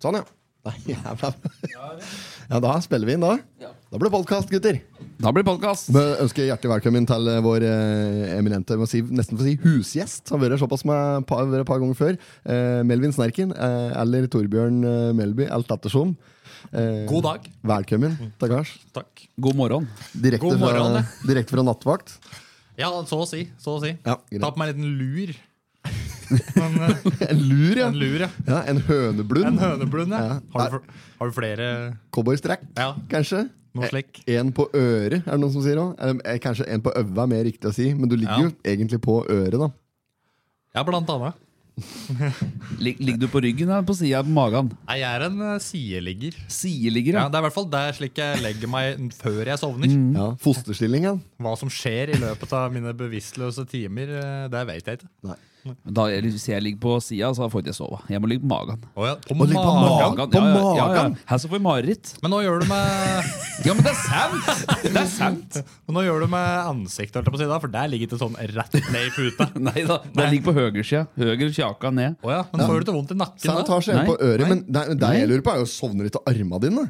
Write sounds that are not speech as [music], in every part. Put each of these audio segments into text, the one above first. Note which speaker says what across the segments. Speaker 1: Sånn, ja. Nei, [laughs] jævla. Ja, da spiller vi inn, da. Da blir det podkast, gutter.
Speaker 2: Da blir det podkast.
Speaker 1: Vi ønsker hjertelig velkommen til eh, vår eh, eminente må si, nesten for å si husgjest. Han har vært her såpass med par, vært et par ganger før. Eh, Melvin Snerken eh, eller Torbjørn eh, Melby, alt ettersom. Eh,
Speaker 3: God dag.
Speaker 1: Velkommen. Takkars.
Speaker 3: Takk.
Speaker 2: God morgen.
Speaker 1: Direkte,
Speaker 3: God morgen,
Speaker 1: fra,
Speaker 3: det.
Speaker 1: direkte fra nattvakt.
Speaker 3: Ja, så å si. Så å si.
Speaker 1: Ja, greit.
Speaker 3: Ta på meg en liten lur. Men,
Speaker 2: [laughs]
Speaker 3: eh,
Speaker 1: En lur, ja.
Speaker 3: en lur, ja.
Speaker 1: ja en høneblund.
Speaker 3: En høneblund, ja.
Speaker 1: Ja.
Speaker 3: Har du, fl- har du flere
Speaker 1: Cowboystrekk,
Speaker 3: Ja.
Speaker 1: kanskje?
Speaker 3: noe slik?
Speaker 1: En på øret, er det noen som sier òg? Kanskje en på øva er mer riktig å si, men du ligger
Speaker 3: Ja.
Speaker 1: jo egentlig på øret, da.
Speaker 3: Ja, blant annet.
Speaker 2: Lig- Ligger du på ryggen eller på sida på magen?
Speaker 3: Nei, jeg er en eh, sideligger.
Speaker 2: Sideligger,
Speaker 3: Ja,
Speaker 2: ja. Mm.
Speaker 3: det er i hvert fall der slik jeg legger meg før jeg sovner.
Speaker 1: Ja, Fosterstillingen.
Speaker 3: Hva som skjer i løpet av mine bevisstløse timer, eh, det vet jeg ikke.
Speaker 1: Nei.
Speaker 2: Da, er- hvis jeg ligger på sida, så får jeg ikke sove. Jeg må ligge på magen.
Speaker 3: Å ja, på
Speaker 1: Å, ligge på
Speaker 3: magen.
Speaker 1: magen. På
Speaker 2: ja, ja, ja, ja.
Speaker 1: magen?
Speaker 2: Her så får jeg mareritt. [laughs]
Speaker 3: Men nå gjør du med,
Speaker 2: Ja, men det er sant! Det er
Speaker 3: [laughs]
Speaker 2: sant.
Speaker 3: men nå gjør du med ansiktet, holdt jeg på å si, da, for der ligger det sånn rett ned i puta.
Speaker 2: Nei da, det ligger på høyresida. Høyre kjaka ned.
Speaker 3: Å ja, men får du ikke vondt i nakken da?
Speaker 1: Sanitasje er
Speaker 2: Nei.
Speaker 1: på øret, men det, men det
Speaker 2: Nei.
Speaker 1: jeg lurer på, er jo sovner litt av armene dine.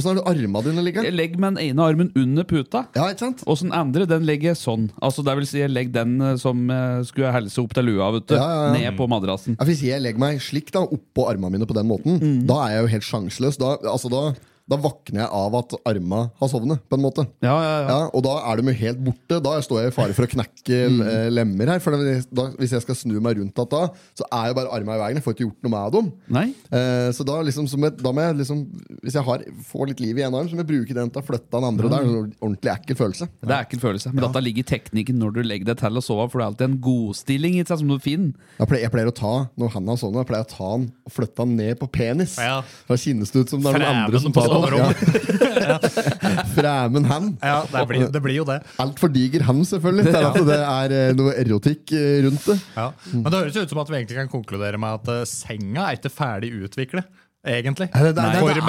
Speaker 1: Åssen er det armene dine ligger?
Speaker 2: Jeg legger med den ene armen under puta.
Speaker 1: Ja, ikke sant?
Speaker 2: Og så den andre den legger jeg sånn. Altså, det vil si, jeg legger den eh, som eh, skulle helse opp til lua, vet du.
Speaker 1: Ja, ja, ja.
Speaker 2: Ned på madrassen.
Speaker 1: Ja, hvis jeg legger meg slik da, oppå armene mine på den måten,
Speaker 2: Mm.
Speaker 1: da er jeg jo helt sjanseløs. Da, altså, da, da våkner jeg av at armene har sovnet, på en måte.
Speaker 2: Ja, ja, ja.
Speaker 1: Ja, og da er de jo helt borte. Da står jeg i fare for å knekke
Speaker 2: [laughs] Mm.
Speaker 1: eh, lemmer her. For da, hvis jeg skal snu meg rundt at da, så er jo bare armene i veien. Jeg får ikke gjort noe med dem.
Speaker 2: Nei?
Speaker 1: Eh, så da, liksom, som et, da må jeg liksom Hvis jeg har, får litt liv i en arm, så må jeg bruke den til å flytte den
Speaker 3: Mm.
Speaker 1: andre. Det er en ordentlig ekkel følelse.
Speaker 2: Det er ekkel følelse. Men dette ligger i teknikken når du legger deg til å sove, for det er alltid en godstilling i seg som du finner.
Speaker 1: Jeg pleier, jeg pleier å ta når han har sånn, jeg pleier å ta han og flytte han ned på penis.
Speaker 3: Ja.
Speaker 1: Da kjennes det ut som det er noen andre som
Speaker 3: Fremen på
Speaker 1: tar han.
Speaker 3: soverommet.
Speaker 1: Ja. Fremen han.
Speaker 3: Ja, det blir, det blir jo det.
Speaker 1: Altfor diger han, selvfølgelig. Det er, at det er eh, noe erotikk eh, rundt det.
Speaker 3: Ja. Men det høres jo ut som at vi egentlig kan konkludere med at eh, senga er ikke ferdig utviklet, egentlig.
Speaker 1: det- det- det- det
Speaker 3: For
Speaker 1: er det ikke.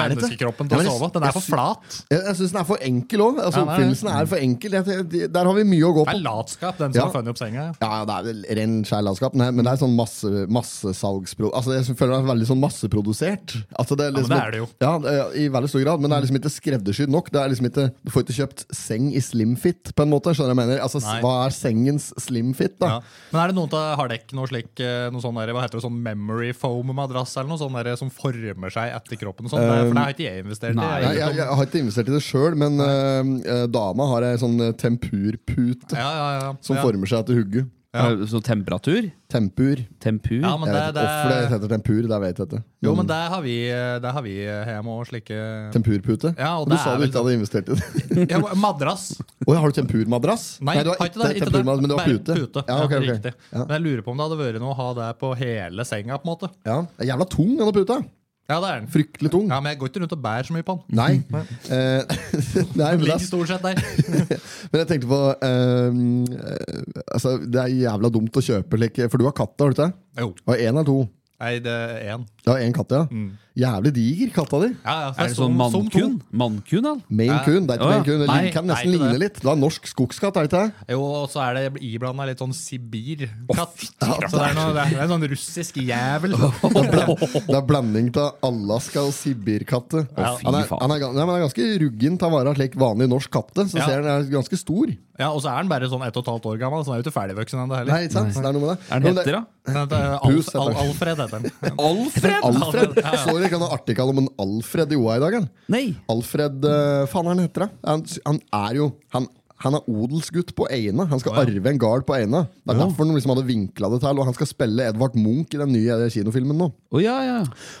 Speaker 1: Ja,
Speaker 3: menneskekroppen til
Speaker 1: men
Speaker 3: å
Speaker 1: jeg-
Speaker 3: sove. Den
Speaker 1: jeg
Speaker 3: er for
Speaker 1: sy-
Speaker 3: flat.
Speaker 1: Jeg, jeg syns den er for enkel òg. Altså,
Speaker 3: Ja, det er det.
Speaker 1: oppfinnelsen er for enkel. Jeg, jeg, der har vi mye å gå på.
Speaker 3: Det er latskap, den
Speaker 1: Ja.
Speaker 3: som har funnet opp senga. ja.
Speaker 1: Ja, ja, det er vel ren skjær landskap, men men det er sånn masse, massesalgspro... Altså, jeg føler det er veldig sånn masseprodusert. Altså, det er liksom,
Speaker 3: men det er det jo.
Speaker 1: Ja, det er- I veldig stor grad, men det er liksom ikke skreddersydd nok. Det er liksom ikke, du får ikke kjøpt seng i slimfit, på en måte. skjønner du hva jeg mener? Altså, s-
Speaker 3: Nei.
Speaker 1: Hva er sengens slimfit, da?
Speaker 3: Ja. Men er det noen av har dere noe slik eh, noe sånn der, hva heter det, sånn memory foam-madrass eller noe sånt der, eh, som former seg etter kroppen? og sånt? Det- For det har ikke jeg investert
Speaker 2: Nei.
Speaker 1: Nei,
Speaker 3: i. Jeg,
Speaker 1: jeg, jeg har ikke investert i det sjøl, men eh, eh, dama har ei sånn eh, tempurpute
Speaker 3: ja, ja, ja.
Speaker 1: som
Speaker 3: ja.
Speaker 1: former seg til hugge.
Speaker 2: Eh, Så temperatur.
Speaker 1: Tempur.
Speaker 2: Tempur.
Speaker 3: Ja, men
Speaker 1: Jeg vet ikke
Speaker 3: det, det,
Speaker 1: hvorfor det heter tempur, det vet jeg ikke.
Speaker 3: jo, men det har vi, eh, det har vi hjemme og slike
Speaker 1: Tempurpute?
Speaker 3: Ja, og
Speaker 1: du
Speaker 3: det
Speaker 1: sa du
Speaker 3: er liksom- vel
Speaker 1: ikke hadde investert i det.
Speaker 3: ja, Madrass.
Speaker 1: Åja, har du tempurmadrass?
Speaker 3: Nei,
Speaker 1: du har ikke, tempurmadrass, men du har
Speaker 3: Bare
Speaker 1: pute. Ja,
Speaker 3: Ja,
Speaker 1: ok, ok.
Speaker 3: riktig.
Speaker 1: Ja.
Speaker 3: Men jeg lurer på om det hadde vært noe å ha det på hele senga. på en måte
Speaker 1: Ja, det er jævla tung, denne puta.
Speaker 3: Ja, det er den.
Speaker 1: Fryktelig tung.
Speaker 3: Ja, Mm. Men jeg går ikke rundt og bærer så mye på den.
Speaker 1: Nei. Eh, [laughs] nei, men, det,
Speaker 3: Ligger stort sett der.
Speaker 1: men jeg tenkte på eh, eh, altså, Det er jævla dumt å kjøpe like, For du har katta, har du ikke det?
Speaker 3: Jo.
Speaker 1: Og én eller to?
Speaker 3: Nei, det er én.
Speaker 1: Du har én katt, ja.
Speaker 3: Mm.
Speaker 1: Jævlig diger, katta di.
Speaker 3: Ja, ja, så
Speaker 2: Er det sånn
Speaker 3: som- som to.
Speaker 2: mannkun? Mannkun, al?
Speaker 1: Maine
Speaker 3: Ja.
Speaker 1: coon. Det er ikke
Speaker 2: Åja.
Speaker 1: Maine coon. Det
Speaker 3: Nei,
Speaker 1: kan
Speaker 3: nei,
Speaker 1: nesten
Speaker 3: ikke det.
Speaker 1: ligne litt. Du har norsk skogskatt, er det ikke det?
Speaker 3: Jo, og så er det iblanda litt sånn Sibir-katt.
Speaker 1: Ja,
Speaker 3: Så det er, noe, det er en sånn russisk jævel.
Speaker 1: Det er blanding av Alaska og Sibirkatte.
Speaker 3: Ja.
Speaker 1: Han, er-
Speaker 2: Fy faen.
Speaker 1: han, er gan- nei, men han er ganske ruggen til å være slik vanlig norsk katte. Så
Speaker 3: Ja.
Speaker 1: ser han er ganske stor.
Speaker 3: [laughs] Ja, Og så er den bare sånn ett og et halvt år gammel, så den er jo ikke ferdigvoksen ennå heller.
Speaker 1: Nei, ikke sant? Det er noe med det.
Speaker 2: Er den
Speaker 1: Men det-
Speaker 2: heter, da?
Speaker 3: Den heter Alf,
Speaker 1: Pus heter
Speaker 3: Al
Speaker 1: den.
Speaker 3: Alfred
Speaker 1: [laughs]
Speaker 3: heter den.
Speaker 2: Alfred?
Speaker 1: Alfred. Så dere ikke noe artikkel om en Alfred i OA i dag? eller?
Speaker 2: Nei.
Speaker 1: Alfred eh, Faen, hva er han heter det? Han, han er jo han, han er odelsgutt på Eina. Han skal arve en gard på Eina. Det er derfor han liksom hadde vinkla det til. Og han skal spille Edvard Munch i den nye eh, kinofilmen nå.
Speaker 2: Å ja, ja.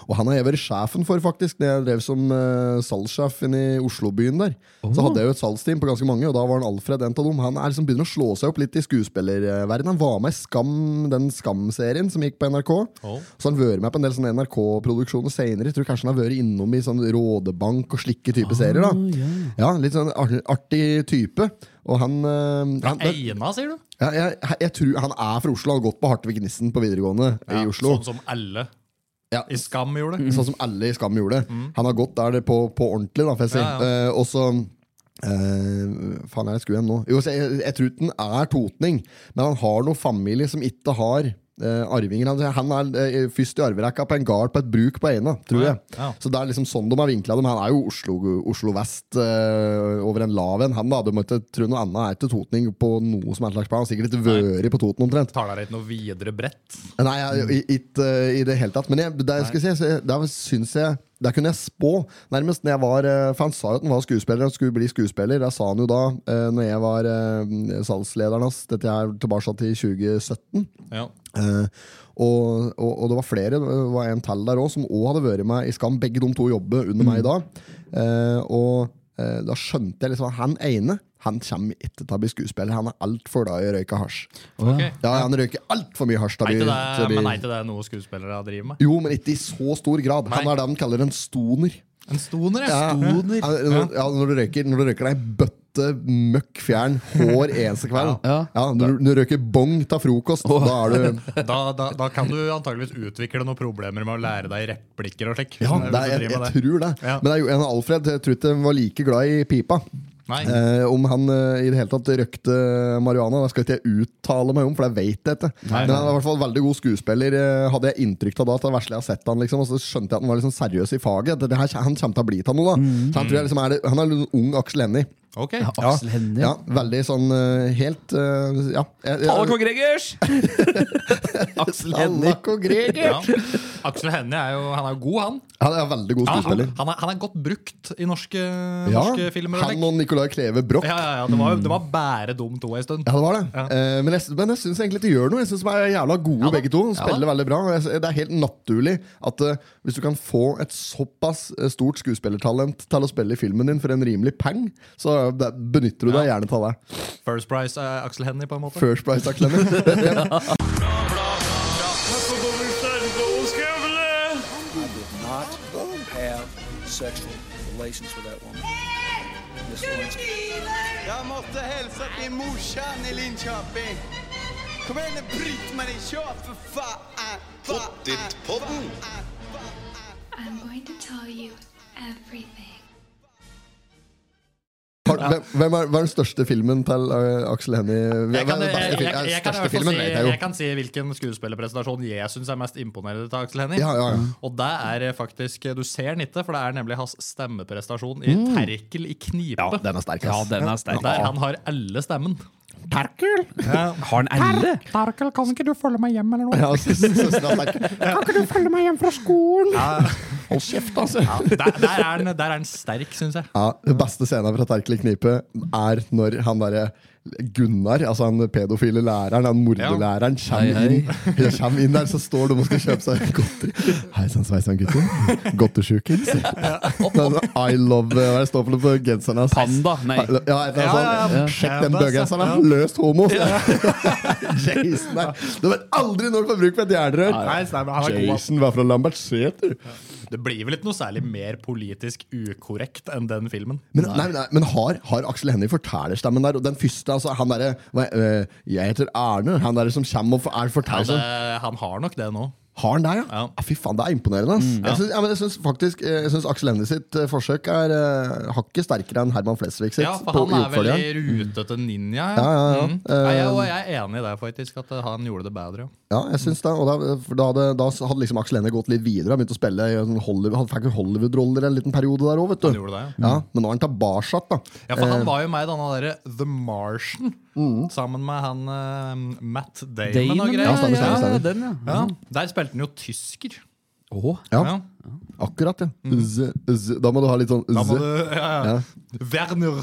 Speaker 1: Og han har jeg vært sjefen for, faktisk. Når jeg drev som uh, salgssjef inne i Oslobyen der. Så hadde jeg jo et salgsteam på ganske mange, og da var han Alfred en av dem. Han er liksom begynner å slå seg opp litt i skuespillerverdenen. Han var med i Skam, den Skam-serien som gikk på NRK.
Speaker 3: Oh.
Speaker 1: Så han har vært med på en del sånne NRK-produksjoner senere. Jeg tror kanskje han har vært innom i sånn Rådebank og slike
Speaker 3: Ah,
Speaker 1: type serier. da Ja, Litt sånn ar- artig type. Og han, eh, han det-
Speaker 3: Eina, sier du?
Speaker 1: ja, jeg, jeg tror han er fra Oslo, har gått på Hartvig Nissen på videregående i Oslo.
Speaker 3: Sånn som alle
Speaker 1: Ja.
Speaker 3: i Skam gjorde.
Speaker 1: Sånn som alle i Skam gjorde. Han har gått der det på, på ordentlig, da, får jeg si.
Speaker 3: Mm. Ja,
Speaker 1: Eh, og så eh, Faen, er jeg skulle igjen nå? Jo, så jeg, jeg tror ikke han er totning, men han har noe familie som ikke har eh, arvinger. Han- Han er eh, først i arverekka på en gard på et bruk på Eina, tror jeg.
Speaker 3: Ja.
Speaker 1: Så det er liksom sånn de har vinkla dem. Han er jo Oslo, Oslo vest eh, over en lav en. Han da, du må ikke tro noe annet er til totning på noe som er slags plan. Han har sikkert ikke vært på Toten omtrent.
Speaker 3: Tar deg ikke noe videre bredt.
Speaker 1: Nei, jeg, i, ikke eh, i det hele tatt. Men jeg, det jeg skal si, så jeg- der syns jeg Der kunne jeg spå, nærmest. Når jeg var, eh, for han sa jo at han var skuespiller og skulle bli skuespiller. Det sa han jo da eh, Når jeg var eh, salgslederen hans. Dette er tilbake til 2017.
Speaker 3: Ja.
Speaker 1: Eh, og, og, og det var flere, det var en til der òg, som òg hadde vært med i Skam. Begge de to jobber under meg i dag. Eh, og eh, da skjønte jeg liksom at han ene han kommer ikke til å bli skuespiller. Han er altfor glad i å røyke hasj.
Speaker 3: Ok.
Speaker 1: Ja, Han røyker altfor mye hasj. til å bli-
Speaker 3: Er ikke
Speaker 1: til å
Speaker 3: det,
Speaker 1: bli-
Speaker 3: men er ikke det noe skuespillere driver med?
Speaker 1: jo, men ikke i så stor grad. Han
Speaker 3: Nei.
Speaker 1: er det han kaller en stoner.
Speaker 3: En stoner, ja.
Speaker 1: Ja, ja, når- ja, når, du røyker, når du røyker deg bøtte møkk fjern hver [laughs] eneste kveld.
Speaker 2: Ja.
Speaker 1: når, du- når du røyker bong til frokost, da er du
Speaker 3: Da, da, da kan du antageligvis utvikle noen problemer med å lære deg replikker og slik.
Speaker 1: Ja,
Speaker 3: Hvis
Speaker 1: det
Speaker 3: du
Speaker 1: er, jeg,
Speaker 3: driver
Speaker 1: jeg
Speaker 3: med det.
Speaker 1: tror det.
Speaker 3: Ja.
Speaker 1: Men det er jo en Alfred jeg tror ikke han var like glad i pipa.
Speaker 3: Nei.
Speaker 1: Eh, om han eh, i det hele tatt røkte marihuana, det skal ikke jeg uttale meg om, for det vet jeg ikke.
Speaker 3: Nei,
Speaker 1: Men han er i hvert fall veldig god skuespiller, eh, hadde jeg inntrykk av da. Til det verste jeg har sett han liksom, Og så skjønte jeg at han var liksom seriøs i faget. Det her, han kommer til å bli til noe, da.
Speaker 3: Mm.
Speaker 1: Så han, tror jeg liksom er, det- han er en ung Aksel Hennie.
Speaker 3: Ok.
Speaker 2: Aksel Hennie.
Speaker 1: Ja, veldig sånn eh, helt eh, Ja. Jeg- jeg-
Speaker 2: Alle kong Gregers! Aksel Hennie.
Speaker 1: Halla, kong Greger!
Speaker 3: Ja. Aksel Hennie er jo han er jo god, han.
Speaker 1: Han er veldig god
Speaker 3: Ja, han,
Speaker 1: skuespiller.
Speaker 3: han, er, han er godt brukt i norske,
Speaker 1: Ja,
Speaker 3: norske filmer. og
Speaker 1: han
Speaker 3: slik.
Speaker 1: og Nicolai Kleve Broch.
Speaker 3: ja, ja, ja, det, var, jo- det var bare dum to en stund.
Speaker 1: Ja, det var det.
Speaker 3: Ja.
Speaker 1: Eh, men jeg, men jeg syns egentlig de gjør noe. Jeg synes De er jævla gode,
Speaker 3: Ja da.
Speaker 1: begge to.
Speaker 3: Ja
Speaker 1: Spiller
Speaker 3: da.
Speaker 1: veldig bra. Og jeg- Det er helt naturlig at eh, hvis du kan få et såpass eh, stort skuespillertalent til å spille i filmen din for en rimelig peng, så eh, det, benytter du deg gjerne av det.
Speaker 3: First Price er Aksel Hennie, på en måte.
Speaker 1: First Price av Clemmy.
Speaker 4: not have sexual relations with that woman. Miss Lewinsky.
Speaker 5: Jeg måtte hilse til morsan i Linköping. Kom igjen, Britt-Marie, kjør for faen! Pottit-podden!
Speaker 6: I'm going to tell you everything.
Speaker 1: Har- hvem, hvem er, hva er den største filmen til eh, Aksel Hennie?
Speaker 3: Jeg kan,
Speaker 1: Hva er den
Speaker 3: jeg, jeg,
Speaker 1: beste
Speaker 3: jeg,
Speaker 1: fil- eh,
Speaker 3: jeg, kan i hvert
Speaker 1: største
Speaker 3: fall
Speaker 1: filmen
Speaker 3: si,
Speaker 1: vet jeg jo.
Speaker 3: jeg kan si hvilken skuespillerpresentasjon jeg syns er mest imponerende til Aksel Hennie.
Speaker 1: Ja, ja, ja.
Speaker 3: Og det er eh, faktisk Du ser den ikke, for det er nemlig hans stemmeprestasjon i Terkel i knipe.
Speaker 1: Mm. Ja, den er sterk.
Speaker 2: Ja,
Speaker 1: ass.
Speaker 2: den er sterk.
Speaker 3: Der han har alle stemmen.
Speaker 2: Terkel? Har han elle?
Speaker 3: Terkel, kan ikke du følge meg hjem, eller noe?
Speaker 1: Ja, s- s- søsteren er sterk. Kan ikke du følge meg hjem fra skolen? Hold kjeft, altså.
Speaker 3: Der, der, er han, der er han sterk, syns jeg.
Speaker 1: Ja, Den beste scenen fra Terkel i knipe er når han derre Gunnar, altså han pedofile læreren, han mordelæreren,
Speaker 2: Hei,
Speaker 1: kommer
Speaker 2: hei.
Speaker 1: inn, ja, kommer inn der, så står de og skal kjøpe seg godteri. Hei sann, sveisann, gutter. Godtersjuken. sier han. sånn, I love Hva er det står for noe på genseren hans?
Speaker 2: Panda? Nei.
Speaker 1: Ja, et eller annet
Speaker 3: Ja, ja,
Speaker 1: sånt.
Speaker 3: ja.
Speaker 1: Sjekk
Speaker 3: Ja,
Speaker 1: den
Speaker 3: det er
Speaker 1: bøggenseren,
Speaker 3: sant,
Speaker 1: da. Løst homo. [laughs] Jason der. Du vet aldri når du får bruk for et jernrør.
Speaker 3: Nei, stemmer, han er god, ass.
Speaker 1: Jason var fra Lambertseter.
Speaker 3: Det blir vel ikke noe særlig mer politisk ukorrekt enn den filmen.
Speaker 1: Men, nei. Nei, men har, har Aksel Hennie fortellerstemmen der? Og den første, altså, han derre hva- øh, Jeg heter Arne. Han derre som kommer og er
Speaker 3: Han,
Speaker 1: forteller.
Speaker 3: eh, han har nok det nå.
Speaker 1: Har han der, ja?
Speaker 3: Ja. Mm,
Speaker 1: Ah, fy faen, det er imponerende. ass. Jeg syns- ja, men jeg syns faktisk eh, Jeg synes Aksel Hennie sitt eh, forsøk er eh, hakket sterkere enn Herman Flesvig sitt.
Speaker 3: Ja, for
Speaker 1: på-
Speaker 3: han
Speaker 1: i
Speaker 3: er vel i
Speaker 1: oppfølgeren.
Speaker 3: rutete ninja.
Speaker 1: Ja, ja, Eh, ja.
Speaker 3: Mm. Nei, jeg, og jeg er enig i det, faktisk. At eh, han gjorde det bedre. ja.
Speaker 1: Ja, jeg synes det, og da, for da, hadde, da hadde liksom Aksel Hennie gått litt videre. Han begynte å spille i sånn Hollywood, Han fikk jo Hollywood-roller en liten periode der òg, vet
Speaker 3: Han
Speaker 1: du.
Speaker 3: gjorde det, ja.
Speaker 1: Ja, Eh. men nå er han tilbake igjen, da.
Speaker 3: Ja, for Han var jo med i denne derre The Martian,
Speaker 1: Mm.
Speaker 3: sammen med han eh, Matt Damon,
Speaker 2: Damon,
Speaker 1: ja,
Speaker 3: og greier.
Speaker 1: stemmer, stemmer, stemmer.
Speaker 2: den, ja.
Speaker 3: Ja, Der spilte han jo tysker.
Speaker 2: Åh.
Speaker 1: Ja,
Speaker 3: Ja.
Speaker 1: akkurat, ja. Z, z, da må du ha litt sånn
Speaker 3: Mm. Da må
Speaker 1: z,
Speaker 3: du ja, ja. Werner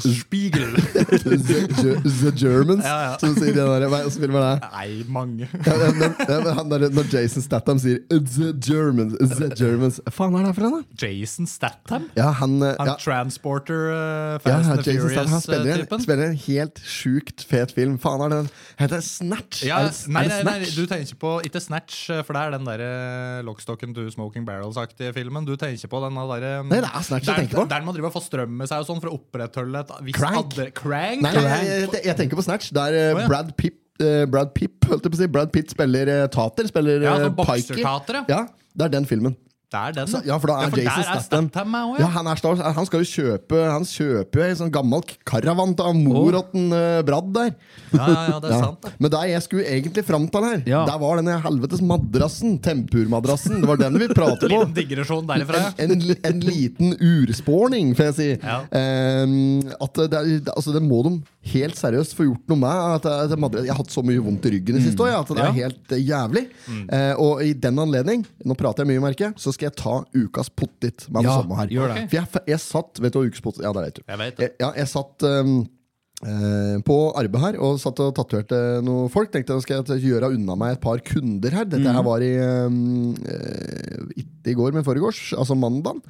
Speaker 1: [laughs]
Speaker 3: Spiegel!
Speaker 1: The, Ge- the Germans,
Speaker 3: Ja, ja.
Speaker 1: som sier det der. Hva er det som filmer det?
Speaker 3: Nei, mange.
Speaker 1: Ja, men- ja, men han der, når Jason Statham sier The Germans, the Germans Hva faen er det her for en, da?
Speaker 3: Jason Statham?
Speaker 1: Ja, han, eh,
Speaker 3: Han
Speaker 1: ja,
Speaker 3: Transporter eh,
Speaker 1: ja,
Speaker 3: Fast and eh, the
Speaker 1: Jason Statham han spiller, en,
Speaker 3: Furious-typen?
Speaker 1: spiller en helt sjukt fet film. Faen, er det den Heter det Snatch?
Speaker 3: Ja,
Speaker 1: er det,
Speaker 3: nei,
Speaker 1: er
Speaker 3: nei,
Speaker 1: det
Speaker 3: nei,
Speaker 1: Snatch?
Speaker 3: du tenker på Ikke Snatch, eh, for det er den der eh, Lockstock and Two Smoking Barrels-aktige filmen. Du tenker på den der eh,
Speaker 1: Nei, det er Snatch jeg
Speaker 3: der-
Speaker 1: tenker på.
Speaker 3: Der man driver og får strøm med seg og sånn for å opprettholde et visst
Speaker 1: Crank.
Speaker 3: adre- Crank?
Speaker 1: Nei, nei, nei, jeg, jeg, jeg tenker på Snatch. Der eh,
Speaker 3: Å, ja.
Speaker 1: Brad Pitt eh, Brad Pitt, holdt jeg på å si. Brad Pitt spiller eh, tater. Spiller
Speaker 3: Ja,
Speaker 1: eh,
Speaker 3: sånn
Speaker 1: Pikey.
Speaker 3: boksertater, ja.
Speaker 1: Ja, det er den filmen.
Speaker 3: Det er den.
Speaker 1: Så- Ja, for da er
Speaker 3: for
Speaker 1: Jason
Speaker 3: der er
Speaker 1: Statham
Speaker 3: Statham med også,
Speaker 1: ja,
Speaker 3: ja.
Speaker 1: han, er Star, Wars. han skal jo kjøpe Han kjøper jo en sånn gammel karavan av mor
Speaker 2: Åh.
Speaker 1: åt en eh, bradd der.
Speaker 3: Ja, ja, ja, det er
Speaker 1: Ja.
Speaker 3: sant. det.
Speaker 1: Men det jeg skulle egentlig fram til her,
Speaker 2: Ja.
Speaker 1: der var denne helvetes madrassen. Tempurmadrassen. Det var den vi
Speaker 3: [laughs]
Speaker 1: pratet på.
Speaker 3: Liten digresjon
Speaker 1: [laughs]
Speaker 3: derifra. ja.
Speaker 1: En, en, en liten urspårning, får jeg si.
Speaker 3: Ja.
Speaker 1: Ehm, at det, er- altså det må de helt seriøst få gjort noe med. At det, at det, madre- jeg har hatt så mye vondt i ryggen det siste året at det er
Speaker 2: Mm. Ja. Mm.
Speaker 1: helt eh, jævlig. Eh, og i den anledning, nå prater jeg mye, merker jeg, så skal jeg ta ukas pottit med det
Speaker 2: Ja,
Speaker 1: samme her.
Speaker 2: gjør det.
Speaker 1: For jeg, jeg satt Vet du hva ukas pottit Ja, det vet du.
Speaker 3: Jeg vet det.
Speaker 1: Jeg, ja, jeg satt ehm, eh, på arbeid her og satt og tatoverte noen folk. Tenkte jeg skal jeg gjøre unna meg et par kunder her. Dette
Speaker 2: Mhm.
Speaker 1: her var i ehm, eh, Ikke i går, men foregårs. Altså mandag.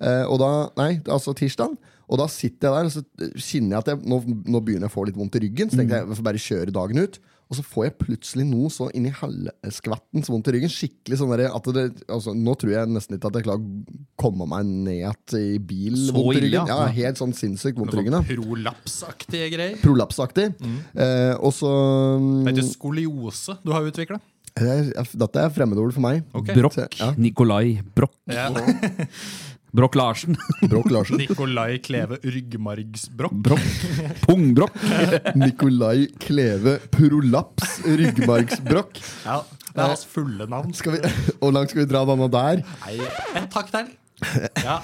Speaker 1: Eh, og da, nei, altså tirsdag. Og da sitter jeg der og så eh, kjenner jeg at jeg, nå, nå begynner jeg å få litt vondt i ryggen. Så tenkte jeg
Speaker 2: Mhm.
Speaker 1: jeg får bare kjøre dagen ut. Og så får jeg plutselig noe så inni halvskvattens vondt i ryggen. Skikkelig sånn der, at det, altså, Nå tror jeg nesten ikke at jeg klarer å komme meg ned igjen i bil.
Speaker 2: Så
Speaker 1: vondt i
Speaker 2: ille,
Speaker 1: ryggen.
Speaker 2: ja.
Speaker 1: Ja, helt sånn sinnssykt vondt i ryggen. da.
Speaker 3: Noe sånn Prolapsaktige greier.
Speaker 1: Prolapsaktig. Eh, og så
Speaker 3: Det heter skoliose du har utvikla.
Speaker 1: Det er- Dette er fremmedord for meg.
Speaker 2: Brokk.
Speaker 1: Ja.
Speaker 2: Nikolai Brokk.
Speaker 3: Ja.
Speaker 2: Brokk Larsen. [laughs]
Speaker 1: Brokk Larsen.
Speaker 3: [laughs] Nikolai Kleve ryggmargsbrokk.
Speaker 2: Brokk. Pungbrokk.
Speaker 1: Nikolai Kleve Prolaps Ryggmargsbrokk.
Speaker 3: Ja, det er hans fulle navn.
Speaker 1: Skal vi, [laughs] hvor langt skal vi dra denne der?
Speaker 3: Nei, en takk til. Ja.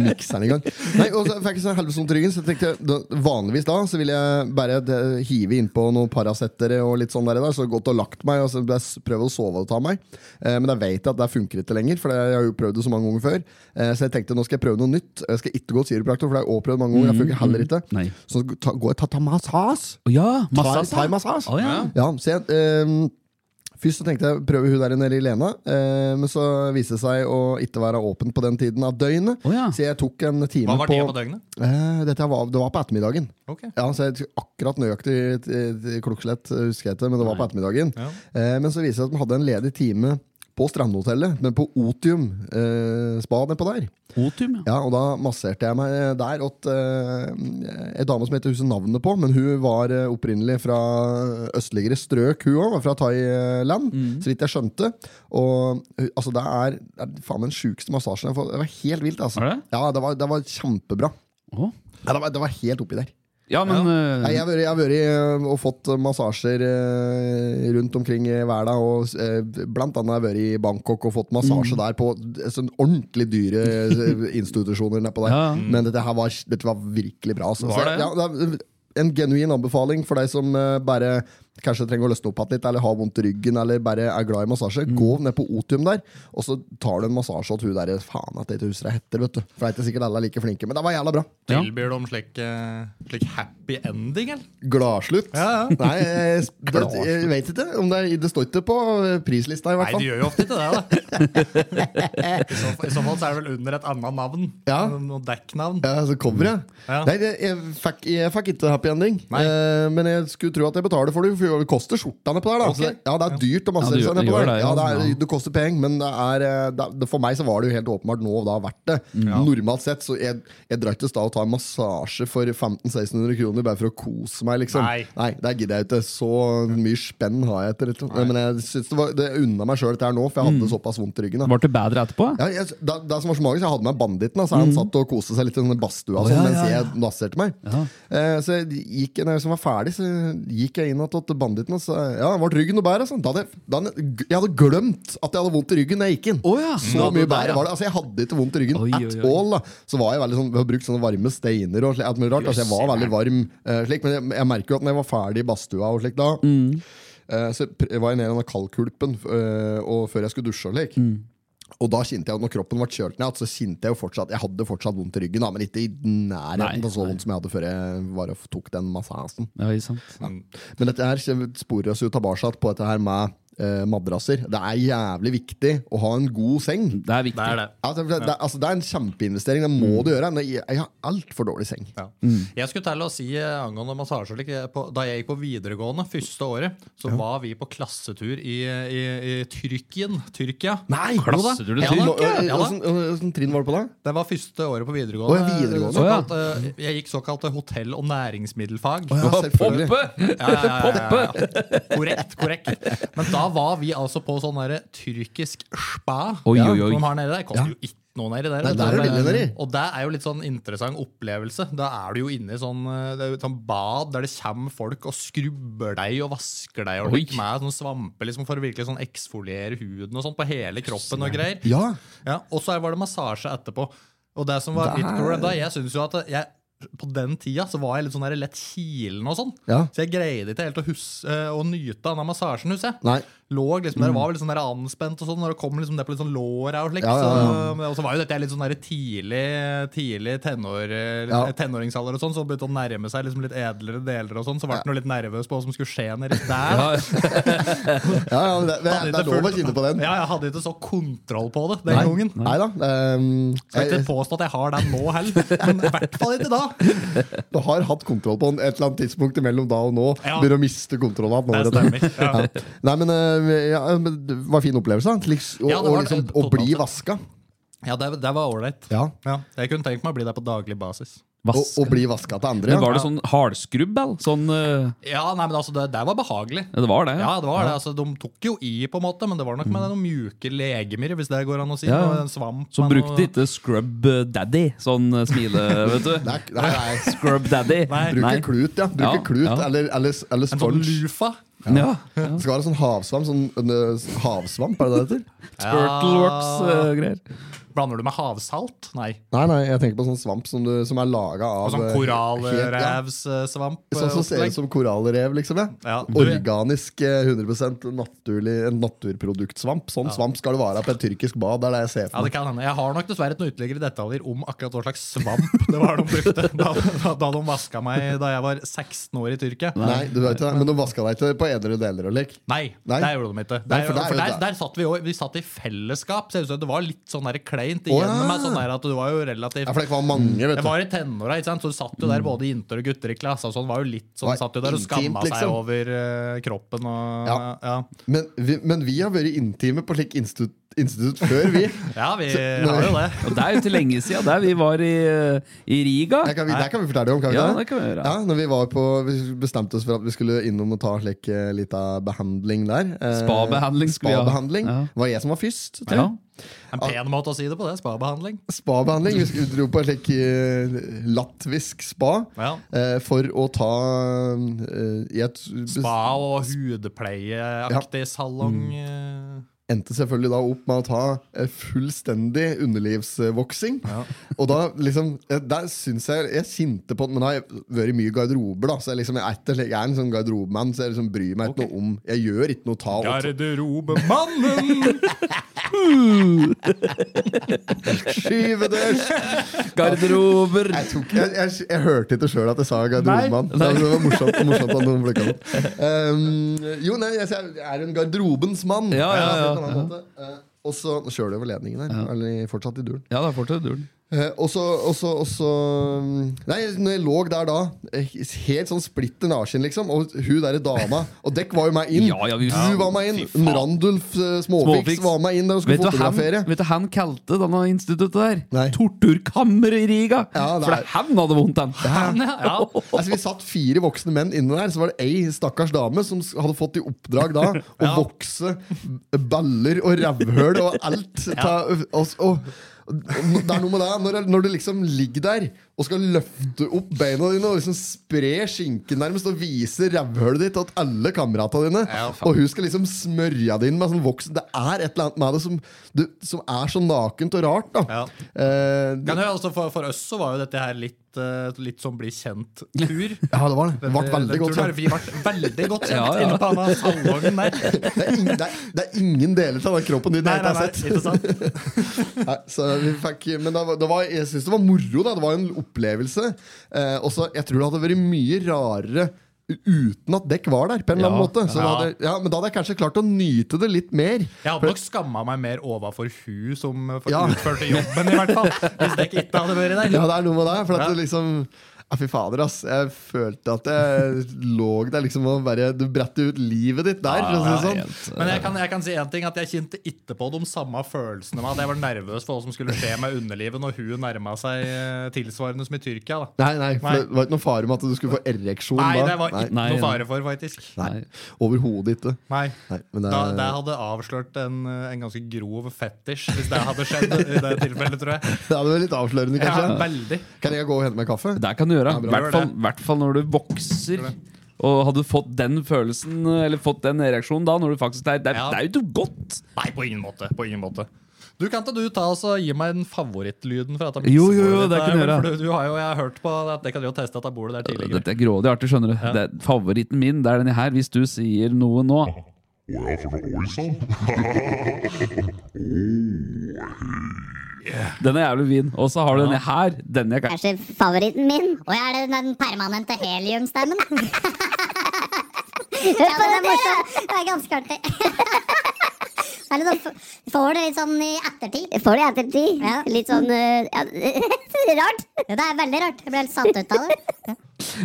Speaker 1: Mikseren i gang. Nei, og så fikk jeg så helvetes vondt i ryggen, så jeg tenkte da, vanligvis da så ville jeg bare eh, hive innpå noen Paracettere og litt sånn der, i dag, så gått og lagt meg altså, og så prøvd å sove og ta meg. Eh, men jeg vet at det funker ikke lenger, for jeg har jo prøvd det så mange ganger før. Eh, så jeg tenkte nå skal jeg prøve noe nytt. Jeg skal ikke gå til kiropraktor, for det har jeg også prøvd mange ganger. Jeg funker heller ikke.
Speaker 2: Nei.
Speaker 1: Så ta, går jeg ta, ta massasje.
Speaker 2: Å ja,
Speaker 1: Thai-
Speaker 2: massasje.
Speaker 1: Thai-massasje.
Speaker 2: Å ja.
Speaker 1: Ja, så jeg, ehm, Først så tenkte jeg prøve hun der nede i Lena, eh, men så viste det seg å ikke være åpen på den tiden av døgnet.
Speaker 2: Å ja.
Speaker 1: Så jeg tok en time
Speaker 3: Hva var
Speaker 1: på,
Speaker 3: det på døgnet?
Speaker 1: Eh, dette var, det var på ettermiddagen.
Speaker 3: Ok.
Speaker 1: Ja, så jeg tok akkurat nøyaktig t- t- klokkeslett eh, husker jeg ikke, men det var på ettermiddagen.
Speaker 3: Ja.
Speaker 1: Eh, men så viste det seg at de hadde en ledig time på Strandhotellet, men på Otium eh, spa nedpå der.
Speaker 2: Otium, ja.
Speaker 1: Ja, og da masserte jeg meg eh, der åt uh, ei dame som heter huset navnet på, men hun var eh, opprinnelig fra østligere strøk, hun òg, fra Thailand,
Speaker 2: Mm.
Speaker 1: så vidt jeg skjønte. Og eh, altså, det er, det er faen meg den sjukeste massasjen jeg har fått. Det var helt vilt, altså.
Speaker 2: Er det?
Speaker 1: Ja, det var, det var kjempebra.
Speaker 2: Å.
Speaker 1: Ja, det, var, det var helt oppi der.
Speaker 2: Ja, men eh,
Speaker 1: Nei, jeg har vært- jeg har vært eh, og fått massasjer eh, rundt omkring i verden. Og eh, blant annet har jeg vært i Bangkok og fått
Speaker 2: Mm.
Speaker 1: massasje der på sånn ordentlig dyre eh,
Speaker 2: [laughs]
Speaker 1: institusjoner. Nedpå der.
Speaker 2: Ja.
Speaker 1: Men dette her var, dette var virkelig bra. Altså.
Speaker 2: Var det?
Speaker 1: Så, ja, det er en genuin anbefaling for deg som eh, bare kanskje trenger å løsne opp igjen litt, eller har vondt i ryggen, eller bare er glad i massasje.
Speaker 2: Mm.
Speaker 1: Gå ned på Otium der, og så tar du en massasje åt hun der. Faen at jeg ikke husker hva hun heter, vet du. For det er ikke sikkert alle er like flinke, men det var jævla bra.
Speaker 2: Ja.
Speaker 3: Tilbyr de slik, eh, slik happy ending, eller?
Speaker 1: Gladslutt?
Speaker 3: Ja, ja.
Speaker 1: Nei, jeg, det, jeg vet ikke. Om det, er, det står ikke på prislista, i
Speaker 3: Nei,
Speaker 1: hvert
Speaker 3: de
Speaker 1: fall.
Speaker 3: gjør jo ofte ikke
Speaker 1: [laughs]
Speaker 3: det, da. I så, I så fall så er det vel under et annet navn.
Speaker 1: Ja.
Speaker 3: Noe dekknavn.
Speaker 1: Ja, så kommer jeg.
Speaker 3: Ja.
Speaker 1: Nei, jeg, jeg, fikk, jeg fikk ikke happy ending.
Speaker 3: Nei.
Speaker 1: Eh, men jeg skulle tro at jeg betaler for det, for det koster skjorta nedpå der. Da.
Speaker 3: Ok.
Speaker 1: Så det- Ja, det er dyrt å massere
Speaker 2: Ja,
Speaker 1: seg
Speaker 2: det gjør- det
Speaker 1: nedpå
Speaker 2: gjør
Speaker 1: der.
Speaker 2: det,
Speaker 1: Ja,
Speaker 2: ja.
Speaker 1: det,
Speaker 2: Ja.
Speaker 1: er, det koster penger, men det er, eh, det, det, for meg så var det jo helt åpenbart nå og da verdt det. Normalt sett så jeg, jeg drar ikke da og tar en massasje for 1500-1600 kroner bare for å kose meg, liksom.
Speaker 3: Nei.
Speaker 1: Nei, det gidder jeg ikke. Så mye spenn har jeg ikke. Liksom. Men jeg synes det, var, det unna meg sjøl dette her nå, for jeg hadde såpass vondt i ryggen. Da.
Speaker 2: ble det bedre etterpå?
Speaker 1: Ja, jeg, da, da som var så magisk, jeg hadde med banditten. Altså, Han satt og koste seg litt i denne badstua og
Speaker 2: Mhm. Å,
Speaker 1: sånn,
Speaker 2: ja,
Speaker 1: mens
Speaker 2: ja, ja.
Speaker 1: jeg masserte meg. Eh, så jeg gikk, når jeg som var ferdig, så gikk jeg inn igjen til banditten og sa ja, ble ryggen noe bedre? Altså. Da hadde, jeg- da hadde, jeg- jeg hadde glemt at jeg hadde vondt i ryggen da jeg gikk inn.
Speaker 2: Å, ja.
Speaker 1: Så
Speaker 2: Ja,
Speaker 1: mye
Speaker 2: det der,
Speaker 1: bedre
Speaker 2: ja.
Speaker 1: var det. Altså, jeg hadde ikke vondt i ryggen
Speaker 2: Oi,
Speaker 1: at
Speaker 2: oi, oi.
Speaker 1: all. Da. Så var jeg veldig sånn, vi har brukt sånne varme steiner og slik, alt mulig rart. Altså, jeg var veldig varm, eh, slik, men jeg, jeg merker jo at når jeg var ferdig i badstua og slik da,
Speaker 2: Mm.
Speaker 1: eh, så pr- var jeg nede i denne kaldkulpen eh, og før jeg skulle dusje og slik.
Speaker 2: Mm.
Speaker 1: Og da kjente jeg at når kroppen ble kjølt ned, så kjente jeg jo fortsatt Jeg hadde fortsatt vondt i ryggen, da, men ikke i nærheten
Speaker 2: Nei,
Speaker 1: av så
Speaker 2: nei.
Speaker 1: vondt som jeg hadde før jeg var og tok den massasjen.
Speaker 2: Ja, ikke sant.
Speaker 1: Men dette her sporer oss jo tilbake på dette her med eh, madrasser. Det er jævlig viktig å ha en god seng.
Speaker 2: Det er viktig.
Speaker 3: Det er det.
Speaker 1: Altså, det, det, altså, det er en kjempeinvestering. Det
Speaker 3: Mm.
Speaker 1: må du gjøre. Men Jeg, jeg har altfor dårlig seng.
Speaker 3: Ja. Jeg skulle til å si eh, angående massasje like, på- Da jeg gikk på videregående første året, så var vi på klassetur i, i, i Tyrkien. Tyrkia.
Speaker 1: Nei!
Speaker 2: Klassetur til
Speaker 3: Ja, da.
Speaker 1: Hva- hva-
Speaker 3: Ja, da.
Speaker 1: Åssen åssen trinn var det på da?
Speaker 3: Det var første året på videregående.
Speaker 1: Å, ja, videregående.
Speaker 3: Såkalt, eh, jeg gikk såkalt hotell- og næringsmiddelfag.
Speaker 1: Ja, selvfølgelig.
Speaker 2: Poppe!
Speaker 3: Ja, ja, ja, ja, ja. Korrekt, korrekt. Men da da var vi altså på sånn derre tyrkisk spa.
Speaker 2: Oi,
Speaker 3: Ja,
Speaker 2: oi, oi.
Speaker 3: som de har nede der. Koster jo ikke noe nedi der.
Speaker 1: Nei,
Speaker 3: vet du.
Speaker 1: der er det billig nedi.
Speaker 3: og det er jo litt sånn interessant opplevelse. Da er du jo inne i sånn, eh, det er jo et sånn bad der det kommer folk og skrubber deg og vasker deg og
Speaker 2: Oi.
Speaker 3: litt med sånn svampe liksom, for å virkelig sånn eksfoliere huden og sånn på hele kroppen og greier.
Speaker 1: Ja.
Speaker 3: Ja, og så var det massasje etterpå. Og det som var mitt problem da, jeg synes jo at jeg, på den tida så var jeg litt sånn der lett kilen og sånn.
Speaker 1: Ja.
Speaker 3: Så jeg greide ikke helt å, huske, eh, å nyte av den massasjen, husker jeg.
Speaker 1: Nei. Mm.
Speaker 3: Lå liksom der, var vel litt sånn der anspent og sånn, når det kom liksom det på litt sånn lår og slik.
Speaker 1: Ja, ja, ja.
Speaker 3: Så, og så var jo dette litt sånn der tidlig, tidlig tenår, eh,
Speaker 1: Ja.
Speaker 3: tenåringsalder og sånn, så begynte å nærme seg liksom litt edlere deler og sånn, så ble jeg jo litt nervøs på hva som skulle skje nedi der.
Speaker 2: Ja,
Speaker 1: Ja, ja, men det, det,
Speaker 3: Hadde
Speaker 1: det er
Speaker 3: ikke
Speaker 1: lov å
Speaker 3: fulgt-
Speaker 1: kjenne på den.
Speaker 3: Ja, jeg hadde ikke så kontroll på det den gangen.
Speaker 1: Nei da. ehm,
Speaker 3: Skal
Speaker 1: jeg-
Speaker 3: ikke påstå at jeg har den nå heller, men i hvert fall ikke da.
Speaker 1: Du har hatt kontroll på den et eller annet tidspunkt mellom da og nå.
Speaker 3: Ja.
Speaker 1: Begynner å miste kontrollen. av den over
Speaker 3: Det
Speaker 1: etter.
Speaker 3: stemmer. Ja.
Speaker 1: Nei, men, eh, ja, men Det var en fin opplevelse. da. Liks, og,
Speaker 3: Ja, det var
Speaker 1: og liksom,
Speaker 3: det,
Speaker 1: å bli
Speaker 3: totalt sett.
Speaker 1: vaska.
Speaker 3: Ja, det, det var ålreit.
Speaker 1: Ja.
Speaker 3: Ja, jeg kunne tenkt meg å bli der på daglig basis.
Speaker 1: Og,
Speaker 2: vask.
Speaker 1: og bli vaska til andre.
Speaker 2: Men
Speaker 1: Ja.
Speaker 2: var det sånn hardskrubb, eller? Sånn, eh,
Speaker 3: Ja, nei, men altså, det, det var behagelig.
Speaker 2: ja, det var det?
Speaker 3: Ja, det var det. Altså, de tok jo i, på en måte, men det var nok med noen mjuke legemer, hvis det går an å si.
Speaker 2: Ja.
Speaker 3: og en svamp.
Speaker 2: Så
Speaker 3: med noe-
Speaker 2: brukte ikke Scrub Daddy sånn eh, smile, vet du?
Speaker 1: Nei, nei, nei.
Speaker 2: Scrub Daddy.
Speaker 3: Nei.
Speaker 1: Bruke klut, ja. Bruke
Speaker 2: Ja,
Speaker 1: klut
Speaker 2: ja.
Speaker 1: Eller, eller, eller
Speaker 3: En sånn
Speaker 1: sponge.
Speaker 3: lufa.
Speaker 2: Ja. ja.
Speaker 1: Det skal være sånn havsvamp. Sånn, øh, havsvamp, er det det heter?
Speaker 2: eh, Turtleworks-greier.
Speaker 3: Blander du med havsalt? Nei.
Speaker 1: Nei, nei, jeg tenker på sånn svamp som, du, som er laga
Speaker 3: Og
Speaker 1: av
Speaker 3: sånn
Speaker 1: eh,
Speaker 3: eh,
Speaker 1: helt- ja.
Speaker 3: korallrevssvamp.
Speaker 1: Sånn som ser ut som korallrev, liksom. Ja.
Speaker 3: Ja, du-
Speaker 1: Organisk, eh, 100 naturlig En naturproduktsvamp. Sånn svamp skal det være på et tyrkisk bad. Det er det jeg ser
Speaker 3: Ja,
Speaker 1: for
Speaker 3: det
Speaker 1: meg.
Speaker 3: kan hende. Jeg har nok dessverre ikke noen ytterligere detaljer om akkurat hva slags svamp det var de brukte da, da, da de vaska meg da jeg var 16 år i Tyrkia. Nei,
Speaker 1: Nei, du vet ikke det, men de vaska deg ikke på edre deler og lik. Nei.
Speaker 3: det gjorde de
Speaker 1: Nei,
Speaker 3: ikke.
Speaker 1: for
Speaker 3: Der, for
Speaker 1: det er
Speaker 3: der,
Speaker 1: jo
Speaker 3: der,
Speaker 1: det.
Speaker 3: satt vi, også- vi satt i fellesskap. Ser ut som det var litt sånn der kleint
Speaker 1: Å, ja.
Speaker 3: igjennom meg. Sånn der at du var jo relativt
Speaker 1: Ja, for det var mange, vet
Speaker 3: Mm. Jeg
Speaker 1: du.
Speaker 3: var i tenåra, ikke sant? så du satt jo der både jenter og gutter i klasse. og Sånn var jo litt sånn,
Speaker 1: Var
Speaker 3: satt jo der og
Speaker 1: intimt,
Speaker 3: skamma
Speaker 1: liksom.
Speaker 3: seg over eh, kroppen og
Speaker 1: Ja.
Speaker 3: ja.
Speaker 1: Men vi, men vi har vært intime på slik institutt, institutt før, vi.
Speaker 3: [laughs] Ja, vi
Speaker 1: Så-
Speaker 3: har jo det.
Speaker 2: Og det er jo ikke lenge siden der vi var i, eh, i Riga.
Speaker 1: Det kan vi, det kan vi fortelle om, kan vi
Speaker 2: Ja,
Speaker 1: ikke
Speaker 2: det kan vi gjøre.
Speaker 1: Ja, når vi, var på, vi bestemte oss for at vi skulle innom og ta slik eh, lita behandling der. Eh,
Speaker 2: Spabehandling skulle vi ha.
Speaker 1: Spabehandling.
Speaker 2: Ja.
Speaker 1: Det var jeg som var først. tror jeg.
Speaker 2: Ja.
Speaker 3: En pen måte å si det på, det. Spabehandling.
Speaker 1: Spabehandling. Vi skulle- dro på en slik eh, latvisk spa
Speaker 3: Ja.
Speaker 1: eh, for å ta eh, i et
Speaker 3: Spa og hudpleieaktig salong.
Speaker 1: Mm.
Speaker 3: eh.
Speaker 1: endte selvfølgelig da opp med å ta eh, fullstendig underlivsvoksing. [laughs] Og da liksom eh, Der syns jeg Jeg kjente på det, men da har jeg vært mye i garderober, da. Så jeg liksom jeg er, ikke slik- jeg er en sånn garderobemann, så jeg liksom bryr meg ikke noe om Jeg gjør ikke noe ta og [laughs]
Speaker 3: Garderobemannen!
Speaker 1: skyve dørs!
Speaker 2: Garderober.
Speaker 1: Jeg, tok, jeg, jeg, jeg hørte ikke sjøl at jeg sa garderobemann.
Speaker 2: Nei.
Speaker 1: Det var morsomt, morsomt at noen plukka det opp. Ehm, jo, nei, jeg, jeg er en garderobens mann.
Speaker 2: Ja, ja, ja.
Speaker 1: på en annen måte. Eh, Og så Nå kjører du over ledningen her. Eller fortsatt i duren.
Speaker 2: Ja, det er fortsatt duren.
Speaker 1: Eh, Og så, og så, og så mm, Nei, når jeg lå der da, eh, helt sånn splitter naken, liksom, og hun derre dama Og dekk var jo meg inn.
Speaker 2: Ja, ja, vi-
Speaker 1: du var meg inn.
Speaker 2: Fy faen.
Speaker 1: Randulf eh, Småfiks,
Speaker 2: Småfiks.
Speaker 1: var meg inn der og skulle
Speaker 2: Vet du hva han,
Speaker 1: fotografere.
Speaker 2: vet du hva han kalte denne instituttet der?
Speaker 1: Nei.
Speaker 2: Torturkammer i Riga!
Speaker 1: Ja, det
Speaker 2: For
Speaker 1: er-
Speaker 2: det er han hadde vondt, han.
Speaker 3: Han, ja.
Speaker 2: [laughs]
Speaker 3: ja.
Speaker 1: [laughs] Altså, vi satt fire voksne menn inne der, så var det ei stakkars dame som s- hadde fått i oppdrag
Speaker 3: [laughs]
Speaker 1: da å
Speaker 3: Ja.
Speaker 1: vokse baller og rævhøl og
Speaker 3: [laughs]
Speaker 1: alt. Ta, og, og, og, det er noe med det når, det- når du liksom ligger der og skal løfte opp beina dine og liksom spre skinken nærmest og vise rævhølet ditt til alle kameratene dine,
Speaker 3: Ja, faen.
Speaker 1: og hun skal liksom smørje det inn med sånn voksen Det er et eller annet med det som, du, som er så nakent og rart, da.
Speaker 3: Ja.
Speaker 1: Eh, det,
Speaker 3: Kan du, altså, for, for oss så var jo dette her litt, eh, litt sånn bli kjent-tur.
Speaker 1: ja, det var det. Det ble
Speaker 3: Eh,
Speaker 1: veldig godt.
Speaker 3: Vi ble veldig godt kjent
Speaker 2: Ja, ja.
Speaker 3: inne på denne
Speaker 1: [laughs]
Speaker 3: salongen der.
Speaker 1: Det er, ingen, det, er, det er ingen deler av den kroppen din
Speaker 3: Nei,
Speaker 1: jeg
Speaker 3: nei,
Speaker 1: ikke
Speaker 3: nei,
Speaker 1: har sett.
Speaker 3: ikke sant?
Speaker 1: Nei, så vi fikk, men det var, det var, jeg syns det var moro. Da. Det var en opplevelse. Eh, også, jeg tror det hadde vært mye rarere uten at dekk var der. på en eller annen
Speaker 2: Ja.
Speaker 1: måte så det
Speaker 3: Ja.
Speaker 1: hadde, ja, Men da hadde jeg kanskje klart å nyte det litt mer.
Speaker 3: Jeg hadde nok skamma meg mer overfor hun som eh, for-
Speaker 1: Ja.
Speaker 3: utførte jobben, i hvert fall. Hvis det ikke hadde vært der.
Speaker 1: Ja, det er noe med det. For at
Speaker 3: Ja.
Speaker 1: det liksom Ja, fy fader, ass. Jeg følte at jeg lå der liksom og bare Du bredte ut livet ditt der, for å si det sånn.
Speaker 3: Men jeg kan, jeg kan si en ting, at jeg kjente ikke på de samme følelsene. Med at jeg var nervøs for hva som skulle skje med underlivet når hun nærma seg eh, tilsvarende som i Tyrkia. Da.
Speaker 1: Nei, nei, for
Speaker 3: Nei.
Speaker 1: det var ikke noen fare med at du skulle få ereksjon
Speaker 3: Nei,
Speaker 1: da.
Speaker 3: det var ikke
Speaker 1: nei,
Speaker 2: Nei,
Speaker 3: noe
Speaker 2: nei.
Speaker 3: fare for, faktisk.
Speaker 1: nei. Overhodet ikke.
Speaker 3: Nei.
Speaker 1: Nei, men eh, det
Speaker 3: Da,
Speaker 1: er,
Speaker 3: det hadde avslørt en, eh, en ganske grov fetisj, hvis det hadde skjedd. i det tilfellet, tror jeg.
Speaker 1: [laughs] det er vel litt avslørende,
Speaker 3: Ja,
Speaker 1: kanskje.
Speaker 3: veldig.
Speaker 1: Kan jeg gå og hente meg kaffe?
Speaker 2: Det kan du gjøre. I
Speaker 1: bra.
Speaker 2: hvert
Speaker 3: Gjør
Speaker 2: fall-
Speaker 3: det.
Speaker 2: hvert fall når du vokser. Og hadde du fått den følelsen Eller fått den reaksjonen da når du faktisk Det er, det er,
Speaker 3: Ja.
Speaker 2: det er jo ikke godt!
Speaker 3: Nei, på ingen måte. På ingen måte. Du Kan ikke du ta oss og gi meg den favorittlyden? fra dette
Speaker 2: Jo, jo, jo,
Speaker 3: miksebordet
Speaker 2: det
Speaker 3: ditt
Speaker 2: kan jeg
Speaker 3: der,
Speaker 2: gjøre.
Speaker 3: for Du, du har jo, jeg har hørt på at det kan du jo teste at jeg bor der tidligere.
Speaker 2: Dette er grådig artig, skjønner du. Det er favoritten min det er denne her. Hvis du sier noe nå
Speaker 7: Å ja, for noe oi
Speaker 2: [laughs]
Speaker 7: sann!
Speaker 2: Den er jævlig fin. Og så har du denne her. Denne jeg kan
Speaker 8: Kanskje favoritten min? Og jeg er det den permanente heliumstemmen. [laughs] ja, men det er morsomt. Det er ganske artig. [laughs] Det er litt sånn, får det litt sånn i ettertid. Får det i ettertid. Ja. [laughs] Litt sånn Rart. Ja, det er veldig rart. Jeg ble helt satt ut av det.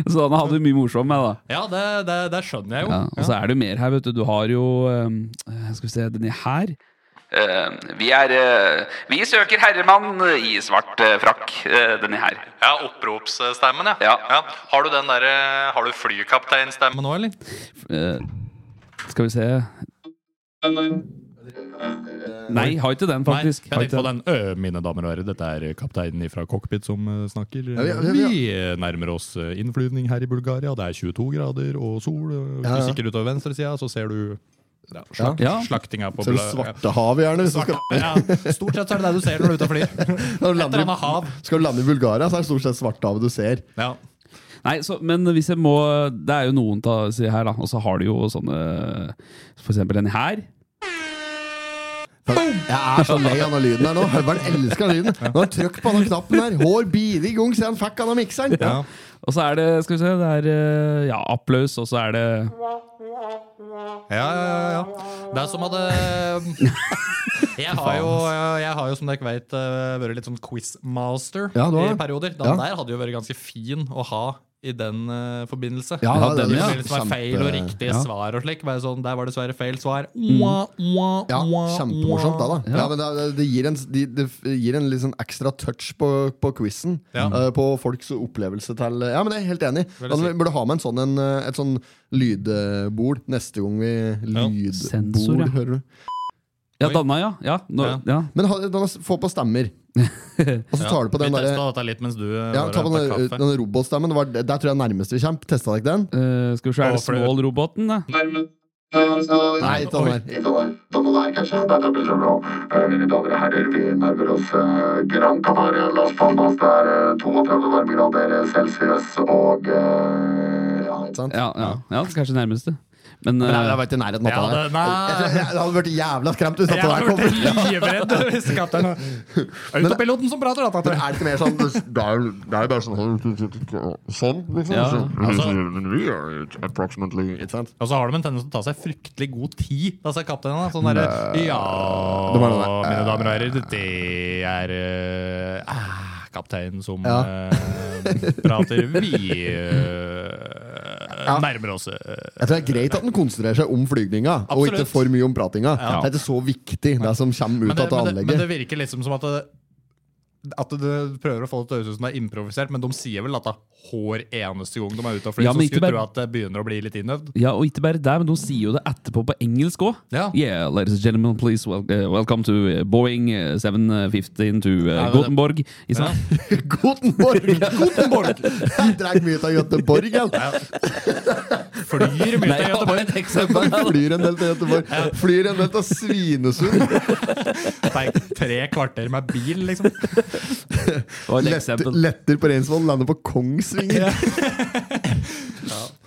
Speaker 2: Så den hadde du mye morsomt med, da.
Speaker 3: Ja, det, det, det skjønner jeg jo.
Speaker 2: Ja, og så er det jo mer her, vet du. Du har jo um, Skal vi se, denne her. Ehm, vi er eh, Vi søker herremann i svart eh, frakk. denne her.
Speaker 3: Ja, Oppropsstemmen, ja.
Speaker 2: Ja.
Speaker 3: Har du den der, eh, Har du flykapteinstemmen nå, eller?
Speaker 2: Eh, skal vi se Nei, har ikke den, faktisk.
Speaker 3: Nei,
Speaker 2: Har
Speaker 3: jeg tenkte
Speaker 2: ikke
Speaker 3: på den. Ø, mine damer og herrer, dette er eh, kapteinen fra cockpit som eh, snakker.
Speaker 1: Ja, ja, ja, ja.
Speaker 3: Vi eh, nærmer oss eh, innflyvning her i Bulgaria. Det er 22 grader og sol. eh, Hvis
Speaker 1: Ja, ja.
Speaker 3: du kikker utover venstresida, så ser du ja, slakt,
Speaker 2: Ja.
Speaker 3: slaktinga på
Speaker 1: Ser du
Speaker 3: bla-
Speaker 1: Svartehavet, gjerne? Hvis du skal,
Speaker 3: Ja, stort sett så er det det du ser når du er ute og flyr. Et
Speaker 1: når du
Speaker 3: eller
Speaker 1: lander,
Speaker 3: annet
Speaker 1: i-
Speaker 3: hav.
Speaker 1: skal du lande i Bulgaria, så er det stort sett Svartehavet du ser.
Speaker 3: Ja.
Speaker 2: Nei, så, men hvis jeg må Det er jo noen ta, sier her, da. Og så har du jo sånne For eksempel denne her.
Speaker 1: Jeg er så lei av den lyden her nå. Høveren elsker den lyden. Nå har han trykk på den knappen her. Hår bide i gang siden han fikk denne mikseren.
Speaker 3: Ja.
Speaker 2: Og så er det Skal vi se, det er eh, Ja, applaus, og så er det
Speaker 3: Ja, ja, ja, ja. Det er som at eh, [laughs] jeg har, jo, eh, jeg har jo, som dere vet, eh, vært litt sånn quizmaster
Speaker 1: Ja, du har
Speaker 3: i
Speaker 1: det.
Speaker 3: perioder. Den
Speaker 1: Ja.
Speaker 3: der hadde jo vært ganske fin å ha i den eh, forbindelse.
Speaker 1: Ja,
Speaker 2: Ja, den,
Speaker 3: I
Speaker 2: ja.
Speaker 3: forbindelse med feil og
Speaker 1: Kjempe- Mm.
Speaker 3: riktige svar og slik. Bare sånn, der var dessverre feil svar. Mwah, mwah,
Speaker 1: Ja,
Speaker 3: mwah,
Speaker 1: kjempemorsomt da,
Speaker 3: mwah.
Speaker 1: da. Ja, men det, det, gir en, de, det gir en litt sånn ekstra touch på, på quizen. eh,
Speaker 3: Ja.
Speaker 1: på folks opplevelse til Ja, men jeg er helt enig. Men
Speaker 3: Veldig
Speaker 1: vi
Speaker 3: sikkert.
Speaker 1: burde ha med en sånn, en, eh, et sånn lydbord neste gang vi Lydbord,
Speaker 2: Sensor, ja.
Speaker 1: hører du.
Speaker 2: Ja,
Speaker 3: Oi.
Speaker 2: Danna, ja. Ja, nå,
Speaker 3: Ja.
Speaker 2: ja.
Speaker 1: Men ha, da, få på
Speaker 2: [laughs]
Speaker 1: stemmer. Og så
Speaker 3: Ja,
Speaker 1: tar du på den
Speaker 3: vi
Speaker 1: derre
Speaker 3: testa dette litt mens du eh,
Speaker 1: ja,
Speaker 3: var
Speaker 1: ta
Speaker 3: og
Speaker 1: på den,
Speaker 3: hentet
Speaker 1: der- den robotstemmen. Det var, der tror jeg nærmest vi kommer. Testa dere den?
Speaker 2: Eh, skal vi se, er det
Speaker 3: Å, flau.
Speaker 2: Small-roboten, da?
Speaker 1: Nei, ta den her.
Speaker 7: Denne der, kanskje. Dette blir så bra. Eh, Mine damer og herrer, vi nærmer oss eh, Gran Canaria, Las Palmas. Det er eh, 32 varmegrader celsius og eh, ja,
Speaker 1: Sant?
Speaker 2: Ja, ja, ja, kanskje nærmeste. Men,
Speaker 1: Men jeg,
Speaker 2: eh,
Speaker 1: jeg var ikke i nærheten av
Speaker 3: Ja,
Speaker 1: det.
Speaker 3: det- nei.
Speaker 1: Jeg, tror- jeg, jeg hadde vært jævla skremt hvis dette
Speaker 3: Jeg
Speaker 1: der
Speaker 3: hadde
Speaker 1: kom.
Speaker 3: blitt livredd [laughs] hvis kapteinen Autopiloten som prater, da.
Speaker 1: Men
Speaker 3: Tante.
Speaker 1: er det ikke mer sånn
Speaker 7: Det er, det er bare sånn Sånn, liksom.
Speaker 2: Ja,
Speaker 7: Så-
Speaker 3: altså-
Speaker 7: we are approximately
Speaker 1: Ikke sant?
Speaker 3: Og så har de en tendens til å ta seg fryktelig god tid. Da sier kapteinen da, sånn derre Ja,
Speaker 1: Det var noe der.
Speaker 3: mine damer og herrer, det er eh, ah, kapteinen som
Speaker 1: Ja.
Speaker 3: eh, prater. Vi
Speaker 1: [laughs]
Speaker 3: eh,
Speaker 1: Ja.
Speaker 3: nærmer oss eh,
Speaker 1: Jeg tror det er greit at den konsentrerer seg om flygninga, og
Speaker 3: Absolutt.
Speaker 1: ikke for mye om pratinga.
Speaker 3: Ja.
Speaker 1: Det er ikke så viktig, det som kommer ut
Speaker 3: men det,
Speaker 1: av det
Speaker 3: men, det, men
Speaker 1: anlegget.
Speaker 3: det virker liksom som at det, at det prøver å få det til å høres ut som det er improvisert, men de sier vel at det er hver eneste gang de er ute og flyr,
Speaker 2: Ja,
Speaker 3: så
Speaker 2: men ikke
Speaker 3: skulle
Speaker 2: bare-
Speaker 3: tro at det begynner å bli litt innøvd.
Speaker 2: ja, og ikke bare der, men de sier jo det etterpå på engelsk òg.
Speaker 3: Ja.
Speaker 2: Yeah, ladies and gentlemen, please wel eh, welcome to eh, Boeing eh, 715 to eh,
Speaker 3: Ja, det-
Speaker 2: Gothenburg. Ikke sant?
Speaker 1: Gotenborg! Gotenborg! Jeg drar mye av Göteborg, jeg.
Speaker 3: Flyr mye
Speaker 2: Nei,
Speaker 3: til
Speaker 2: ja,
Speaker 3: Göteborg.
Speaker 2: bare et eksempel.
Speaker 1: Jeg Flyr en del til Göteborg. Flyr en del til Svinesund.
Speaker 3: Tenk, Tre kvarter med bil, liksom.
Speaker 2: Det var et
Speaker 1: Letter,
Speaker 2: eksempel.
Speaker 1: letter på Reinsvoll, lander på Kongsvinger.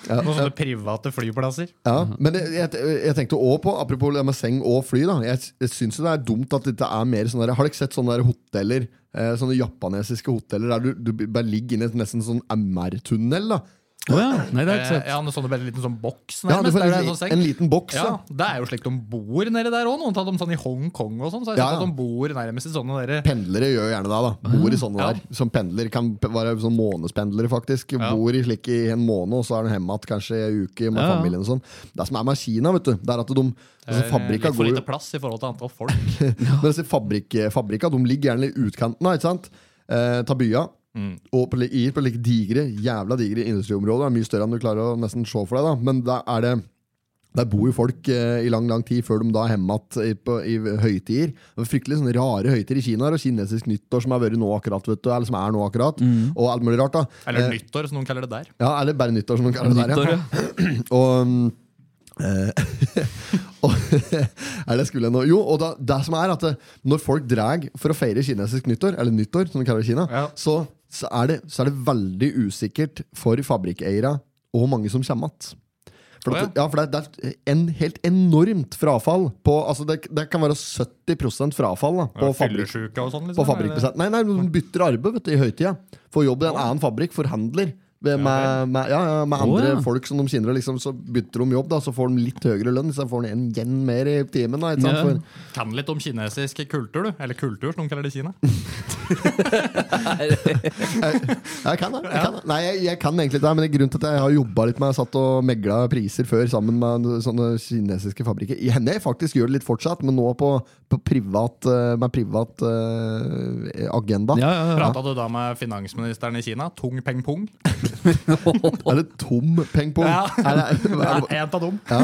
Speaker 3: Noen sånne private flyplasser.
Speaker 1: Ja, men jeg, jeg, jeg tenkte også på, apropos det med seng og fly, da. Jeg, jeg syns jo det er dumt at dette er mer sånn der Har dere ikke sett sånne der hoteller? Eh, sånne japanesiske hoteller der du, du bare ligger inne i et nesten sånn MR-tunnel. da
Speaker 2: Å ja. Nei, det er ikke
Speaker 3: Eh,
Speaker 2: sant.
Speaker 3: ja, en sånn veldig liten sånn boks,
Speaker 1: Ja, du
Speaker 3: nærmest.
Speaker 1: får
Speaker 3: der det er
Speaker 1: en,
Speaker 3: sånn sekk.
Speaker 1: en liten boks, ja.
Speaker 3: Ja, Det er jo slik de bor nede der òg. Noen tar dem sånn i Hongkong og sånn. Så jeg
Speaker 1: Ja,
Speaker 3: ja,
Speaker 1: ja.
Speaker 3: at de bor nærmest i sånne der,
Speaker 1: Pendlere gjør jo gjerne det. da Bor i sånne
Speaker 3: Eh, Ah, Ja.
Speaker 1: der. Som pendler kan p- være sånn månedspendlere, faktisk.
Speaker 3: Ja.
Speaker 1: Bor i slik i en måned, og så er de hjemme igjen kanskje en uke med
Speaker 2: Ja, ja.
Speaker 1: familien. og sånn Det som er med Kina, vet du Det er at de altså,
Speaker 3: eh,
Speaker 1: fabrikka
Speaker 3: litt for
Speaker 1: går
Speaker 3: lite
Speaker 1: jo
Speaker 3: plass i forhold til antall folk.
Speaker 1: Men disse fabrik, fabrikka de ligger gjerne i utkanten av, ikke sant? Eh, ta bya. Og på, li- i, på like digre, jævla digre industriområder. Det er mye større enn du klarer å nesten se for deg. da Men da er det der bor jo folk eh, i lang lang tid før de da er hjemme igjen i, på- i høytider. Det er fryktelig sånne rare høytider i Kina. Og kinesisk nyttår som har vært nå akkurat. vet du Eller som er nå akkurat Og alt mulig rart. da
Speaker 3: Eller
Speaker 1: Eh,
Speaker 3: nyttår, som noen kaller det der.
Speaker 1: Ja, Eller bare nyttår, som de kaller det der.
Speaker 2: Nyttår,
Speaker 1: Ja.
Speaker 2: ja.
Speaker 1: Og mm, eh, [laughs] og- er det jeg skulle nå? Jo, og da, det som er at eh, når folk drar for å feire kinesisk nyttår, eller nyttår, som de kaller det i Kina,
Speaker 3: Ja.
Speaker 1: så, så, er det, så er det veldig usikkert for fabrikkeiere og hvor mange som kommer igjen. For,
Speaker 3: Å,
Speaker 1: at- ja, for det, det er en helt enormt frafall. På, altså det, det kan være 70 frafall da, på, fabrikk,
Speaker 3: Fyllesjuke og sånn.
Speaker 1: på
Speaker 3: liksom, eller-
Speaker 1: fabrikkbesett. Nei, nei, de bytter arbeid vet du, i høytida. Får jobb i en annen fabrikk, forhandler. Med, med, med, ja, ja, med andre
Speaker 2: Å, ja.
Speaker 1: folk som de kjenner. og Liksom, så bytter de jobb, da, så får de litt høyere lønn. Så får de en yen mer i timen. Da, ikke sant?
Speaker 2: Ja.
Speaker 1: For,
Speaker 3: Kan litt om kinesisk kultur, du. Eller kultur, som noen kaller det i Kina.
Speaker 1: Jeg kan det. Jeg kan det. Nei, jeg, jeg kan egentlig ikke det, men det er grunnen til at jeg har jobba litt med satt og megla priser før sammen med sånne kinesiske fabrikker. Jeg- Jeg faktisk gjør det litt fortsatt, men nå på, på privat, eh, med privat eh, agenda.
Speaker 2: Ja, ja, ja.
Speaker 3: Prata du da med finansministeren i Kina? Tung Peng
Speaker 1: [laughs]
Speaker 3: Pung?
Speaker 1: Er det tom pengpong?
Speaker 3: Ja.
Speaker 1: Er det-
Speaker 3: Ja,
Speaker 1: er det-
Speaker 3: en av dem.
Speaker 1: Ja.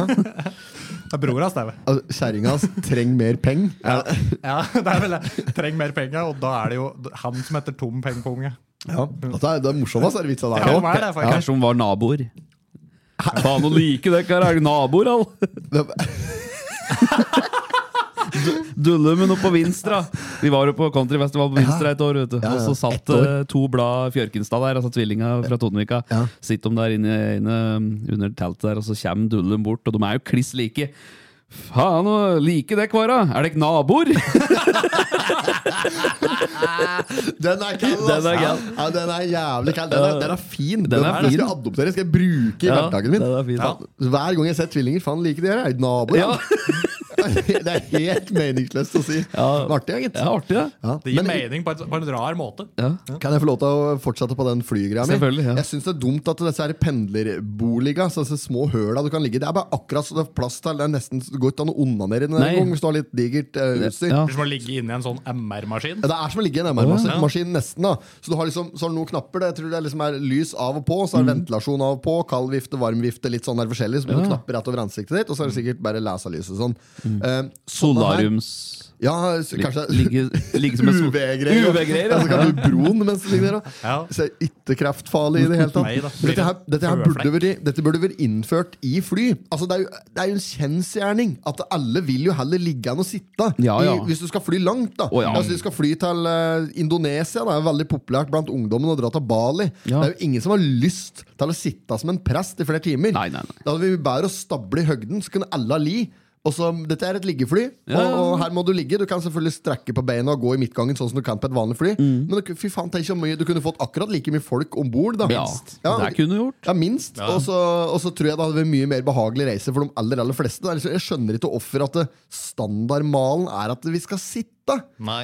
Speaker 3: Det er bror hans, det. er vel.
Speaker 1: altså, Kjerringa hans trenger mer peng.
Speaker 3: Ja. ja, det er vel det. Treng mer penger, og da er det jo han som heter Tom Peng Pung. Ja.
Speaker 1: Ja. Altså, det er morsommest, er vitsa der.
Speaker 3: [laughs] Ja, hva er det,
Speaker 2: Ja.
Speaker 3: faktisk?
Speaker 2: Kanskje hun var naboer. Faen, å like det, kar. Er det naboer, all? Dullumen oppe på Vinstra. Vi var jo på countryfestival på Vinstra et år. vet du Og så satt eh, to blad Fjørkenstad der, altså tvillinga fra Tonvika.
Speaker 1: Ja.
Speaker 2: Sitter de der inne, inne mm, under teltet der, og så kommer Dullum bort, og de er jo kliss like. Faen, å like dere, kara. Er dere
Speaker 1: [laughs]
Speaker 2: naboer?
Speaker 1: Den er kald,
Speaker 2: Den
Speaker 1: ass.
Speaker 2: er kald.
Speaker 1: Ja, den er jævlig kald. Den er, den er fin. Den,
Speaker 2: er
Speaker 1: skal
Speaker 2: fin.
Speaker 1: jeg adoptere, skal jeg bruke i
Speaker 2: Ja,
Speaker 1: hverdagen min.
Speaker 2: den er fin.
Speaker 1: Faen, Hver gang jeg ser tvillinger, faen like de her, er jo naboer.
Speaker 2: Ja.
Speaker 1: [laughs] det er helt meningsløst å si.
Speaker 2: Ja.
Speaker 1: Men Artig, ja, gitt.
Speaker 2: Ja, artig, det.
Speaker 1: Ja.
Speaker 3: Det gir
Speaker 1: Men
Speaker 3: mening på, et, på en rar måte.
Speaker 2: Ja.
Speaker 1: Kan jeg få lov til å fortsette på den flygreia mi?
Speaker 2: Selvfølgelig, ja.
Speaker 1: Jeg syns det er dumt at disse her pendlerboligene, så disse små høla du kan ligge i, det er bare akkurat så det er plass til. Det er nesten det går ikke an å onanere i den
Speaker 2: Nei.
Speaker 1: engang hvis du har litt digert eh, utstyr.
Speaker 2: Ja.
Speaker 3: Det er Som å ligge inne i en sånn MR-maskin.
Speaker 1: Ja, Det er som å ligge i en MR-maskin nesten. da Så du har liksom så har du noen knapper. Det, jeg tror det er liksom er lys av og på, så er det
Speaker 2: Mm.
Speaker 1: ventilasjon av og på, kald vifte, varm vifte, litt sånn der forskjellig. Så noen knapper rett over ansiktet ditt, og så er det sikkert bare laserlys og sånn.
Speaker 2: Mm.
Speaker 1: Eh, sånne her-
Speaker 2: Solariums...
Speaker 1: Ja, så kanskje
Speaker 2: Ligge, ligge som en sol...
Speaker 1: UV-greier.
Speaker 2: UV-greier,
Speaker 1: ja.
Speaker 2: ja.
Speaker 1: Så kan du broen mens du ligger der. da.
Speaker 3: Ja.
Speaker 1: Så er ikke kreftfarlig i det hele tatt.
Speaker 3: Nei da.
Speaker 1: Men Dette her, dette her burde vært- dette burde vært innført i fly. Altså, det, er jo, det er jo en kjensgjerning at alle vil jo heller ligge enn å sitte.
Speaker 2: Ja, ja.
Speaker 1: I, hvis du skal fly langt, da.
Speaker 2: Å, ja.
Speaker 1: Altså, du skal fly til eh, Indonesia. Det er jo veldig populært blant ungdommen å dra til Bali.
Speaker 2: Ja.
Speaker 1: Det er jo ingen som har lyst til å sitte som en prest i flere timer.
Speaker 2: Nei, nei, nei.
Speaker 1: Da hadde vi bedre å stable i høgden, så kunne alle ha li. Og så, Dette er et liggefly,
Speaker 2: Ja, ja, ja.
Speaker 1: og, og her må du ligge. Du kan selvfølgelig strekke på beina og gå i midtgangen, sånn som du kan på et vanlig fly.
Speaker 2: Mm.
Speaker 1: Men du- fy faen, tenk så mye Du kunne fått akkurat like mye folk om bord.
Speaker 2: Ja, det kunne du gjort.
Speaker 1: Ja, minst. Og, så, og så tror jeg det hadde vært mye mer behagelig reise for de aller aller fleste. Det er liksom- Jeg skjønner ikke hvorfor at det- standardmalen er at vi skal sitte.
Speaker 3: Nei.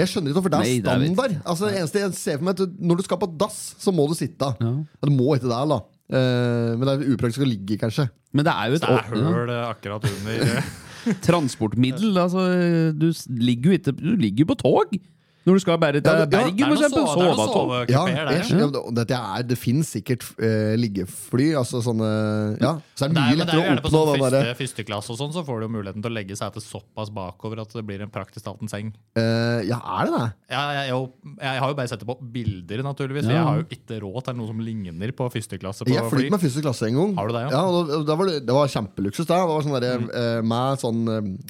Speaker 1: Jeg skjønner ikke hvorfor det er
Speaker 2: Nei, det er vel-
Speaker 1: standard. Altså, det eneste jeg ser for meg er at du- Når du skal på dass, så må du sitte. Ja. Du må ikke der, da. Eh, men det er upraktisk å ligge, kanskje.
Speaker 2: Men det er jo et
Speaker 3: Det er
Speaker 2: ja.
Speaker 3: høl eh, akkurat
Speaker 1: [laughs]
Speaker 3: under eh,
Speaker 2: transportmiddel. Altså, du s- ligger jo ikke Du ligger jo på tog! Når du skal bære til
Speaker 1: Ja, det- ja,
Speaker 2: Bergen,
Speaker 3: Det
Speaker 2: for
Speaker 3: er noen
Speaker 2: eksempel.
Speaker 3: sove- det er noen
Speaker 2: Sovetog.
Speaker 1: Ja,
Speaker 3: sovekupéer der,
Speaker 1: jeg,
Speaker 3: ja.
Speaker 1: skjønner- og dette er, det finnes sikkert eh, liggefly. Altså sånne Ja, så er det mye
Speaker 3: Det er, men det er jo
Speaker 1: lettere å
Speaker 3: gjerne på
Speaker 1: oppnå
Speaker 3: sånn
Speaker 1: den
Speaker 3: første,
Speaker 1: derre
Speaker 3: førsteklasse og sånn, så får du jo muligheten til å legge setet såpass bakover at det blir en praktisk talt en seng.
Speaker 1: eh, Ja, er det det?
Speaker 3: Jeg, jeg, jeg, jeg har jo bare sett det på bilder, naturligvis. for
Speaker 2: Ja.
Speaker 3: Jeg har jo ikke råd til noe som ligner på førsteklasse på
Speaker 1: Jeg fløy
Speaker 3: fly.
Speaker 1: med første klasse en gang.
Speaker 3: Har du det, ja? Mm.
Speaker 1: ja? og da, da var det, det var kjempeluksus. Da. Det var sånn der, eh, Med sånn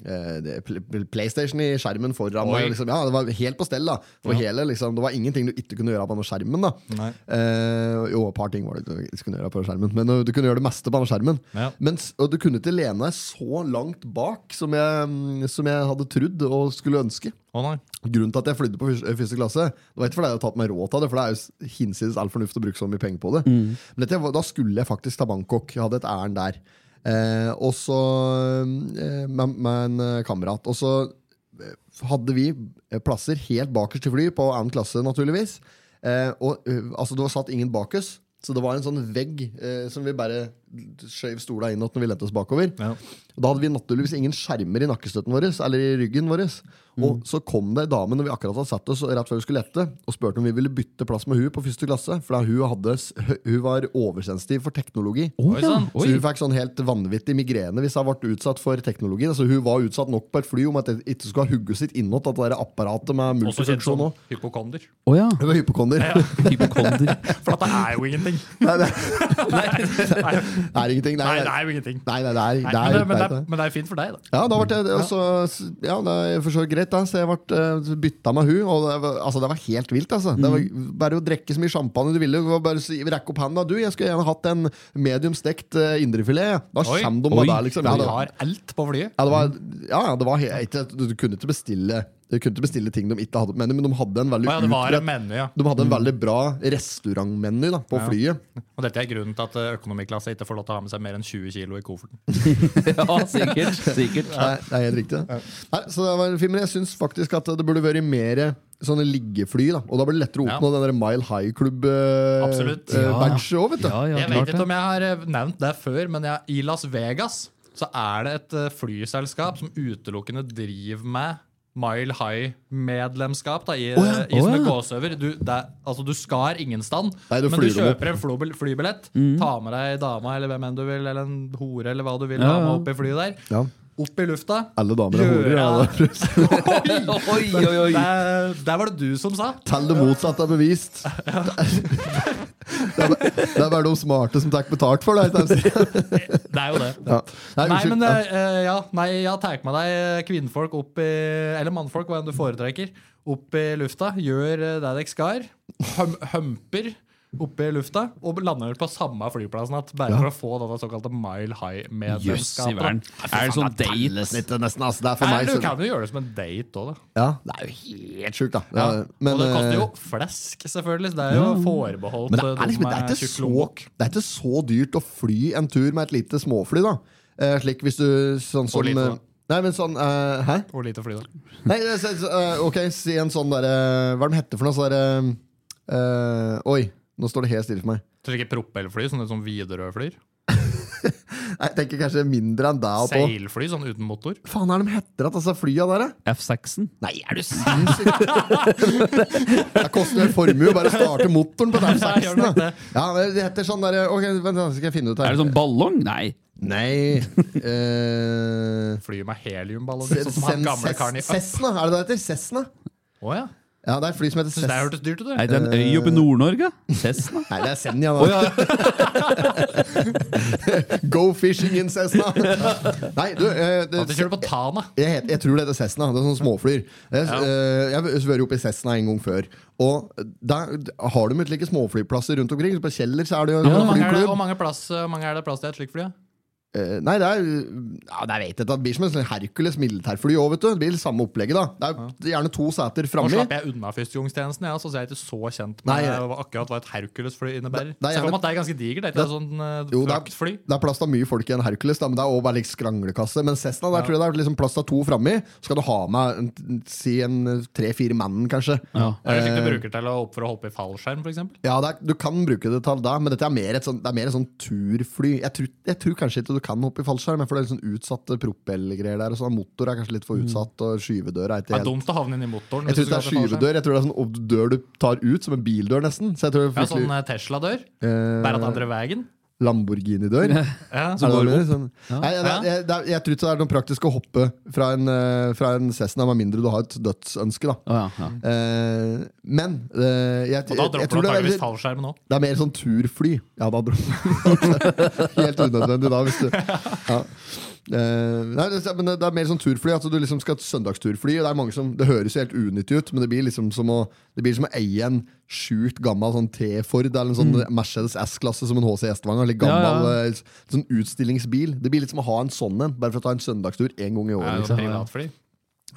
Speaker 1: eh, det- pl- pl- PlayStation i skjermen foran.
Speaker 3: Oi.
Speaker 1: og Liksom, ja, Det var helt på stell. da Det var, hele, liksom, det var ingenting du ikke kunne gjøre på den skjermen. da
Speaker 3: Nei.
Speaker 1: Eh, Jo, et par ting var det du ikke kunne gjøre på den skjermen, men eh, du kunne gjøre det meste på den skjermen.
Speaker 3: Ja.
Speaker 1: Men s- og du kunne ikke mm, lene deg så langt bak som jeg, som jeg hadde trodd og skulle ønske.
Speaker 3: Å nei.
Speaker 1: Grunnen til at jeg flydde på fys- eh, første klasse, det var ikke fordi jeg hadde tatt meg råd til det, for det er jo s- hinsides all fornuft å bruke så mye penger på det. Men dette, var- da skulle jeg faktisk til Bangkok. Jeg hadde et ærend der. Eh, og så eh, med, med en eh, kamerat. Og så hadde vi eh, plasser helt bakerst til fly, på annen klasse, naturligvis. Eh, og eh, altså, det var satt ingen bak oss, så det var en sånn vegg eh, som vi bare skjøv stola inn når vi lente oss bakover.
Speaker 3: Ja.
Speaker 1: Og Da hadde vi naturligvis ingen skjermer i nakkestøtten vår, eller i ryggen vår. Og
Speaker 3: Mm.
Speaker 1: så kom det ei dame når vi akkurat hadde satt oss, og rett før vi skulle lette, og spurte om vi ville bytte plass med hun på første klasse, for da hun, hadde, s- hun var oversensitiv for teknologi.
Speaker 3: Oi sann!
Speaker 1: Så hun fikk sånn helt vanvittig migrene hvis hun ble utsatt for teknologi. Altså, hun var utsatt nok på et fly om at det ikke skulle ha hugget sitt innåt. At det der apparatet med
Speaker 3: Også kjent som
Speaker 1: multifunksjon òg.
Speaker 3: hypokonder.
Speaker 2: Å ja.
Speaker 1: Hun var hypokonder.
Speaker 2: Hypokonder.
Speaker 3: For at det er jo ingenting.
Speaker 1: [laughs] Nei, det
Speaker 3: Nei,
Speaker 1: det er ingenting. Nei,
Speaker 3: nei, det
Speaker 1: nei,
Speaker 3: er jo ingenting.
Speaker 1: nei, nei, det er-
Speaker 3: Nei,
Speaker 1: det
Speaker 3: men, det,
Speaker 1: er-
Speaker 3: men,
Speaker 1: det
Speaker 3: det,
Speaker 1: er-
Speaker 3: men det er fint for deg, da.
Speaker 1: Ja, da ble jeg altså, Ja, det er for så vidt greit, da. Så jeg ble eh, bytta med hun. Og det var, altså, det var helt vilt, altså. Det var
Speaker 3: Mhm.
Speaker 1: bare å drikke så mye champagne du ville. Det var bare å si- Rekke opp handa. Du, jeg skulle gjerne hatt en medium stekt eh, indrefilet. jeg. Da
Speaker 3: Oi.
Speaker 1: kommer de bare der, liksom. Ja,
Speaker 3: Vi
Speaker 1: det-
Speaker 3: har alt på flyet.
Speaker 1: Ja, det var, ja, ja, det var helt, du, du, kunne ikke bestille, du kunne ikke bestille ting de ikke hadde på menu, men de hadde en veldig,
Speaker 3: Å ja, det var en Mhm.
Speaker 1: utbredt-
Speaker 3: menu, ja.
Speaker 1: de hadde en veldig bra restaurantmeny da, på flyet.
Speaker 3: Og dette er grunnen til at eh, økonomiklasse ikke får lov til å ha med seg mer enn 20 kilo i kofferten.
Speaker 2: Ja, sikkert. sikkert.
Speaker 1: Nei, det er helt riktig. det. Nei, så det var en film, men Jeg syns faktisk at det burde vært mer sånne liggefly. da Og da blir det lettere å
Speaker 3: Ja.
Speaker 1: oppnå den der Mile High eh,
Speaker 3: Absolutt.
Speaker 1: Club-badget
Speaker 3: Ja.
Speaker 1: òg, vet du.
Speaker 2: Ja, ja,
Speaker 3: Jeg vet
Speaker 2: klart
Speaker 3: ikke
Speaker 2: det.
Speaker 3: om jeg har eh, nevnt det før, men jeg, i Las Vegas så er det et eh, flyselskap som utelukkende driver med Mile High-medlemskap da, i, eh,
Speaker 2: ja.
Speaker 3: i sånne
Speaker 2: Å ja.
Speaker 3: gåseøver. Du, det, er- altså, du skar ingen stand,
Speaker 1: Nei, du
Speaker 3: men du
Speaker 1: flyr dem opp.
Speaker 3: kjøper en flobel- flybillett,
Speaker 2: Mm.
Speaker 3: tar med deg dama eller hvem enn du vil, eller en hore eller hva du vil,
Speaker 2: Ja,
Speaker 3: ha med
Speaker 2: ja.
Speaker 3: opp i flyet der.
Speaker 1: Ja.
Speaker 3: Opp i lufta. [laughs]
Speaker 1: Alle damer er horer. Ja. da.
Speaker 2: Oi, oi, oi.
Speaker 3: Der, der var det du som sa.
Speaker 1: Tell det motsatte er bevist. [laughs] Det er bare- det er bare de smarte som tar betalt for det. ikke sant?
Speaker 3: Det er jo det.
Speaker 1: Ja. Nei,
Speaker 3: Nei,
Speaker 1: unnskyld.
Speaker 3: men
Speaker 1: Ja.
Speaker 3: eh, ja, nei, jeg tar med deg eh, kvinnfolk opp i Eller mannfolk, hva enn du foretrekker. Opp i lufta. Gjør eh, det dere skal. Hum, humper opp i lufta. Og lander på samme flyplassen igjen, bare for å få denne såkalte Mile
Speaker 2: Jøss i verden.
Speaker 3: High-medlemskapet.
Speaker 2: Er det sånn date?
Speaker 1: Litt, nesten, altså. Det er for
Speaker 3: Nei,
Speaker 1: meg.
Speaker 3: Du
Speaker 1: så-
Speaker 3: kan jo gjøre det som en date òg, da.
Speaker 1: Ja, det er jo helt sjukt, da.
Speaker 3: Ja.
Speaker 1: Ja, men,
Speaker 3: og det koster jo
Speaker 1: eh,
Speaker 3: flesk, selvfølgelig. så Det er jo forbeholdt
Speaker 1: men det
Speaker 3: eh,
Speaker 1: er,
Speaker 3: de
Speaker 1: liksom,
Speaker 3: som
Speaker 1: det, er
Speaker 3: er
Speaker 1: ikke så,
Speaker 3: tjukklok.
Speaker 1: det er ikke så dyrt å fly en tur med et lite småfly, da. Eh, slik hvis du sånn som
Speaker 3: lite, da.
Speaker 1: eh, Nei, men sånn eh, Hæ?
Speaker 3: Hvor lite fly, da?
Speaker 1: Nei, det er så- så, eh, ok, si en sånn derre Hva er den hette for noe? Sånn derre eh, Oi, nå står det helt stille for meg.
Speaker 3: Tror du ikke propellfly, sånne som Widerøe flyr?
Speaker 1: Nei, Jeg tenker kanskje mindre enn deg. På.
Speaker 3: Seilfly, sånn uten motor?
Speaker 1: Faen er de heter at disse flya der, da?
Speaker 2: F6-en?
Speaker 1: Nei, er du
Speaker 2: [laughs]
Speaker 1: sinnssyk? det koster jo en formue å bare starte motoren på den
Speaker 3: [laughs] Ja, gjør nok
Speaker 1: 16.
Speaker 3: det.
Speaker 1: Ja, men det heter sånn derre Ok, vent, da skal jeg finne ut her.
Speaker 2: Er det sånn ballong? Nei.
Speaker 1: Nei eh,
Speaker 3: Flyr med heliumballonger,
Speaker 1: Sen-
Speaker 3: sånn som han gamle karen i
Speaker 1: Ses- Cessna, er det det heter? Cessna?
Speaker 3: Å ja.
Speaker 1: Ja, det er et fly som heter
Speaker 3: Synes det
Speaker 1: Cessna.
Speaker 3: hørtes dyrt ut,
Speaker 2: Er
Speaker 3: det.
Speaker 2: det en øy oppe i Nord-Norge? Cessna?
Speaker 1: Nei, det er Senja. da. [laughs] Go fishing in Cessna! Nei, du eh, det,
Speaker 3: At de kjører på Tana.
Speaker 1: jeg, het- jeg tror det heter Cessna. Det er sånn småflyr. Jeg, ja. jeg har vært oppe i Cessna en gang før. Og der har de ikke like småflyplasser rundt omkring. Så på Kjeller så er det jo
Speaker 3: Hvor
Speaker 1: en
Speaker 3: mange, er det, hvor
Speaker 1: flyklubb.
Speaker 3: mange, plass, eh, hvor mange er det plass til et slikt fly? da?
Speaker 1: Eh, Nei, det er ja, det, er- vet jeg, ikke. det blir som en sånn Hercules militærfly òg, vet du. Det blir samme opplegget, da. Det er gjerne to seter
Speaker 3: Nå
Speaker 1: framme.
Speaker 3: slapp jeg unna førstegangstjenesten, ja, så jeg er ikke så kjent med
Speaker 1: Nei, jeg-
Speaker 3: hva- akkurat hva et Hercules-fly innebærer.
Speaker 1: Det- det er
Speaker 3: Selv om
Speaker 1: gjerne-
Speaker 3: at det er ganske digert. Det er ikke sånn eh,
Speaker 1: Jo, det er-
Speaker 3: fraktfly.
Speaker 1: Det er plass til mye folk i en Hercules, da, men det er også bare litt skranglekasse. Men Cessna, der tror jeg det er liksom plass til to framme. Så skal du ha med en, si en eh, tre-fire mann, kanskje. Ja,
Speaker 3: Er det slik du bruker til å opp for å hoppe i fallskjerm, f.eks.?
Speaker 1: Eh, det er, Du kan bruke det til det, men dette er mer et sånn, det er mer et sånn turfly. Jeg tror, jeg tror kanskje ikke du kan hoppe i fallskjerm, for det er litt sånn utsatte propellgreier der. Og sånn, motor er kanskje litt for utsatt, og skyvedøra er
Speaker 3: Det
Speaker 1: ikke
Speaker 3: Mm.
Speaker 1: helt
Speaker 3: er dumt å havne inn i motoren.
Speaker 1: Jeg tror ikke
Speaker 3: hvis du
Speaker 1: det er
Speaker 3: skal til fallskjerm.
Speaker 1: skyvedør, jeg tror det er sånn opp- dør du tar ut, som en bildør, nesten. Så jeg tror
Speaker 3: Ja,
Speaker 1: fryktelig
Speaker 3: sånn eh, Tesla-dør.
Speaker 1: Eh,
Speaker 3: Bare at andre veien.
Speaker 1: Lamborghini-dør.
Speaker 3: [laughs] Ja.
Speaker 1: Er det det du mener? Sånn. Nei, jeg,
Speaker 3: Ja.
Speaker 1: jeg, jeg, jeg tror ikke det er noe praktisk å hoppe fra en, eh, fra en Cessna, med mindre du har et dødsønske. Da.
Speaker 2: Å, ja, ja.
Speaker 1: Eh, men eh, jeg, jeg,
Speaker 3: Og da
Speaker 1: jeg
Speaker 3: dropper
Speaker 1: tror
Speaker 3: du
Speaker 1: det er,
Speaker 3: antakeligvis
Speaker 1: det
Speaker 3: fallskjermen òg.
Speaker 1: er mer sånn turfly. Ja, da dropper [laughs] Helt unødvendig da,
Speaker 2: [laughs]
Speaker 1: hvis du ja. Eh, nei, det, men det, det er mer sånn turfly. At du liksom skal ha et søndagsturfly. og Det er mange som, det høres jo helt unyttig ut, men det blir liksom som å, det blir som å eie en sjukt gammel sånn T-Ford eller en sånn Mercedes S-klasse som en HC Gjestvanger. Litt gammel
Speaker 2: Mm. Ja,
Speaker 1: eh, sånn utstillingsbil. Det blir litt som å ha en sånn en, bare for å ta en søndagstur én gang i året.
Speaker 3: Ja,
Speaker 1: liksom.
Speaker 3: privatfly.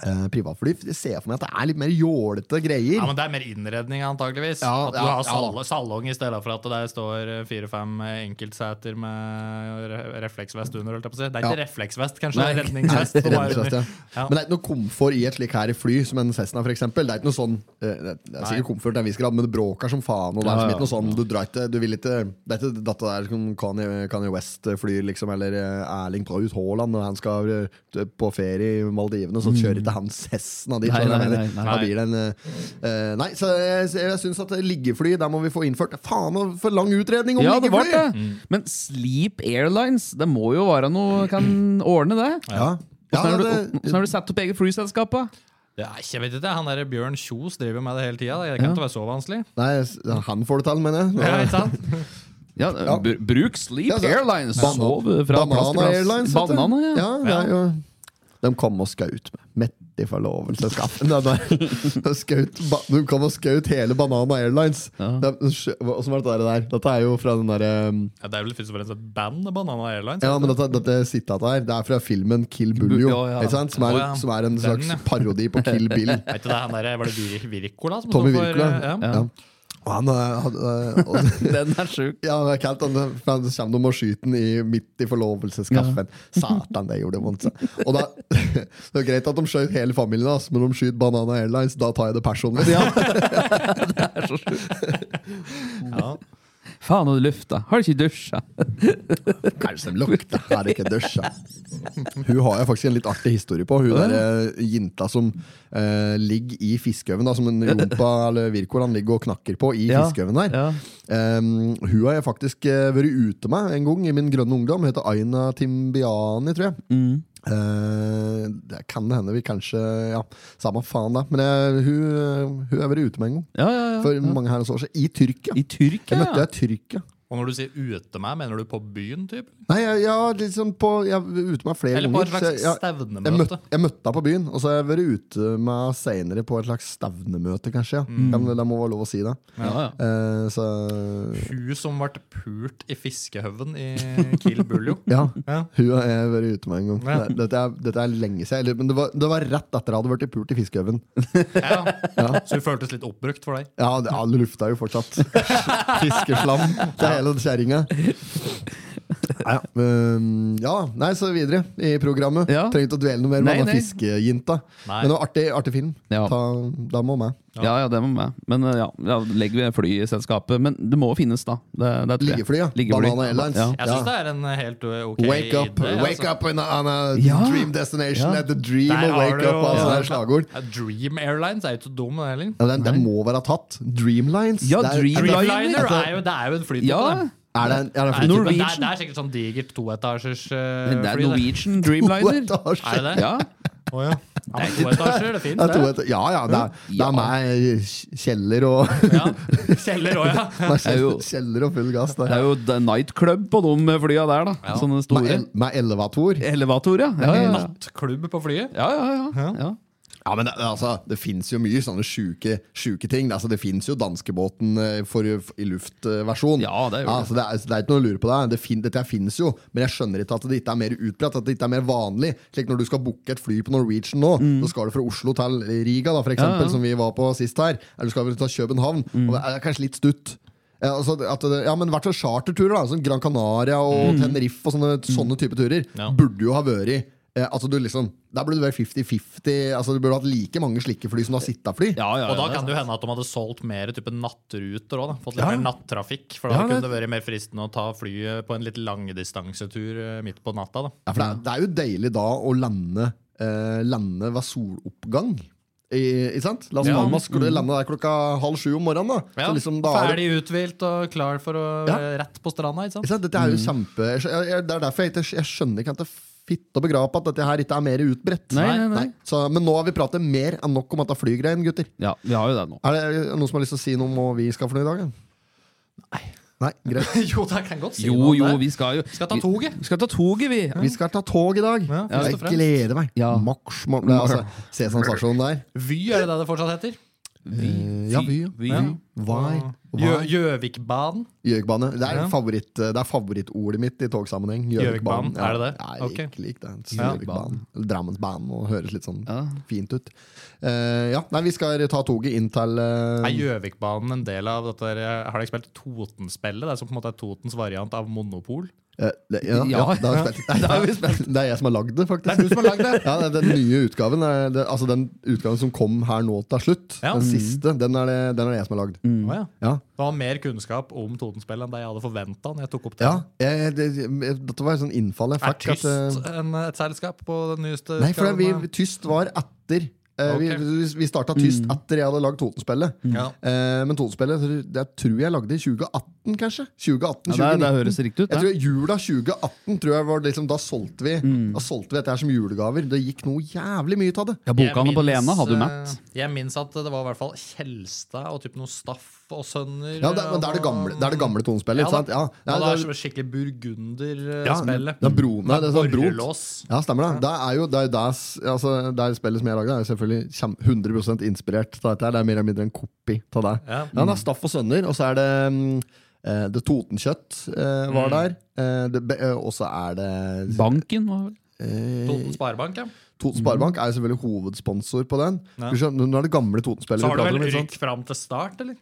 Speaker 1: eh, privatfly. Jeg ser for meg at det er litt mer jålete greier.
Speaker 3: Ja, men Det er mer innredning, antakeligvis.
Speaker 1: Ja,
Speaker 3: At du
Speaker 1: ja,
Speaker 3: har sal
Speaker 1: ja.
Speaker 3: salong i stedet for at det der står eh, fire-fem eh, enkeltseter med eh, re refleksvest under. Holdt jeg på å si. Det er ikke
Speaker 1: Ja.
Speaker 3: refleksvest, kanskje.
Speaker 1: Nei.
Speaker 3: det
Speaker 1: [laughs]
Speaker 3: er redningsvest. som er
Speaker 1: Redningsvest, ja.
Speaker 3: under. Ja.
Speaker 1: Men det er ikke noe komfort i et slik her fly som en Cessna, for eksempel. Det er ikke noe sånn eh, Det er- det er sikkert komfort til en viss grad, men det bråker som faen. Og det er liksom
Speaker 2: Ja, ja.
Speaker 1: ikke noe sånn Du drar ikke Du vil ikke Det er ikke dette der som Kanye, Kanye West flyr, liksom, eller eh, Erling Braut Haaland når han skal eh, på ferie i Maldivene, så kjører ikke han Cessna dit.
Speaker 2: Mm. Nei,
Speaker 1: skjønner du hva jeg
Speaker 2: nei,
Speaker 1: mener?
Speaker 2: nei,
Speaker 1: Da blir det en eh, eh, Nei, så jeg, jeg syns at liggefly, der må vi få innført Faen, og for lang utredning om
Speaker 2: Ja, det var
Speaker 1: liggefly!
Speaker 2: det. Men Sleep Airlines, det må jo være noe Kan ordne det?
Speaker 1: Ja. Ja,
Speaker 2: Åssen har du,
Speaker 1: det-
Speaker 2: hvordan har du satt opp eget flyselskap? da?
Speaker 3: Det er, ikke- jeg vet ikke, Han der Bjørn Kjos driver med det hele tida. Det kan
Speaker 2: Ja.
Speaker 3: ikke være så vanskelig.
Speaker 1: Nei, han får det til, mener jeg.
Speaker 3: Ja, ikke sant?
Speaker 2: Ja, br- Bruk Sleep
Speaker 1: Ja, så-
Speaker 2: Airlines!
Speaker 1: Ban-
Speaker 2: Sov fra plass til
Speaker 1: Banana
Speaker 2: plass.
Speaker 1: Airlines. vet du.
Speaker 2: Banana, ja.
Speaker 1: det er jo De kom og skaut meg. Mett i [laughs] forlovelseskaffen. De, de, skaut ba- de kom og skaut hele Banana Airlines.
Speaker 2: Ja.
Speaker 1: De, skjø- hva- Åssen var dette der? Dette er jo fra den derre um,
Speaker 3: Ja, det er vel først og fremst et band, Banana Airlines.
Speaker 1: ja, men dette, dette sitatet her Det er fra filmen Kill Buljo,
Speaker 2: Ja, ja.
Speaker 1: Ikke sant? Som, er,
Speaker 3: Å, ja.
Speaker 1: som er en slags
Speaker 3: Den, ja.
Speaker 1: parodi på Kill Bill.
Speaker 3: Er ikke det han der, Var det Vir Virkola som
Speaker 1: Tommy
Speaker 3: står for,
Speaker 1: Wirkola.
Speaker 3: eh, ja.
Speaker 1: Ja. Og han eh, hadde og-
Speaker 2: Den er sjuk.
Speaker 1: Ja, det er kaldt, han, for han kommer de og skyter den i, midt i forlovelseskaffen.
Speaker 2: [laughs]
Speaker 1: Satan, det gjorde vondt. sa. Og da, [laughs] det er greit at de skjøt hele familien hans, men de skyter Banana Airlines. Da tar jeg det personlig.
Speaker 3: Ja.
Speaker 2: Faen, og du lufta. Har du ikke dusja?
Speaker 1: [laughs] Kanskje de lukter. Er det ikke dusja? Hun har jeg faktisk en litt artig historie på. Hun der eh, jinta som eh, ligger i fiskeøven, da, som en rumpa eller Virkolan ligger og knakker på i
Speaker 2: Ja,
Speaker 1: fiskeøven der.
Speaker 2: ja.
Speaker 1: Em, Ehm, hun har jeg faktisk eh, vært ute med en gang i min grønne ungdom. Hun heter Aina Timbiani, tror jeg.
Speaker 2: Mm.
Speaker 1: Eh, det kan hende vi kanskje Ja, samme faen, da. Men jeg, hun, eh, hun har vært ute med en gang.
Speaker 2: Ja, ja, ja.
Speaker 1: For mange herrens år siden. I Tyrkia.
Speaker 2: I Tyrkia?
Speaker 1: Jeg møtte
Speaker 2: ja.
Speaker 1: ei Tyrkia.
Speaker 3: Og når du sier ute meg, mener du på byen? Typ?
Speaker 1: Nei, jeg, jeg var liksom på Jeg var ute med flere
Speaker 3: Eller på et
Speaker 1: ganger, så
Speaker 3: slags
Speaker 1: jeg- jeg, jeg,
Speaker 3: stevnemøte?
Speaker 1: møtte, jeg møtte henne på byen, og så har jeg vært ute med senere på et slags stevnemøte, kanskje. Ja. Kan, det må være lov å si det.
Speaker 2: Mm. Ja, ja.
Speaker 1: Eh, så
Speaker 3: Hun som ble pult i fiskehaugen i Kiel Buljo.
Speaker 1: ja.
Speaker 3: Ja.
Speaker 1: Hun har jeg vært ute med en gang.
Speaker 3: Ja.
Speaker 1: Det- Dette, er, dette er lenge siden. eller- Men det var, det var rett etter jeg hadde vært i pult i fiskeøven.
Speaker 3: Ja. Så hun føltes litt oppbrukt for deg.
Speaker 1: Ja, det, ja, det lufta jo
Speaker 2: [laughs]
Speaker 1: fortsatt. Fiskeslam til hele kjerringa. Ja, um, ja, nei, så videre i programmet.
Speaker 2: Ja.
Speaker 1: Trenger ikke å dvele noe mer med
Speaker 2: Nei, nei.
Speaker 1: denne fiskejinta.
Speaker 3: Nei.
Speaker 1: Men det var artig, artig film.
Speaker 2: Ja.
Speaker 1: Ta, da må med.
Speaker 2: ja, ja, det må med. Men uh, ja, ja legger vi flyselskapet. Men det må finnes, da. Det, det tror jeg.
Speaker 1: Liggefly, ja.
Speaker 2: Liggefly.
Speaker 1: Banana Airlines.
Speaker 2: Ja.
Speaker 1: Ja.
Speaker 3: Jeg syns det er en eh, helt ø, ok
Speaker 1: Wake up
Speaker 3: idé. altså.
Speaker 1: wake up in a, on a
Speaker 2: Ja.
Speaker 1: dream destination
Speaker 2: Ja.
Speaker 1: at the dream
Speaker 3: Der
Speaker 1: of
Speaker 3: har
Speaker 1: wake
Speaker 3: du
Speaker 1: up.
Speaker 3: jo-
Speaker 1: Altså, det
Speaker 3: Ja.
Speaker 1: er slagord.
Speaker 3: Ja, Dream Airlines er jo ikke så dum, den heller.
Speaker 1: Ja, den, den må være tatt. Dreamlines.
Speaker 2: Ja,
Speaker 1: Det er-
Speaker 2: Dreamlines.
Speaker 3: Dreamliner
Speaker 2: Dreamliner?
Speaker 3: er jo, det er jo en flytype.
Speaker 2: Ja,
Speaker 3: det.
Speaker 1: Er det, en- er det
Speaker 3: Er det,
Speaker 1: en flytype?
Speaker 3: men det,
Speaker 2: Norwegian?
Speaker 3: er, det er sikkert sånn digert toetasjers ø,
Speaker 2: men det er
Speaker 3: fly. det. [laughs]
Speaker 2: Norwegian Dreamliner.
Speaker 3: Er det det?
Speaker 2: Ja.
Speaker 3: Å ja. ja men toetasjer, det
Speaker 1: Ja, to
Speaker 3: fins,
Speaker 1: etasjer. ja, ja, det er, det
Speaker 2: Ja.
Speaker 1: er meg, Kjeller og
Speaker 3: det. Ja. Kjeller òg, ja.
Speaker 1: Nei,
Speaker 2: er jo-
Speaker 1: [laughs] Kjeller og full gass.
Speaker 2: Det
Speaker 1: Der.
Speaker 2: er jo The Nightclub på de flya der, da. Sånne
Speaker 1: Med,
Speaker 2: store
Speaker 1: el med elevator.
Speaker 2: elevator, ja. Ja, ja, ja.
Speaker 3: Nattklubb på flyet.
Speaker 2: ja, ja, ja. ja.
Speaker 1: Ja, men det, altså, det fins jo mye sånne sjuke, sjuke ting. Altså, det fins jo danskebåten eh, for, i luftversjon.
Speaker 2: Ja, det gjør det.
Speaker 1: altså, det, er, det er ikke noe å lure på det. det fin, dette fins jo, men jeg skjønner ikke at det ikke er mer utbredt. At det ikke er mer vanlig. Slik når du skal booke et fly på Norwegian nå, så skal du fra Oslo til Riga, da, for eksempel,
Speaker 2: Mm. Ja, Mm. ja.
Speaker 1: som vi var på sist her. Eller du skal vel til København. Og det er kanskje litt stutt. Ja, altså, at det, ja, men i hvert fall charterturer. da, Sånn Gran Canaria og
Speaker 2: Mm.
Speaker 1: Tenerife og sånne, sånne type turer
Speaker 3: Ja.
Speaker 1: burde jo ha vært eh, altså du liksom, Der burde det vært 50-50. Altså Du burde hatt like mange slike fly som du har sitta fly.
Speaker 2: ja, ja, ja.
Speaker 3: Og da
Speaker 2: det er
Speaker 3: kan det jo hende at de hadde solgt mer type nattruter òg. Fått litt mer nattrafikk. For da
Speaker 2: Ja, det-
Speaker 3: kunne det vært mer fristende å ta flyet på en litt langdistansetur eh, midt på natta. da.
Speaker 1: Ja, for det, er- det er jo deilig da å lande, eh, lande ved soloppgang. I, ikke sant? La oss
Speaker 3: Ja.
Speaker 1: Palmas skulle lande der klokka halv sju om morgenen. da
Speaker 3: Ja,
Speaker 1: Så liksom da er det-
Speaker 3: Ferdig uthvilt og klar for å
Speaker 1: Ja.
Speaker 3: rett på stranda. ikke
Speaker 1: ikke
Speaker 3: sant?
Speaker 1: sant? Dette er jo kjempe jeg, skjø- jeg, jeg- Det er derfor jeg, ikke- jeg skjønner ikke at det er fitt å begrape at dette her ikke er mer utbredt.
Speaker 2: Nei, nei, nei.
Speaker 1: Så, men nå har vi pratet mer enn nok om dette flygreien, gutter.
Speaker 2: Ja, vi har jo det nå.
Speaker 1: Er det noen som har lyst til å si noe om hva vi skal for noe i dag? Nei. Nei, greit
Speaker 3: [laughs] jo, det kan godt si
Speaker 2: Jo,
Speaker 3: noe om
Speaker 2: jo,
Speaker 3: det.
Speaker 2: vi skal jo
Speaker 3: Skal ta toget.
Speaker 2: Vi skal ta toget, vi.
Speaker 1: Vi skal ta tog i dag.
Speaker 3: først
Speaker 1: jeg
Speaker 3: og fremst.
Speaker 1: gleder meg.
Speaker 2: Ja. sånn
Speaker 1: Max, Max, Nei, altså, Sesam Stasjon der.
Speaker 3: Vy, er det det det fortsatt heter?
Speaker 2: Vy.
Speaker 1: Eh, ja, Vy.
Speaker 2: Vy.
Speaker 1: Ja. Vær.
Speaker 3: Gjø-
Speaker 1: Vær.
Speaker 3: Gjøvikbanen.
Speaker 1: Gjøkbane. Det er,
Speaker 3: Ja.
Speaker 1: favoritt, eh, det er favorittordet mitt i togsammenheng. Gjøvikbanen.
Speaker 3: Gjøvikbanen, er det det?
Speaker 1: Ja, jeg
Speaker 3: Ok.
Speaker 1: liker- liker det.
Speaker 3: Ja.
Speaker 1: Gjøvikbanen. Eller Drammensbanen. Og høres litt sånn
Speaker 2: Ja.
Speaker 1: fint ut. Eh, ja, nei, vi skal ta toget inn til eh,
Speaker 3: Er Gjøvikbanen en del av dette der, Har dere spilt Totenspillet? Det er som på en måte er Totens variant av Monopol?
Speaker 1: eh, det, ja, ja,
Speaker 2: Ja.
Speaker 1: det, har vi spilt. det har vi spilt. [laughs] Det er jeg som har lagd det, faktisk.
Speaker 3: Det er du som har lagd
Speaker 1: [laughs]
Speaker 3: det!
Speaker 1: Ja, det er Den nye utgaven er, det, Altså den utgaven som kom her nå til slutt,
Speaker 3: Ja. Mm.
Speaker 1: den siste, den er, det, den er det jeg som har lagd.
Speaker 3: Å ja.
Speaker 1: Ja.
Speaker 3: Du har mer kunnskap om Totenspillet enn det jeg hadde forventa. Når jeg tok opp det.
Speaker 1: Ja, jeg, det, jeg, dette var et sånn innfall jeg
Speaker 3: Er
Speaker 1: fikk. at,
Speaker 3: Tyst
Speaker 1: eh,
Speaker 3: en, et selskap på den nyeste
Speaker 1: nei, for det, vi,
Speaker 3: utgaven av-
Speaker 1: vi- Tyst var etter. Eh,
Speaker 3: Ok.
Speaker 1: Vi, vi- vi starta Tyst etter jeg hadde lagd Totenspillet.
Speaker 3: Ja.
Speaker 1: Eh, men Totenspillet det, tror jeg lagde i 2018, kanskje. 2018,
Speaker 2: Ja,
Speaker 1: 2019.
Speaker 2: det, det høres riktig ut.
Speaker 1: Jeg
Speaker 2: det.
Speaker 1: tror Jula 2018 tror jeg var liksom, da solgte vi
Speaker 3: Mm.
Speaker 1: Da solgte vi dette her som julegaver. Det gikk noe jævlig mye av det.
Speaker 2: Ja,
Speaker 3: Jeg
Speaker 2: Bokhandelen på
Speaker 3: minnes,
Speaker 2: Lena hadde jo
Speaker 3: eh,
Speaker 2: Matt.
Speaker 3: Jeg minnes at det var i hvert fall Kjelstad og typ noe Staff og Sønner.
Speaker 1: Ja, det, men det er det gamle, det er det gamle Totenspillet.
Speaker 3: Ja,
Speaker 1: ikke sant?
Speaker 3: da.
Speaker 1: Ja,
Speaker 3: Ja,
Speaker 1: det
Speaker 3: det
Speaker 1: er-
Speaker 3: er som et skikkelig
Speaker 1: Ja,
Speaker 3: burgunderspillet.
Speaker 1: det er bro- nei, det er sånn bro-
Speaker 3: Borrelås.
Speaker 1: Ja, stemmer det. Det er jo det, er jo det, s- altså, det er spillet som jeg lager, det er jo selvfølgelig kjem- 100 inspirert av dette. her. Det er mer eller mindre en kopi av det.
Speaker 3: Ja.
Speaker 1: Ja, det er Staff og Sønner, og så er det mm, eh, Det Totenkjøtt eh,
Speaker 3: Mm.
Speaker 1: var der. Eh, det be- eh, og så er det
Speaker 2: Banken var vel
Speaker 3: Toten
Speaker 1: Eh,
Speaker 3: Sparebank, ja.
Speaker 2: Mhm.
Speaker 1: Toten Sparebank er jo selvfølgelig hovedsponsor på den.
Speaker 3: Ja.
Speaker 1: Skal vi se, Nå er det gamle Totenspillet.
Speaker 3: Så
Speaker 1: vi
Speaker 3: har du
Speaker 1: prater om,
Speaker 3: vel
Speaker 1: ikke sant?
Speaker 3: rykk fram til start, eller?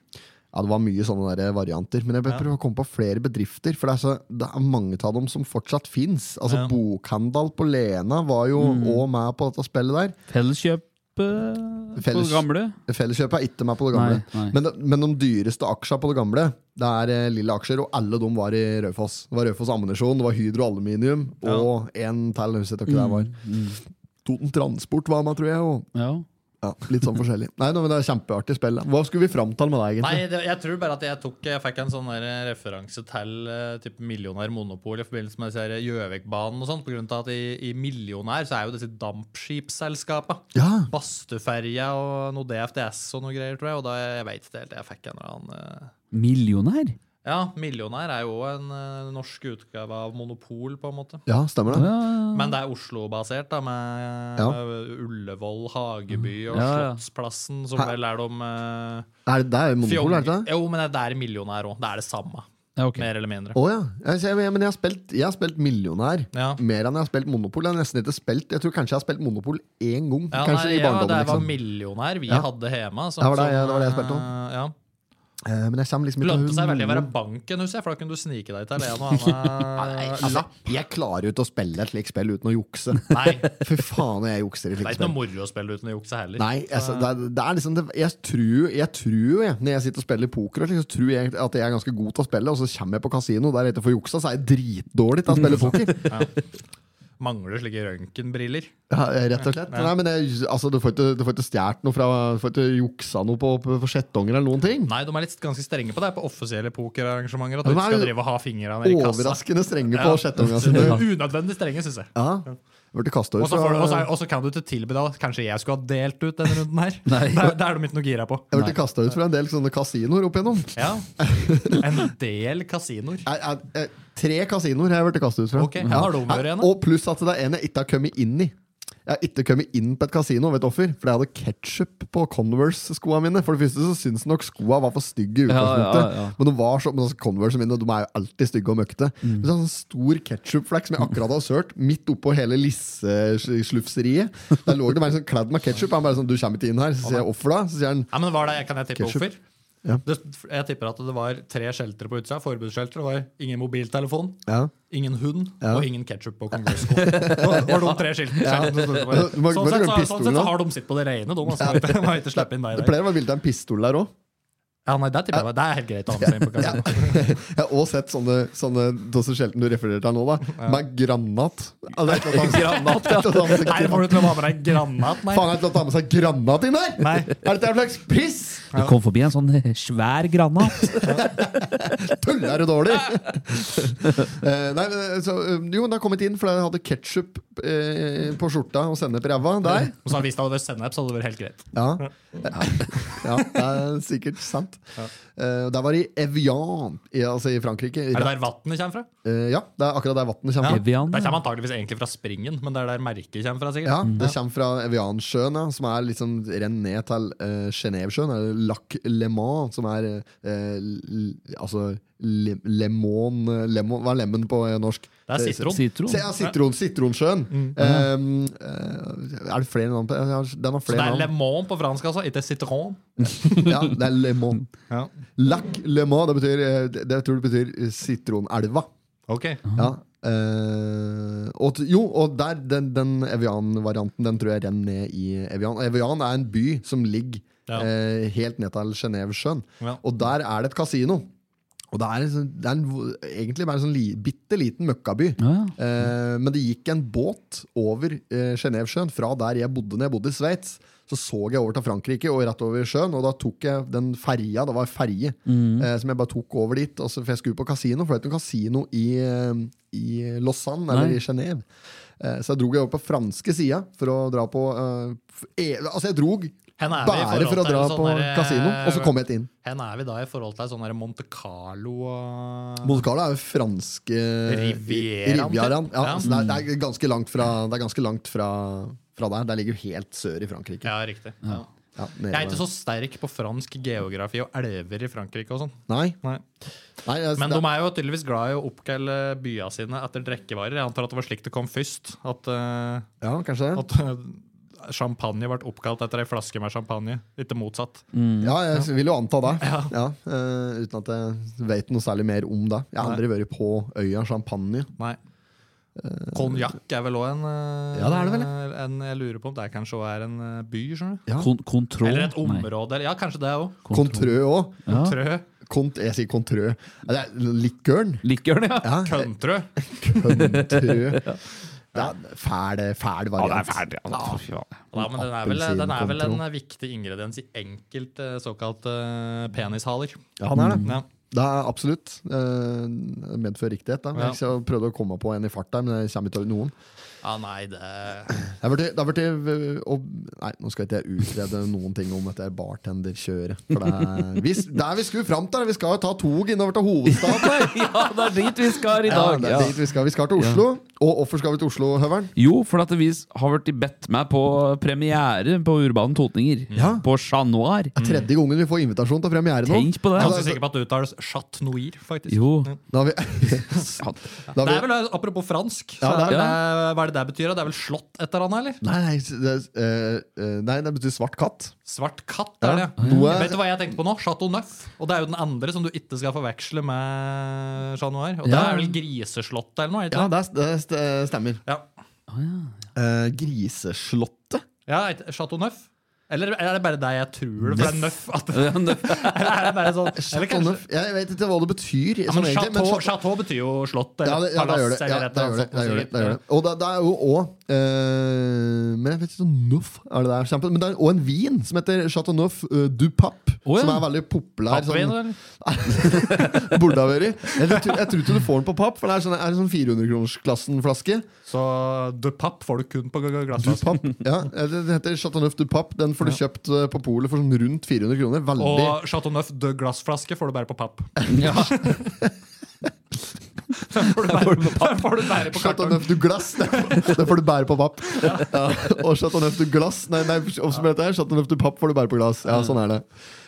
Speaker 1: Ja, det var mye sånne der eh, varianter. Men jeg prøver å komme på flere bedrifter, for det er, så, det er mange av dem som fortsatt fins. Altså,
Speaker 3: Ja.
Speaker 1: Bokhandal på Lena var jo
Speaker 2: Mm.
Speaker 1: òg med på dette spillet der.
Speaker 2: Felleskjøp eh, på
Speaker 1: Felles-
Speaker 2: gamle.
Speaker 1: Felleskjøpet er ikke med på det gamle.
Speaker 2: Nei, nei.
Speaker 1: Men, det- men de dyreste aksjene på det gamle, det er eh, lille aksjer, og alle de var i Raufoss. Det var Raufoss Ammunisjon, det var Hydro Aluminium og en til. Jeg husker ikke
Speaker 2: Mm,
Speaker 1: hva det var. Toten Transport var med, tror jeg. Og,
Speaker 2: Ja.
Speaker 1: ja, litt sånn forskjellig. Nei, nå, men Det er kjempeartig spill. da. Hva skulle vi fram til med deg, egentlig?
Speaker 3: Nei, det, jeg tror bare at jeg tok Jeg fikk en sånn der referanse til eh, typ Millionær Monopol i forbindelse med disse her Gjøvikbanen og sånt, på grunn av at i, i Millionær så er jo disse dampskipsselskapa.
Speaker 1: Ja,
Speaker 3: Bastuferja og noe DFDS og noe greier, tror jeg. Og da jeg veit ikke helt. Jeg fikk en eller annen eh,
Speaker 2: Millionær?
Speaker 3: Ja, Millionær er jo også en eh, norsk utgave av Monopol, på en måte.
Speaker 1: ja stemmer det.
Speaker 2: Ja.
Speaker 3: Men det er Oslo-basert, da, med
Speaker 1: Ja.
Speaker 3: eh, Ullevål, Hageby og
Speaker 2: Ja, ja.
Speaker 3: Slottsplassen, som
Speaker 1: Hæ?
Speaker 3: vel er de eh,
Speaker 1: Er det, det er jo monopol,
Speaker 3: Fjong-
Speaker 1: er det ikke det?
Speaker 3: Jo, men det er millionær òg. Det er det samme,
Speaker 2: Ja, ok.
Speaker 3: mer eller mindre.
Speaker 1: Å ja. Jeg, jeg, jeg, men jeg har spilt, jeg har spilt millionær
Speaker 3: Ja.
Speaker 1: mer enn jeg har spilt monopol. Jeg har nesten ikke spilt Jeg tror kanskje jeg har spilt monopol én gang.
Speaker 3: Ja,
Speaker 1: kanskje
Speaker 3: nei,
Speaker 1: i
Speaker 3: ja,
Speaker 1: barndommen
Speaker 3: det var
Speaker 1: liksom.
Speaker 3: millionær vi
Speaker 1: Ja.
Speaker 3: hadde hjemme. som-
Speaker 1: Det var det-
Speaker 3: som,
Speaker 1: ja, det var det jeg
Speaker 3: eh,
Speaker 1: spilte om.
Speaker 3: Ja.
Speaker 1: Eh, Men jeg kommer liksom ikke
Speaker 3: Det
Speaker 1: til å-
Speaker 3: lønte seg veldig å være banken, husker jeg, for da kunne du snike deg til
Speaker 1: [laughs]
Speaker 3: en og annen
Speaker 1: Altså,
Speaker 3: lapp.
Speaker 1: jeg klarer jo ikke å spille et slikt spill uten å jukse.
Speaker 3: Nei, det
Speaker 1: Fy faen, jeg jukser i
Speaker 3: er
Speaker 1: slike
Speaker 3: ikke noe
Speaker 1: spill.
Speaker 3: moro å spille uten å jukse heller.
Speaker 1: Nei, altså, det, er, det er liksom det, Jeg tror jeg, tror, jo, jeg, når jeg sitter og spiller poker, og slik, så tror jeg at jeg er ganske god til å spille, og så kommer jeg på kasino der jeg ikke får juksa, så er jeg dritdårlig til å spille poker.
Speaker 3: [laughs] Mangler slike røntgenbriller.
Speaker 1: Ja, rett og slett. Nei, men jeg, altså, du får ikke, du får ikke stjålet noe fra Du får ikke juksa noe på, på, på skjetonger eller noen ting.
Speaker 3: Nei, de er litt ganske strenge på det på offisielle pokerarrangementer. At
Speaker 1: Ja,
Speaker 3: du ikke
Speaker 1: men
Speaker 3: skal
Speaker 1: er jo
Speaker 3: drive og ha fingrene i kassa.
Speaker 1: Overraskende strenge
Speaker 3: [laughs] Ja.
Speaker 1: på skjetongene sine.
Speaker 3: Unødvendig strenge, syns jeg.
Speaker 1: Ja. Ble kastet
Speaker 3: Og
Speaker 1: ut
Speaker 3: så får du- og så-
Speaker 1: fra-
Speaker 3: og så kan du ikke tilby deg at Kanskje jeg skulle ha delt ut denne runden her.
Speaker 2: Nei.
Speaker 3: Det er- Det er de ikke noe gira på.
Speaker 1: jeg ble kasta ut fra en del sånne kasinoer opp igjennom.
Speaker 3: Ja. En del kasinoer.
Speaker 1: Jeg- jeg- jeg- eh, Tre kasinoer har jeg blitt kastet ut fra.
Speaker 3: Ok, har de vært igjen da?
Speaker 1: Og pluss at det er en jeg ikke har kommet inn i. Jeg har ikke kommet inn på et kasino, vet du hvorfor? For jeg hadde ketsjup på Converse-skoa mine. For det første så syns nok skoa var for stygge i utgangspunktet.
Speaker 2: Ja, ja, Mm. ja.
Speaker 1: Men de var så, men altså Converse mine de er jo alltid stygge og møkkete. Men så er det en sånn stor ketsjupflekk som jeg akkurat hadde sølt, midt oppå hele lisseslufseriet. Der lå det bare sånn kledd med ketsjup. Han bare sånn 'Du kommer ikke inn her.' Så sier jeg 'Hvorfor da?' Så sier han
Speaker 3: Ja, men var det, Kan jeg tippe
Speaker 1: Ketchup.
Speaker 3: hvorfor?
Speaker 1: Ja.
Speaker 3: Det, jeg tipper at det var tre skjeltere på utsida. Forbudsskjelter. Det var ingen mobiltelefon,
Speaker 1: Ja.
Speaker 3: ingen hund
Speaker 1: Ja.
Speaker 3: og ingen ketsjup på Kongresko. [laughs] Det var de tre skiltene.
Speaker 1: Du må-
Speaker 3: Sånn
Speaker 1: må glemme
Speaker 3: sett, så, sånn sett
Speaker 1: pistolen,
Speaker 3: så har de sitt på [laughs] det rene. De altså, må ikke- må ikke slippe inn deg
Speaker 1: Det
Speaker 3: der.
Speaker 1: pleier å være bilde av en pistol der òg.
Speaker 3: Ja, nei, det tipper jeg var- Det er helt greit å ha med seg inn på kasino.
Speaker 1: Jeg har også sett sånne, sånne Dosser Shelton du refererer til nå, da. Med granat. Ja, det er et eller annet-
Speaker 3: Granat,
Speaker 1: et eller annet-
Speaker 3: Nei, får du til å ha med deg granat? Nei.
Speaker 1: Faen, er det ikke lov til å ta med seg granat inn her?!
Speaker 3: Nei.
Speaker 1: Er dette en slags pris?!
Speaker 2: Det kom forbi en sånn eh, svær granat.
Speaker 1: Tull, er du dårlig? Eh, nei, men, så, eh, jo, den har kommet inn fordi den hadde ketsjup på skjorta og sennep i ræva. Der.
Speaker 3: Og så hvis det hadde vært sennep, så hadde det vært helt greit.
Speaker 1: Ja. [laughs] ja, det er sikkert sant. Eh, der var det i Evian, i, altså i Frankrike.
Speaker 3: Er det der vannet kommer fra?
Speaker 1: Eh, ja, det er akkurat der vannet kommer fra.
Speaker 2: Evian.
Speaker 3: Det kommer antageligvis egentlig fra springen, men det er der merket kommer fra. sikkert.
Speaker 1: Ja, Det kommer fra Eviansjøen, ja, som er liksom renn ned til uh, Genévesjøen. Eller Lac Le Mans, som er eh, l- Altså le, lemon, eh, lemon Hva er lemon på eh, norsk?
Speaker 3: Det er sitron. Mm.
Speaker 2: Sitron.
Speaker 1: Se, ja, sitron, Sitronsjøen. Um, eh, er det flere navn på ja, Den har
Speaker 3: Så det
Speaker 1: flere
Speaker 3: er
Speaker 1: navn.
Speaker 3: lemon på fransk, altså, ikke citron.
Speaker 1: ja, det er Lemon.
Speaker 3: Ja.
Speaker 1: Lac Le Mans, det betyr eh, Det, det tror jeg betyr eh, sitronelva.
Speaker 3: Ok.
Speaker 1: Ja. eh, og, t- jo, og der, den, den Evian-varianten Den tror jeg renner ned i Evian. Og Evian er en by som ligger
Speaker 3: Ja.
Speaker 1: eh, helt ned til Genévesjøen.
Speaker 3: Ja.
Speaker 1: Og der er det et kasino. Og det er, en sånn- det er en, vo- egentlig bare en sånn li, bitte liten møkkaby.
Speaker 2: Ja,
Speaker 1: Eh, men det gikk en båt over eh, Genévesjøen fra der jeg bodde når jeg bodde i Sveits. Så så jeg over til Frankrike og rett over sjøen, og da tok jeg den ferja. Det var en ferje
Speaker 2: Mhm.
Speaker 1: eh, som jeg bare tok over dit. Og så, for jeg skulle på kasino, for det er ikke noe kasino i, eh, i Lausanne
Speaker 2: Nei.
Speaker 1: eller i Genève. Eh, så jeg drog jeg over på franske sida for å dra på eh, f- e Altså, jeg drog
Speaker 3: Hen er vi i
Speaker 1: bare
Speaker 3: forhold
Speaker 1: for å
Speaker 3: til
Speaker 1: dra
Speaker 3: sånn
Speaker 1: på
Speaker 3: der, eh,
Speaker 1: kasino, og så kom jeg ikke inn.
Speaker 3: Hen er vi da i forhold til sånn der Monte Carlo og
Speaker 1: Monte Carlo er jo franske
Speaker 3: Rivieraen,
Speaker 1: Rivieraen,
Speaker 3: typ.
Speaker 1: ja,
Speaker 3: Ja.
Speaker 1: Så det, er, det er ganske langt, fra, det er ganske langt fra, fra der. Det ligger jo helt sør i Frankrike.
Speaker 3: Ja, riktig. Ja.
Speaker 1: Ja, nede
Speaker 3: Jeg er ikke
Speaker 1: der.
Speaker 3: så sterk på fransk geografi og elver i Frankrike og sånn.
Speaker 1: Nei,
Speaker 3: Nei.
Speaker 1: nei altså,
Speaker 3: Men
Speaker 1: det,
Speaker 3: de er jo tydeligvis glad i å oppkalle byene sine etter drikkevarer. Jeg antar at det var slik det kom først. At, eh,
Speaker 1: ja, kanskje det.
Speaker 3: at eh, champagne ble oppkalt etter ei flaske med champagne. Ikke motsatt.
Speaker 1: Ja, jeg vil jo anta det. Ja, eh, uten at jeg vet noe særlig mer om det. Jeg har aldri vært på øya Champagne.
Speaker 3: Nei. Konjakk er vel òg en eh,
Speaker 1: Eh, Ja, det er det vel,
Speaker 3: En jeg lurer på om det kanskje også er en eh, by, skjønner du.
Speaker 1: Ja.
Speaker 2: Kon kontroll.
Speaker 3: Eller et
Speaker 2: Nei,
Speaker 3: område. Eller, ja, kanskje det òg.
Speaker 1: Contrø òg.
Speaker 2: Ja.
Speaker 3: Trø.
Speaker 1: Cont, jeg sier Contrø. Ja, Det er likøren.
Speaker 2: Likøren, ja.
Speaker 1: Ja,
Speaker 3: Køntrø.
Speaker 1: Contrø.
Speaker 3: [laughs]
Speaker 1: Det er fæl, fæl variant.
Speaker 3: Ja, men den er vel, den er vel en eh,
Speaker 1: Appelsinkontroll.
Speaker 3: viktig ingrediens i enkelte såkalte eh, penishaler.
Speaker 1: Ja, den er det.
Speaker 3: Ja.
Speaker 1: Det er absolutt. Eh, medfører riktighet. Da.
Speaker 3: Ja.
Speaker 1: Jeg prøvde å komme på en i fart der, men jeg kommer ikke over noen.
Speaker 3: ja, nei, det
Speaker 1: Det har vært- det har vært- og- Nei, nå skal ikke jeg utrede noen ting om dette bartenderkjøret. For det er, vi, det er vi skulle fram til! Vi skal jo ta tog innover til hovedstaden!
Speaker 2: ja, det er dit vi skal [laughs] i
Speaker 1: Ja,
Speaker 2: dag.
Speaker 1: det
Speaker 2: Ja.
Speaker 1: er dit vi, skal. vi skal til Oslo. Og hvorfor skal vi til Oslo, Høveren?
Speaker 2: Jo, for at vi har vært i bedt med på premiere på Urbanen Totninger.
Speaker 1: Ja.
Speaker 2: På Chat Noir.
Speaker 1: Tredje gangen vi får invitasjon til premiere nå.
Speaker 2: Tenk på det.
Speaker 3: Jeg er
Speaker 1: det-
Speaker 3: ganske sikker på at det uttales Chat Noir, faktisk.
Speaker 2: Jo.
Speaker 1: Da har vi, da
Speaker 3: Det
Speaker 1: har
Speaker 3: er
Speaker 1: vi,
Speaker 3: vel eh, Apropos fransk, så
Speaker 1: Ja,
Speaker 3: er
Speaker 2: det er-
Speaker 3: vel det, hva er det det betyr? da? Det er vel slått etter han, eller?
Speaker 1: nei, nei, det, eh, eh, nei, det betyr svart katt.
Speaker 3: Svart katt,
Speaker 1: Ja.
Speaker 3: er det. ja.
Speaker 1: Noe-
Speaker 3: Vet du hva jeg tenkte på nå? Chateau Neuf. Og det er jo den andre som du ikke skal forveksle med Chat Noir. Og det
Speaker 2: Ja.
Speaker 3: er vel Griseslottet eller noe? er det
Speaker 1: Ja,
Speaker 3: Ikke?
Speaker 1: det, er- det stemmer.
Speaker 3: det? Ja.
Speaker 1: Eh, griseslottet.
Speaker 3: ja, er det Chateau Neuf. Eller er det bare deg jeg tror det, for det er Neuf? At, [laughs] eller er det bare sånn eller
Speaker 1: Chateau
Speaker 3: kanskje,
Speaker 1: Neuf. Jeg vet ikke hva det betyr.
Speaker 3: ja,
Speaker 1: sånn
Speaker 3: men
Speaker 1: egentlig,
Speaker 3: chateau,
Speaker 1: men Chateau-
Speaker 3: chateau betyr jo slott
Speaker 1: ja,
Speaker 3: eller
Speaker 1: det, ja, det gjør det.
Speaker 3: palass
Speaker 1: Ja,
Speaker 3: eller
Speaker 1: det
Speaker 3: et
Speaker 1: gjør det, det, gjør
Speaker 3: eller annet.
Speaker 1: det,
Speaker 3: sånt,
Speaker 1: det, gjør det. Og det, det er jo òg Men jeg vet ikke om Neuf er det der. eksempel, Men det er òg en vin som heter Chateau Neuf eh, du Pape.
Speaker 2: Å, ja.
Speaker 1: Som er veldig populær.
Speaker 3: Pappvin,
Speaker 1: sånn,
Speaker 3: eller?
Speaker 1: burde ha vært. Jeg tror- jeg tror ikke du får den på papp, for det er sånn, er det sånn 400-kronersklassen-flaske.
Speaker 3: Så de papp får du kun på
Speaker 1: Du
Speaker 3: glassflaske.
Speaker 1: Pape. Ja, det det heter Chateau Neuf du Pape. Den får du kjøpt eh, på polet for sånn rundt 400 kroner. Veldig
Speaker 3: Og Chateau Neuf de glassflaske får du bare
Speaker 1: [laughs]
Speaker 3: på papp.
Speaker 2: Ja.
Speaker 3: Får du bare, får du bare på
Speaker 1: Chateau
Speaker 3: kartong.
Speaker 1: Neuf du glass, [laughs] det det får du bære på papp. Ja. Og Chateau Neuf du glass Nei, nei oppsummer dette her. Chateau Neuf du papp får du bære på glass. Ja, sånn er det.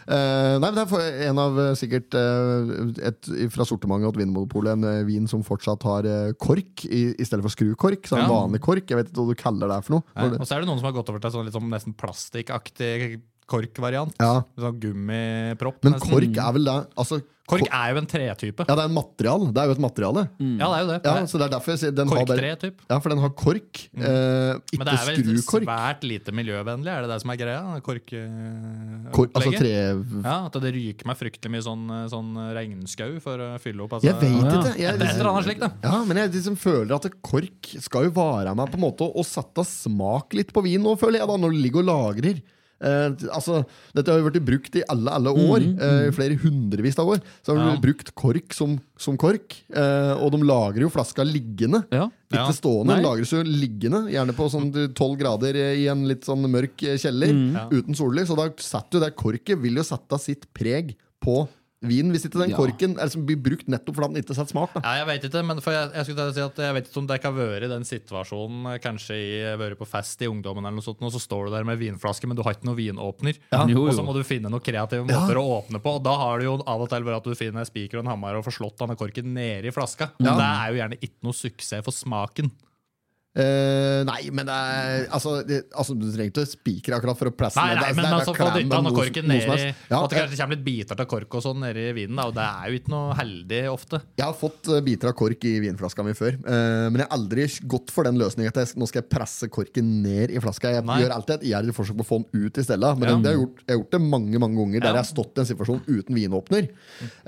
Speaker 1: Eh, nei, men Det er for- en av eh, sikkert eh, et, fra sortimentet til Vinmonopolet en eh, vin som fortsatt har eh, kork i, i stedet for skrukork. Så en
Speaker 3: Ja.
Speaker 1: vanlig kork. Jeg vet ikke hva du kaller det her for noe.
Speaker 3: Nei,
Speaker 1: Når
Speaker 3: Og
Speaker 1: det-
Speaker 3: så er det noen som har gått over til sånn litt sånn nesten plastikkaktig korkvariant.
Speaker 1: Ja.
Speaker 3: Sånn gummipropp.
Speaker 1: Men
Speaker 3: nesten.
Speaker 1: kork er vel det altså,
Speaker 3: mm. kork Mm. er jo en tretype.
Speaker 1: Ja, det er en material. Det er jo et materiale.
Speaker 3: Ja, det er jo det.
Speaker 1: Ja, så det er derfor jeg sier den har bare,
Speaker 3: Korktre, typ.
Speaker 1: Ja, for den har kork. eh,
Speaker 3: Mm. Men
Speaker 1: ikke
Speaker 3: det er vel
Speaker 1: skrukork.
Speaker 3: svært lite miljøvennlig, er det det som er greia? Kork... eh,
Speaker 1: Kork, altså
Speaker 3: opplegget?
Speaker 1: tre
Speaker 3: Ja, At det ryker meg fryktelig mye sånn, eh, sånn regnskau for å fylle opp. Altså.
Speaker 1: Jeg vet
Speaker 2: ja.
Speaker 1: ikke. Jeg, liksom-
Speaker 3: Det er et eller annet slikt, da.
Speaker 1: Ja, men jeg liksom føler at kork skal jo vare meg på en måte og sette smak litt på vin nå, føler jeg, da, når du ligger og lagrer. Eh, altså, dette har jo vært brukt i alle, alle
Speaker 2: Mm,
Speaker 1: år, eh, flere hundrevis av år. Så har de
Speaker 2: Ja.
Speaker 1: brukt kork som, som kork, eh, og de lager jo flaska liggende.
Speaker 2: Ja.
Speaker 1: Ikke
Speaker 3: Ja.
Speaker 1: stående,
Speaker 2: Nei.
Speaker 1: den lagres jo liggende, gjerne på sånn 12 grader eh, i en litt sånn mørk eh, kjeller,
Speaker 2: Mm.
Speaker 1: uten sollys. Og da satt jo det korket, vil jo sette sitt preg på vinen, hvis ikke den
Speaker 2: Ja.
Speaker 1: korken er som blir brukt nettopp fordi den ikke setter smak. Da.
Speaker 3: Ja, jeg vet ikke, men for jeg, jeg skulle til å si at jeg vet ikke om det kan være i den situasjonen eh, Kanskje i vært på fest i ungdommen, eller noe sånt, og så står du der med vinflaske, men du har ikke noen vinåpner.
Speaker 2: Jo, jo.
Speaker 3: Og så må du finne noen kreative måter å åpne på. Og da har du jo av og til bare at du finner en spiker og en hammer og får slått denne korken nedi flaska. Men det er jo gjerne ikke noe suksess for smaken.
Speaker 1: Eh, nei, men det er, altså, det, altså, du trenger ikke spikre akkurat for å plasse
Speaker 3: Nei,
Speaker 1: ned.
Speaker 3: nei,
Speaker 1: Det er-
Speaker 3: men
Speaker 1: det er- det er
Speaker 3: altså få
Speaker 1: klem,
Speaker 3: dytta
Speaker 1: men
Speaker 3: noe
Speaker 1: noe-
Speaker 3: korken
Speaker 1: noe som
Speaker 3: nedi
Speaker 1: helst. Ja,
Speaker 3: At det kanskje kommer litt biter av kork og sånn nedi vinen, da, og det er jo ikke noe heldig ofte.
Speaker 1: Jeg har fått eh, biter av kork i vinflaska mi før, eh, men jeg har aldri gått for den løsningen at jeg, sk- nå skal jeg presse korken ned i flaska. Jeg
Speaker 3: Nei.
Speaker 1: gjør alltid et iherdig forsøk på å få den ut i stedet. Men det har jeg, gjort, jeg har gjort det mange mange ganger der jeg har stått i en situasjon uten vinåpner.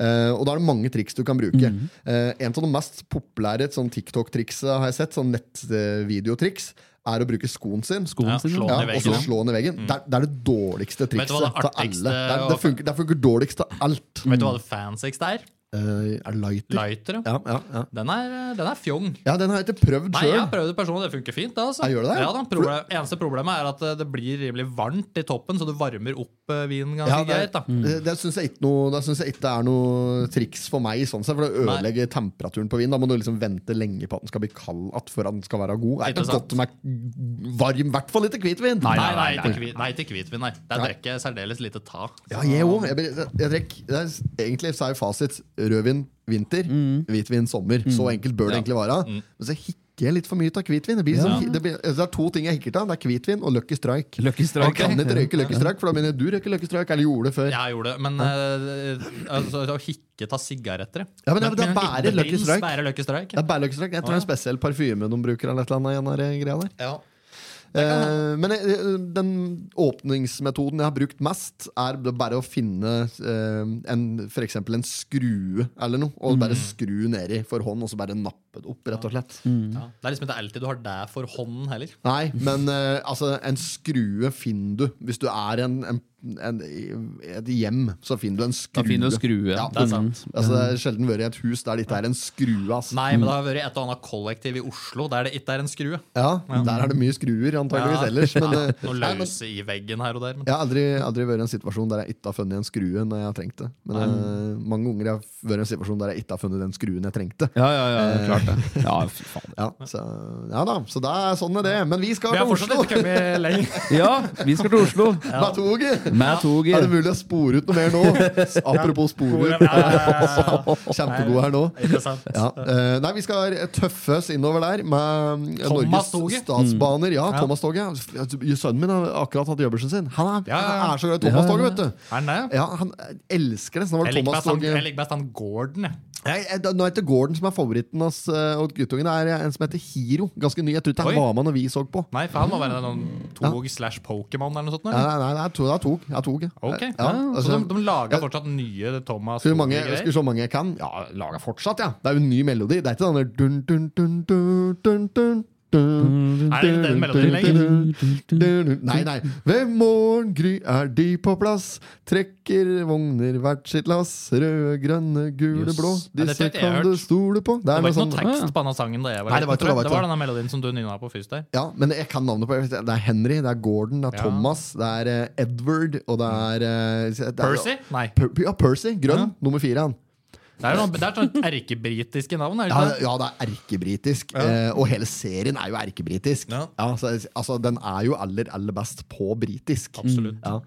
Speaker 1: Eh, og da er det mange triks du kan bruke.
Speaker 3: Mhm.
Speaker 1: Eh, en av de mest populære sånn TikTok-trikset har jeg sett, sånn nettvideotriks, er å bruke skoen sin.
Speaker 2: Skoen
Speaker 3: Ja, Mm.
Speaker 2: sin,
Speaker 3: slå
Speaker 1: Ja,
Speaker 3: den i
Speaker 1: og så
Speaker 3: veggen.
Speaker 1: slå den i veggen. Det, er, det er det dårligste
Speaker 3: Vet du
Speaker 1: trikset
Speaker 3: hva det
Speaker 1: til alle.
Speaker 3: artigste
Speaker 1: Det, er, det,
Speaker 3: og-
Speaker 1: funker, det funker dårligst til alt.
Speaker 3: Vet du hva det fansigste er?
Speaker 1: Eh, er Mm. det lighter?
Speaker 3: Lighter. ja.
Speaker 1: Ja, ja, ja.
Speaker 3: Den er, den er fjong.
Speaker 1: Ja, den har jeg ikke prøvd
Speaker 3: Nei, jeg har
Speaker 1: sjøl.
Speaker 3: prøvd det personlig, det funker fint. Det, altså.
Speaker 1: Ja, gjør det det?
Speaker 3: Ja, da, problem, eneste problemet er at eh, det blir rimelig varmt i toppen, så du varmer opp eh, vinen ganske
Speaker 1: Ja, det, Mm.
Speaker 3: greit. da.
Speaker 1: det, det syns jeg ikke noe Det synes jeg ikke er noe triks for meg, sånn sett, for det ødelegger temperaturen på vinen. Da må du liksom vente lenge på at den skal bli kald igjen før den skal være god. Er ikke
Speaker 3: Interessant.
Speaker 1: godt med varm, i hvert fall ikke hvitvin.
Speaker 3: Nei, nei, nei, til kvi- nei, til hvitvin. Nei. Der drikker jeg særdeles lite ta.
Speaker 1: Ja, jeg òg. Jeg, jeg, jeg drekk, det er, s- egentlig så er jo fasit rødvin vinter,
Speaker 2: Mm.
Speaker 1: hvitvin sommer. Så enkelt bør det egentlig være.
Speaker 3: Mm.
Speaker 1: Men så hikker jeg litt for mye av hvitvin. Det, blir sånn, det, blir, det er to ting jeg hikker av. Det er hvitvin og Lucky Strike.
Speaker 2: Lucky Strike,
Speaker 1: Jeg kan
Speaker 2: ja.
Speaker 1: ikke røyke Lucky Strike, for da mener jeg du røyker Lucky Strike. Eller gjorde det før. Ja,
Speaker 3: Jeg gjorde det, men eh, altså, å hikke ta sigaretter jeg.
Speaker 1: men, det- det er bare
Speaker 3: Prins,
Speaker 1: Lucky Strike.
Speaker 3: Bare Lucky Strike.
Speaker 1: Det er bare Lucky Strike. Jeg tror det er en spesiell parfyme de bruker. Eller et eller annet, igjen, her, eh, greia der.
Speaker 3: Ja.
Speaker 1: Eh, men eh, den åpningsmetoden jeg har brukt mest, er bare å finne eh, en, for eksempel en skrue eller noe, og bare skru nedi for hånd, og så bare nappe det opp, rett og slett.
Speaker 3: Ja. Det er liksom ikke alltid du har det for hånden heller.
Speaker 1: Nei, men eh, altså, en skrue finner du. Hvis du er en, en, en, i et hjem, så finner du en skrue.
Speaker 2: Da finner du en skrue.
Speaker 1: Ja,
Speaker 2: det er
Speaker 1: mm.
Speaker 2: sant.
Speaker 1: Altså, det er sjelden vært i et hus der det ikke er en skrue. ass.
Speaker 3: Nei, men det har vært et og annet kollektiv i Oslo der det ikke er en skrue.
Speaker 1: Ja, Der er det mye skruer, antageligvis ellers. Men,
Speaker 3: ja,
Speaker 1: eh,
Speaker 3: noe
Speaker 1: nei, men-
Speaker 3: løse i veggen her og der. Men.
Speaker 1: Jeg har aldri, aldri vært i en situasjon der jeg ikke har funnet en skrue når jeg har trengt det. Men eh, mange ganger har jeg vært i en situasjon der jeg ikke har funnet den skruen jeg trengte.
Speaker 2: Ja, ja, ja, klart
Speaker 1: [laughs]
Speaker 2: det. Ja, fy faen.
Speaker 1: Ja, så, ja da, så da er sånn er det. Men vi skal
Speaker 3: Vi har
Speaker 1: til
Speaker 3: fortsatt
Speaker 1: Oslo!
Speaker 3: ikke kommet lenger.
Speaker 2: Ja, vi skal til Oslo.
Speaker 1: Med toget!
Speaker 2: Med
Speaker 1: Er det
Speaker 2: toget.
Speaker 1: mulig å spore ut noe
Speaker 3: [laughs]
Speaker 1: mer nå? Apropos spore [laughs] ut. Kjempegod her nå.
Speaker 3: Interessant.
Speaker 1: Ja. eh, nei, vi skal tøffe oss innover der med mm, Norges
Speaker 3: Thomas-toget. Mm.
Speaker 1: statsbaner. Ja, Thomas-toget. Sønnen min har akkurat hatt jobbersen sin. Han er,
Speaker 3: Ja, ja, ja.
Speaker 1: han er så glad i Thomas-toget, vet du.
Speaker 3: Er den det?
Speaker 1: Ja, han elsker det. Så nå var
Speaker 3: Jeg
Speaker 1: det
Speaker 3: liker best han,
Speaker 1: Thomas-toget.
Speaker 3: jeg liker best han Gordon. jeg.
Speaker 1: Nei, eh, da- Nå er det ikke Gordon som er favoritten hans, eh, og guttungen er en som heter Hiro. Ganske ny. Jeg tror ikke han
Speaker 3: Oi.
Speaker 1: var med når vi så på.
Speaker 3: Nei, for han må være noen tog slash Pokémon eller noe sånt.
Speaker 1: Nei,
Speaker 3: Eller?
Speaker 1: nei, nei, det er to- det er tog. Ja, tog ja.
Speaker 3: Ok,
Speaker 1: Ja,
Speaker 3: Så de,
Speaker 1: altså,
Speaker 3: de lager
Speaker 1: ja.
Speaker 3: fortsatt nye Thomas
Speaker 1: skulle mange,
Speaker 3: Tove-greier?
Speaker 1: skulle så mange jeg kan. Ja, laga fortsatt, ja. Det er jo en ny melodi. Det er ikke den der dun, dun, dun, dun, dun, dun. dun,
Speaker 3: Er det ikke den
Speaker 1: dun,
Speaker 3: melodien
Speaker 1: dun,
Speaker 3: lenger?
Speaker 1: dun, dun, dun. Nei, nei. Ved morgengry er de på plass. Trekker vogner hvert sitt lass. Røde, grønne, gule,
Speaker 2: Jøss.
Speaker 1: blå.
Speaker 3: Ja, dette
Speaker 1: Disse
Speaker 3: har ikke jeg
Speaker 1: kan
Speaker 3: hørt.
Speaker 1: du stole på. Det
Speaker 3: Det
Speaker 1: er
Speaker 3: var
Speaker 1: noe
Speaker 3: ikke
Speaker 1: sånn
Speaker 3: noe tekst på denne sangen da jeg var
Speaker 1: Nei, det var
Speaker 3: liten,
Speaker 1: ikke det,
Speaker 3: tror jeg.
Speaker 1: det
Speaker 3: Det
Speaker 1: var
Speaker 3: var denne melodien som du nynna på først der.
Speaker 1: Ja, men jeg kan navnet på jeg vet- Det er Henry, det er Gordon, det er
Speaker 3: Ja.
Speaker 1: Thomas, det er eh, Edward, og det er, eh, det er
Speaker 3: Percy? Nei.
Speaker 1: Per, ja, Percy. Grønn.
Speaker 3: Ja.
Speaker 1: Nummer fire. han
Speaker 3: Det er, noe, det er sånn erkebritiske navn. Er det
Speaker 1: ja,
Speaker 3: ikke det?
Speaker 1: ja, det er erkebritisk. eh, Og hele serien er jo erkebritisk.
Speaker 3: Ja.
Speaker 1: så, altså, den er jo aller, aller best på britisk.
Speaker 3: Absolutt.
Speaker 1: Ja.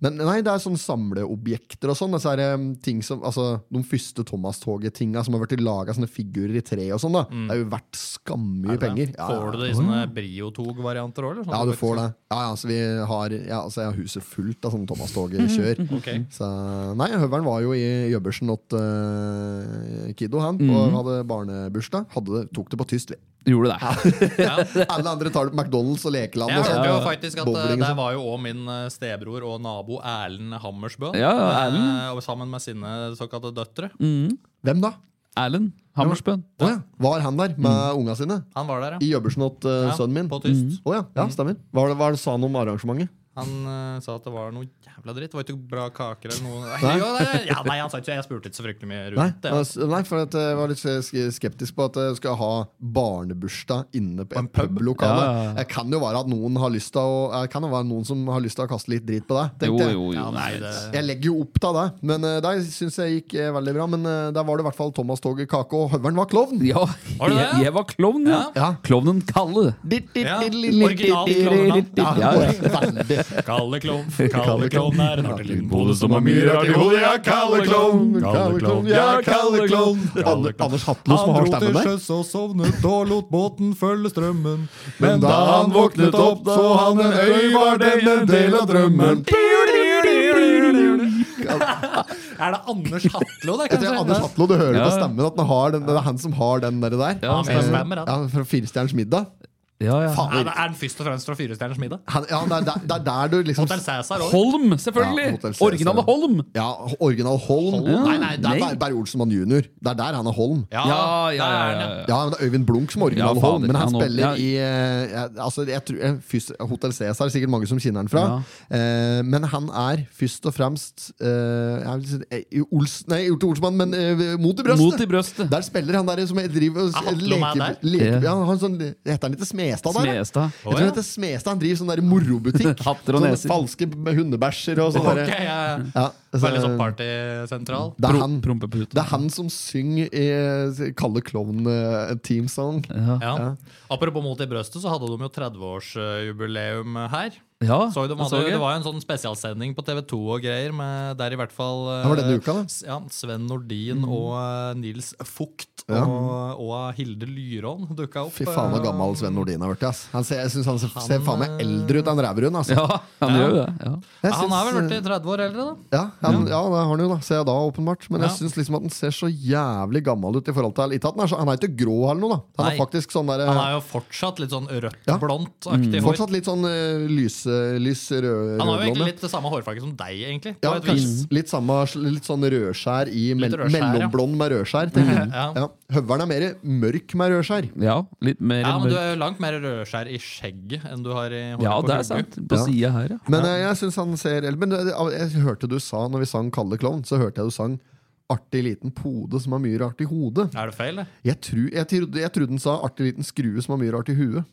Speaker 1: Men nei, det er sånn samleobjekter og sånn. Disse her, um, ting som, altså, de første Thomas-toget-tinga som har vært laga sånne figurer i tre og sånn, da. Det er jo verdt skammye penger. Ja,
Speaker 3: Får du Mm. det i sånne Brio-tog-varianter òg, eller? Sånn
Speaker 1: Ja,
Speaker 3: at
Speaker 1: du
Speaker 3: faktisk-
Speaker 1: får det. Ja, ja, altså, vi har, ja, altså, jeg har huset fullt av sånne Thomas-toget-kjør.
Speaker 3: Ok.
Speaker 1: Så, nei, Høveren var jo i jobbersen åt eh, Kiddo, han,
Speaker 3: Mhm.
Speaker 1: og hadde barnebursdag. Hadde, det- tok det på
Speaker 3: [laughs]
Speaker 1: tyst. vi.
Speaker 2: Gjorde det.
Speaker 1: Alle andre tar det på McDonald's og Lekeland.
Speaker 3: Jeg
Speaker 1: og
Speaker 3: hørte
Speaker 1: sånn.
Speaker 3: jo faktisk at eh,
Speaker 1: Bowling og
Speaker 3: der
Speaker 1: sånn.
Speaker 3: var jo òg min eh, stebror og nabo Erlend Hammersbø.
Speaker 2: Ja, Mm. ja,
Speaker 3: eh, og sammen med sine såkalte døtre.
Speaker 1: Hvem da?
Speaker 2: Erlend Hammersbøen.
Speaker 1: Å ja. Var han der med unga sine?
Speaker 3: Han var der, ja.
Speaker 1: I jobbersen åt eh,
Speaker 3: Mhm. Ja,
Speaker 1: sønnen min?
Speaker 3: på tyst.
Speaker 2: Mm.
Speaker 3: Mhm.
Speaker 1: Å ja. ja, stemmer. Hva, var det- hva var det sa han om arrangementet?
Speaker 3: Han Han eh, sa at det var noe jævla dritt. Det var ikke bra kaker eller noe. Nei,
Speaker 1: Nei.
Speaker 3: [laughs] jo, nei, nei, ja, nei han sa ikke Jeg spurte ikke så fryktelig mye
Speaker 1: Nei,
Speaker 3: rundt det.
Speaker 1: altså, nei, for at jeg var litt sk- skeptisk på at jeg skal ha barnebursdag inne på
Speaker 3: en
Speaker 1: et
Speaker 3: pub?
Speaker 1: publokale.
Speaker 2: Ja, ja, ja.
Speaker 1: Det kan jo være at noen har lyst til å eh, Kan jo være noen som har lyst til å kaste litt drit på deg.
Speaker 2: Jo,
Speaker 1: tenkte jeg.
Speaker 2: jo, jo.
Speaker 3: Ja,
Speaker 2: Nei,
Speaker 3: nei, det,
Speaker 1: Jeg legger jo opp til det, men eh, der syns jeg gikk eh, veldig bra. Men eh, der var det i hvert fall Thomas Toget Kake, og høveren var klovn.
Speaker 2: Ja,
Speaker 3: Var det det?
Speaker 2: jeg, jeg var klovn, ja.
Speaker 1: Ja.
Speaker 2: Klovnen Kalle.
Speaker 3: ja, Originalt klovnenavn.
Speaker 2: Ja, ja.
Speaker 1: [laughs]
Speaker 3: Kalle klovn, kalle klovn er en artig liten bonus som har mye rart i hodet.
Speaker 1: Ja, Kalle Klovn,
Speaker 3: Kalle Klovn,
Speaker 1: ja, Kalle Klovn.
Speaker 3: Kalle Klovn.
Speaker 1: Anders Hatlo som har stemmen der.
Speaker 3: sjøs og sovnet og lot båten følge strømmen.
Speaker 1: Men da han våknet opp, så han en øy var den en del av drømmen.
Speaker 3: Er det Anders Hatlo det,
Speaker 1: Jeg
Speaker 3: kanskje?
Speaker 1: tror Anders Hatlo, du hører
Speaker 2: Ja.
Speaker 1: på stemmen at han har den, det er han som har den der. der.
Speaker 2: Ja, han
Speaker 1: Eh,
Speaker 3: stemmer, han.
Speaker 1: ja, fra Firestjerners middag.
Speaker 2: ja, ja.
Speaker 3: Er, det,
Speaker 1: Faen,
Speaker 3: er den først og fremst fra Firestjerners middag?
Speaker 1: han, ja, det, er, der- det er der du liksom
Speaker 3: Hotel Cæsar òg.
Speaker 2: Holm,
Speaker 1: Ja,
Speaker 2: selvfølgelig!
Speaker 1: Hotel Cæsar.
Speaker 2: Originale Holm.
Speaker 1: Ja, Original Holm.
Speaker 2: Holm?
Speaker 1: Nei, nei, det er
Speaker 2: Nei.
Speaker 1: Ber- Berre Olsenmann jr. Det er der han er Holm.
Speaker 3: Ja,
Speaker 2: Ja, ja,
Speaker 3: der er
Speaker 2: ja,
Speaker 3: den,
Speaker 2: ja, ja.
Speaker 1: Ja, men det er Øyvind Blunk som original
Speaker 2: Ja,
Speaker 1: Holm,
Speaker 2: fader,
Speaker 1: men han
Speaker 2: han Holm,
Speaker 1: spiller
Speaker 2: ja.
Speaker 1: i eh, jeg- altså, jeg tror, eh, først- Hotel Cæsar er sikkert mange som kjenner han fra. Eh, men han er først og fremst eh, jeg vil si, eh, i Ols, Nei, ikke Olsmann, men eh, Mot i brøstet!
Speaker 2: Mot i brøstet.
Speaker 1: Der spiller han der som jeg driver og
Speaker 3: Er Hatlo
Speaker 1: leker,
Speaker 3: med der?
Speaker 1: leker
Speaker 2: Ja.
Speaker 1: ja, han har en sånn, Heter han ikke Smestad der? da? Jeg tror
Speaker 2: Smestad.
Speaker 3: Å, ja.
Speaker 1: han heter Smestad. Han driver sånn der morobutikk.
Speaker 2: [laughs] Hatter og
Speaker 1: Sånne
Speaker 2: neser.
Speaker 1: falske b- hundebæsjer og sånn.
Speaker 3: Ok,
Speaker 1: derre-
Speaker 3: ja, ja.
Speaker 1: Ja, altså- så-
Speaker 3: Veldig sånn partysentral.
Speaker 1: det, er
Speaker 2: Pro-
Speaker 1: han,
Speaker 2: Prompepute.
Speaker 1: det er han som synger i Kalle Klovn eh, Team Song.
Speaker 3: Ja. Apropos Mot i brøstet, så hadde de jo 30-årsjubileum her.
Speaker 2: Ja,
Speaker 3: Så de
Speaker 2: jeg
Speaker 3: hadde,
Speaker 2: så det.
Speaker 3: det var jo en sånn spesialsending på TV2 og greier, med, der i hvert fall eh,
Speaker 1: Det var denne uka, da. Mm.
Speaker 3: S- ja, Sven Nordin og eh, Nils Fugt og, og Hilde Lyrån dukka opp.
Speaker 1: Fy faen så
Speaker 3: eh,
Speaker 1: gammel Sven Nordin har blitt. ass. Han ser, jeg syns han ser, ser faen meg eldre ut enn rævrund. Altså.
Speaker 2: Ja, han gjør jo det. Ja.
Speaker 1: Jeg
Speaker 3: Han er
Speaker 1: syns,
Speaker 3: vel
Speaker 1: eh,
Speaker 3: blitt 30 år eldre, da.
Speaker 1: Ja, han, ja, det har han jo da, ser jeg da åpenbart. Men jeg
Speaker 3: Ja.
Speaker 1: syns liksom at han ser så jævlig gammel ut. i forhold til Ikke at Han er, så, han er ikke grå eller noe, da. Han
Speaker 3: Nei.
Speaker 1: er faktisk sånn der,
Speaker 3: Han er jo fortsatt litt sånn
Speaker 1: Ja.
Speaker 3: rødt-blondt-aktig hår.
Speaker 1: Fortsatt litt sånn eh, lys, eh, lys rød,
Speaker 3: Han har jo
Speaker 1: rødblond,
Speaker 3: egentlig
Speaker 1: ja.
Speaker 3: litt det samme hårfarge som deg, egentlig.
Speaker 1: Ja,
Speaker 3: På et vis.
Speaker 1: kanskje litt, samme, litt sånn rødskjær i mell
Speaker 3: rødskjær, ja.
Speaker 1: mellomblond med rødskjær. tenker jeg.
Speaker 3: [laughs] Ja.
Speaker 1: Ja. Høveren er mer mørk med rødskjær.
Speaker 2: ja, litt mer
Speaker 3: Ja,
Speaker 2: enn
Speaker 3: men du er jo langt mer rødskjær i skjegget enn du har i håret
Speaker 2: Ja,
Speaker 3: på
Speaker 2: det er
Speaker 3: hugget.
Speaker 2: sant. På
Speaker 1: Ja.
Speaker 2: sida her, ja.
Speaker 1: Men eh, jeg synes han ser eller, Men eh, jeg hørte du sa, når vi sang Kalle klovn, så hørte jeg du sang Artig liten pode som har mye rart i hodet.
Speaker 3: Er det feil, det?
Speaker 1: Jeg, tru, jeg, trodde, jeg trodde den sa artig liten skrue som har mye rart i huet.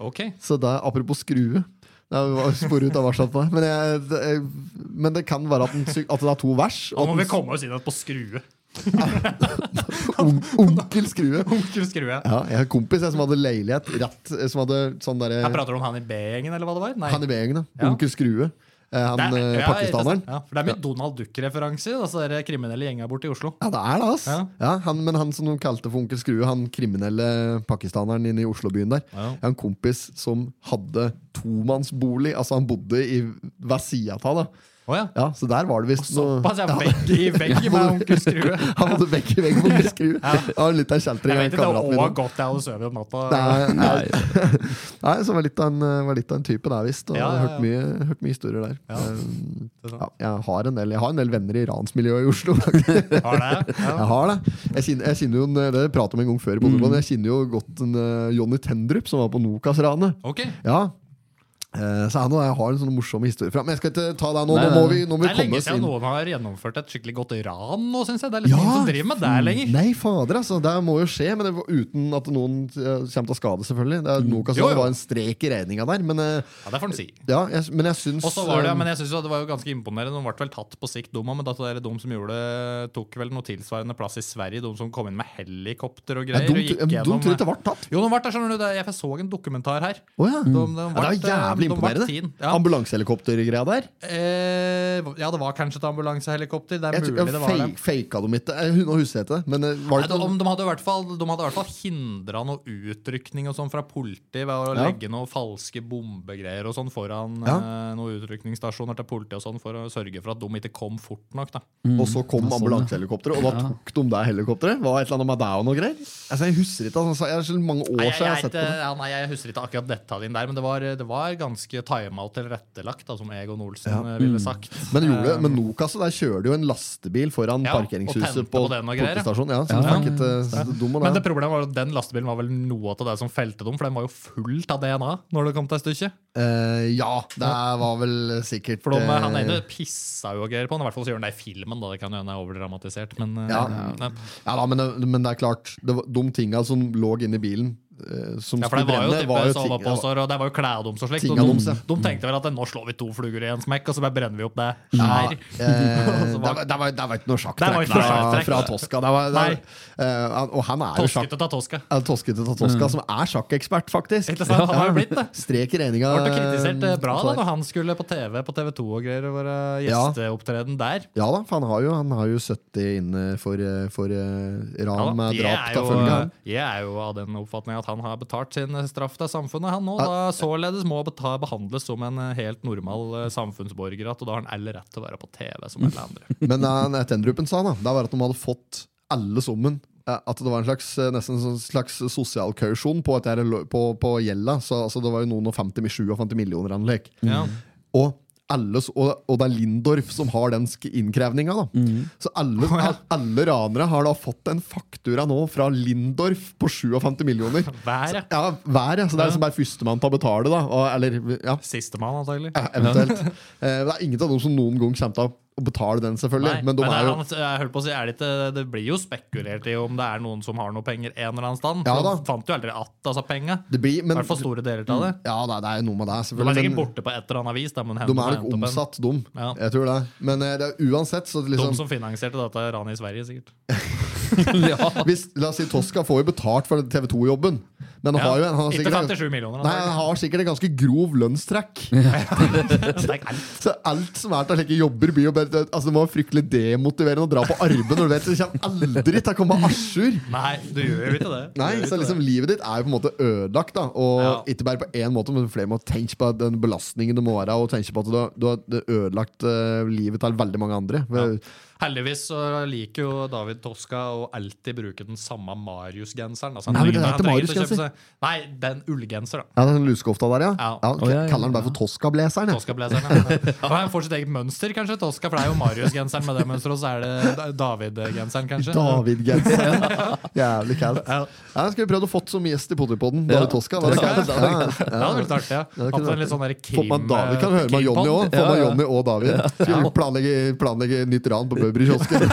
Speaker 3: Ok.
Speaker 1: Så det er apropos skrue. Det er jo spor ut av varselet på deg. Men, jeg, det er- men det kan være at, den, sy- at det er to vers.
Speaker 3: Da
Speaker 1: Og at
Speaker 3: må vi komme oss inn igjen på skrue. [laughs]
Speaker 1: den, on, onkel Skrue.
Speaker 3: Onkel Skrue.
Speaker 1: Ja, jeg har en kompis jeg, som hadde leilighet rett Som hadde sånn derre
Speaker 3: Jeg prater om han i B-gjengen, eller hva det var? Nei.
Speaker 1: Han i B-gjengen, da.
Speaker 3: Ja.
Speaker 1: Onkel Skrue. Eh,
Speaker 3: Det
Speaker 1: Han
Speaker 3: er-
Speaker 1: eh,
Speaker 3: ja,
Speaker 1: pakistaneren.
Speaker 3: interessant. Ja, for det er mye Donald Duck-referanser. Altså de kriminelle gjenga borte i Oslo.
Speaker 1: Ja, det er det, ass. Ja.
Speaker 3: Ja.
Speaker 1: han, men han som de kalte for onkel Skrue, han kriminelle pakistaneren inne i Oslobyen der,
Speaker 3: Ja.
Speaker 1: Jeg har en kompis som hadde tomannsbolig. Altså, han bodde i hver sida av det.
Speaker 3: Å ja.
Speaker 1: Ja, så der var det visst noe
Speaker 3: Såpass, jeg er vegg i vegg med onkel Skrue.
Speaker 1: [laughs] Han hadde vekk i vegg på
Speaker 3: [laughs]
Speaker 1: onkel Skrue. Det var litt av
Speaker 3: Jeg
Speaker 1: kjeltring.
Speaker 3: vet ikke det var godt jeg hadde sovet om natta.
Speaker 1: Nei, nei. [laughs] nei, så var litt av en, var litt av en type der, visst. Og
Speaker 3: Ja, ja, ja.
Speaker 1: Hørt, mye, hørt mye historier der.
Speaker 3: Ja.
Speaker 1: Um,
Speaker 3: [laughs] Det er
Speaker 1: ja,
Speaker 3: sant.
Speaker 1: jeg, har en del, jeg har en del venner i ransmiljøet i Oslo. [laughs] faktisk.
Speaker 3: Har det?
Speaker 1: Jeg [laughs]
Speaker 3: Ja.
Speaker 1: har det. Jeg kjenner, jeg kjenner jo en, det pratet om en gang før, i
Speaker 3: Mm.
Speaker 1: Bodø, men jeg kjenner jo godt en, eh, Johnny Tendrup, som var på Nokas-ranet.
Speaker 3: Ok.
Speaker 1: Ja. Eh, Så han og jeg har en sånn morsom historie fra Men jeg skal ikke ta deg nå. Nå
Speaker 2: Nei, nei,
Speaker 1: må
Speaker 2: nei.
Speaker 1: vi, nå må vi
Speaker 3: Det er
Speaker 1: komme
Speaker 3: lenge
Speaker 1: oss
Speaker 3: siden
Speaker 1: inn.
Speaker 3: noen har gjennomført et skikkelig godt ran nå, syns jeg. Det er litt ingen som driver med det lenger.
Speaker 1: Nei, fader, altså. Det må jo skje. Men det var uten at noen eh, kommer til å skade, selvfølgelig. Det er Nokas
Speaker 3: Mm. Jo, jo.
Speaker 1: det var en strek i regninga der. Men, eh,
Speaker 3: Ja, det får en si.
Speaker 1: ja, jeg, men jeg syns
Speaker 3: Og så var det,
Speaker 1: eh,
Speaker 3: men jeg synes jo at det var jo ganske imponerende. De ble vel tatt på sikt, dum, men dette der, de som gjorde det, tok vel noe tilsvarende plass i Sverige. De som kom inn med helikopter og
Speaker 1: det
Speaker 3: greier.
Speaker 1: er dumt,
Speaker 3: og
Speaker 1: eh,
Speaker 3: gikk gjennom-
Speaker 1: dumt tror jeg ikke det ble tatt.
Speaker 3: Jo, de ble der, skjønner du. det- Jeg så en dokumentar her.
Speaker 1: Å ja.
Speaker 3: De,
Speaker 1: Mm. Ja, det var jævlig
Speaker 3: de ble- de ble
Speaker 1: imponerende.
Speaker 3: teen. Ja.
Speaker 1: Ambulansehelikoptergreia der.
Speaker 3: Eh, ja, det var kanskje et ambulansehelikopter. Det er
Speaker 1: Jeg, tror-
Speaker 3: mulig det var
Speaker 1: jeg
Speaker 3: det.
Speaker 1: fake, faka dem ikke. Eh, Nå husker jeg ikke det. Men eh, var
Speaker 3: Nei,
Speaker 1: det
Speaker 3: de,
Speaker 1: ikke
Speaker 3: de hadde i hvert fall, de hadde i hvert fall hindra noe utrykning og sånn fra politiet ved å
Speaker 1: Ja.
Speaker 3: legge noen falske bombegreier og sånn foran eh, noen utrykningsstasjoner til politiet og sånn for å sørge for at de ikke kom fort nok. da.
Speaker 1: Og så
Speaker 3: Mm,
Speaker 1: kom ambulansehelikopteret, og da tok de det helikopteret. Var et eller annet med deg og noe greier? Altså, jeg husker ikke. Altså, jeg er så mange år
Speaker 3: Nei,
Speaker 1: siden jeg har
Speaker 3: jeg, jeg,
Speaker 1: sett på
Speaker 3: jeg,
Speaker 1: det.
Speaker 3: ja, nei, jeg husker ikke akkurat detaljen der, men det var, det var ganske tima og tilrettelagt, da, som Egon Olsen eh, ville sagt.
Speaker 1: Men, gjorde, det- men Nokas der kjører det jo en lastebil foran
Speaker 3: Eh. Ja, og
Speaker 1: parkeringshuset
Speaker 3: tente
Speaker 1: på
Speaker 3: på den og greier, ja.
Speaker 1: politistasjonen. Ja, så du fikk et, eh, så dum og
Speaker 3: Men det
Speaker 1: det.
Speaker 3: problemet var at den lastebilen var vel noe av det som felte dem, for den var jo full av DNA når det kom til stykket.
Speaker 1: Eh, ja, det var vel sikkert
Speaker 3: For de,
Speaker 1: eh,
Speaker 3: han ene pissa jo og greier på den, i hvert fall så gjør han det i filmen, da. Det kan jo hende jeg er overdramatisert, men eh,
Speaker 1: Ja.
Speaker 3: ja.
Speaker 1: Ja da, men det, men det er klart, det var, de tinga som lå inni bilen eh, som
Speaker 3: Ja, for
Speaker 1: skulle
Speaker 3: det var jo
Speaker 1: brenne,
Speaker 3: type sovepåser, og det var jo klær deres og slikt. Og
Speaker 1: Tinga
Speaker 3: de,
Speaker 1: deres, ja.
Speaker 3: de tenkte vel at eh, nå slår vi to fluger i en smekk, og så bare brenner vi opp det
Speaker 1: Ja,
Speaker 3: her.
Speaker 1: eh,
Speaker 3: [laughs] Og [laughs] så
Speaker 1: det
Speaker 3: var-
Speaker 1: var, det var, det var ikke noe
Speaker 3: Det var
Speaker 1: sjakktrekk
Speaker 3: ikke noe
Speaker 1: fra,
Speaker 3: sjakktrekk.
Speaker 1: fra Tosca. Det var, det, eh, han- og han er jo sjakk...
Speaker 3: Toskete ta toska.
Speaker 1: eh, Toskete til Tosca, som er sjakkekspert, faktisk.
Speaker 3: Mm. Ikke sant? Han har jo blitt det.
Speaker 1: [laughs] Strek i regninga.
Speaker 3: Ble kritisert eh, bra da
Speaker 1: så der.
Speaker 3: når han skulle på TV på TV2 og greier og være
Speaker 1: Ja.
Speaker 3: gjesteopptreden der.
Speaker 1: Ja da, for han har jo, han har jo 70 inne for, eh, for eh,
Speaker 3: Ja,
Speaker 1: ran
Speaker 3: da.
Speaker 1: med
Speaker 3: jeg,
Speaker 1: drap
Speaker 3: er
Speaker 1: til
Speaker 3: jo,
Speaker 1: følge.
Speaker 3: eh, jeg er jo av den oppfatning at han har betalt sin eh, straff til samfunnet. Han nå da
Speaker 1: Ja.
Speaker 3: således må beta, behandles som en eh, helt normal eh, samfunnsborger, at- og da har han all rett til å være på TV som alle andre.
Speaker 1: Men det Tendrupen sa, da, det var at de hadde fått alle summen. Eh, At det var en slags, eh, nesten en sånn slags sosial kausjon på, at det her lå- på, på gjelda. Så altså, det var jo noen og 50, 57 millioner han lek.
Speaker 3: Ja.
Speaker 1: Og, alle, s- og, og det er Lindorf som har den innkrevinga. da Så alle, alle ranere har da fått en faktura nå fra Lindorf på 57 millioner.
Speaker 3: [laughs] Hver, ja.
Speaker 1: Ja, hver, ja. Så det er liksom bare førstemann til å betale, da. Og, eller, ja,
Speaker 3: Sistemann, antagelig.
Speaker 1: ja, eventuelt. Eh, Det er ingen av dem som noen gang kommer til å betale den, selvfølgelig.
Speaker 3: Nei,
Speaker 1: men de er jo
Speaker 3: han, jeg holdt på å si, er det, ikke, det blir jo spekulert i om det er noen som har noe penger en eller annen stand.
Speaker 1: Ja,
Speaker 3: For
Speaker 1: da.
Speaker 3: de fant jo aldri att altså, penga.
Speaker 1: Det blir,
Speaker 3: I
Speaker 1: men,
Speaker 3: hvert fall store deler av det.
Speaker 1: Ja, det er- det er jo noe med det,
Speaker 3: De er
Speaker 1: selvfølgelig.
Speaker 3: sikkert
Speaker 1: Men
Speaker 3: borte på et eller annet vis. Da, men
Speaker 1: de er
Speaker 3: hendene
Speaker 1: nok
Speaker 3: har hendt opp en-
Speaker 1: omsatt, de.
Speaker 3: Ja.
Speaker 1: Jeg tror det. Men eh, det er uansett, så det
Speaker 3: De
Speaker 1: liksom
Speaker 3: som finansierte dette ranet i Sverige, sikkert.
Speaker 1: hvis, La oss si Tosca får jo betalt for TV 2-jobben, men han
Speaker 3: Ja,
Speaker 1: har jo en- han har
Speaker 3: ikke
Speaker 1: sikkert,
Speaker 3: 57 millioner,
Speaker 1: Nei,
Speaker 3: han har.
Speaker 1: han har sikkert en ganske grov lønnstrekk.
Speaker 3: [laughs] Det er ikke alt.
Speaker 1: Så alt som er til slike jobber, blir jo bare Altså Det må være fryktelig demotiverende å dra på arbeid når du vet du kommer aldri til å komme à jour.
Speaker 3: Nei, du gjør jo ikke det. Du
Speaker 1: Nei,
Speaker 3: gjør
Speaker 1: så
Speaker 3: ikke
Speaker 1: liksom
Speaker 3: det.
Speaker 1: Livet ditt er jo på en måte ødelagt. da Og
Speaker 3: Ja.
Speaker 1: Ikke bare på én måte, men flere må tenke på den belastningen det må være, og tenke på at du har, du har ødelagt eh, livet til veldig mange andre.
Speaker 3: Ja. Heldigvis så liker jo David Toska å alltid bruke den samme Marius-genseren. Altså, han
Speaker 1: Nei, men det
Speaker 3: trenger-
Speaker 1: er ikke
Speaker 3: han trenger å
Speaker 1: Marius-genser.
Speaker 3: kjøpe seg- Nei, den ullgenser, da.
Speaker 1: Ja, den lusekofta der, ja?
Speaker 3: Ja.
Speaker 1: ja,
Speaker 2: Å, ja, ja,
Speaker 1: Kaller den bare for Tosca-blazeren? ja.
Speaker 3: Toska-blazeren. ja. sånn,
Speaker 1: [laughs]
Speaker 3: Ja, Han får sitt eget mønster, kanskje. Toska, For det er jo Marius-genseren med det mønsteret, og så er det Da- David-genseren, kanskje.
Speaker 1: David-genseren. [laughs] Jævlig kaldt. Ja, den skulle vi prøvd å fått som gjest i Potipodden. David Tosca. Det
Speaker 3: Ja,
Speaker 1: hadde
Speaker 3: det
Speaker 1: vært
Speaker 3: hadde
Speaker 1: kaldt. Ja, ja.
Speaker 3: vært artig. ja.
Speaker 1: det kunne
Speaker 3: Hatt en
Speaker 1: vært
Speaker 3: litt sånn der
Speaker 1: Fått
Speaker 3: krim...
Speaker 1: med David, kan du høre med Jonny òg. Få med Jonny og David. Skulle Planlegge, planlegge nytt ran på Bøbry-kiosken.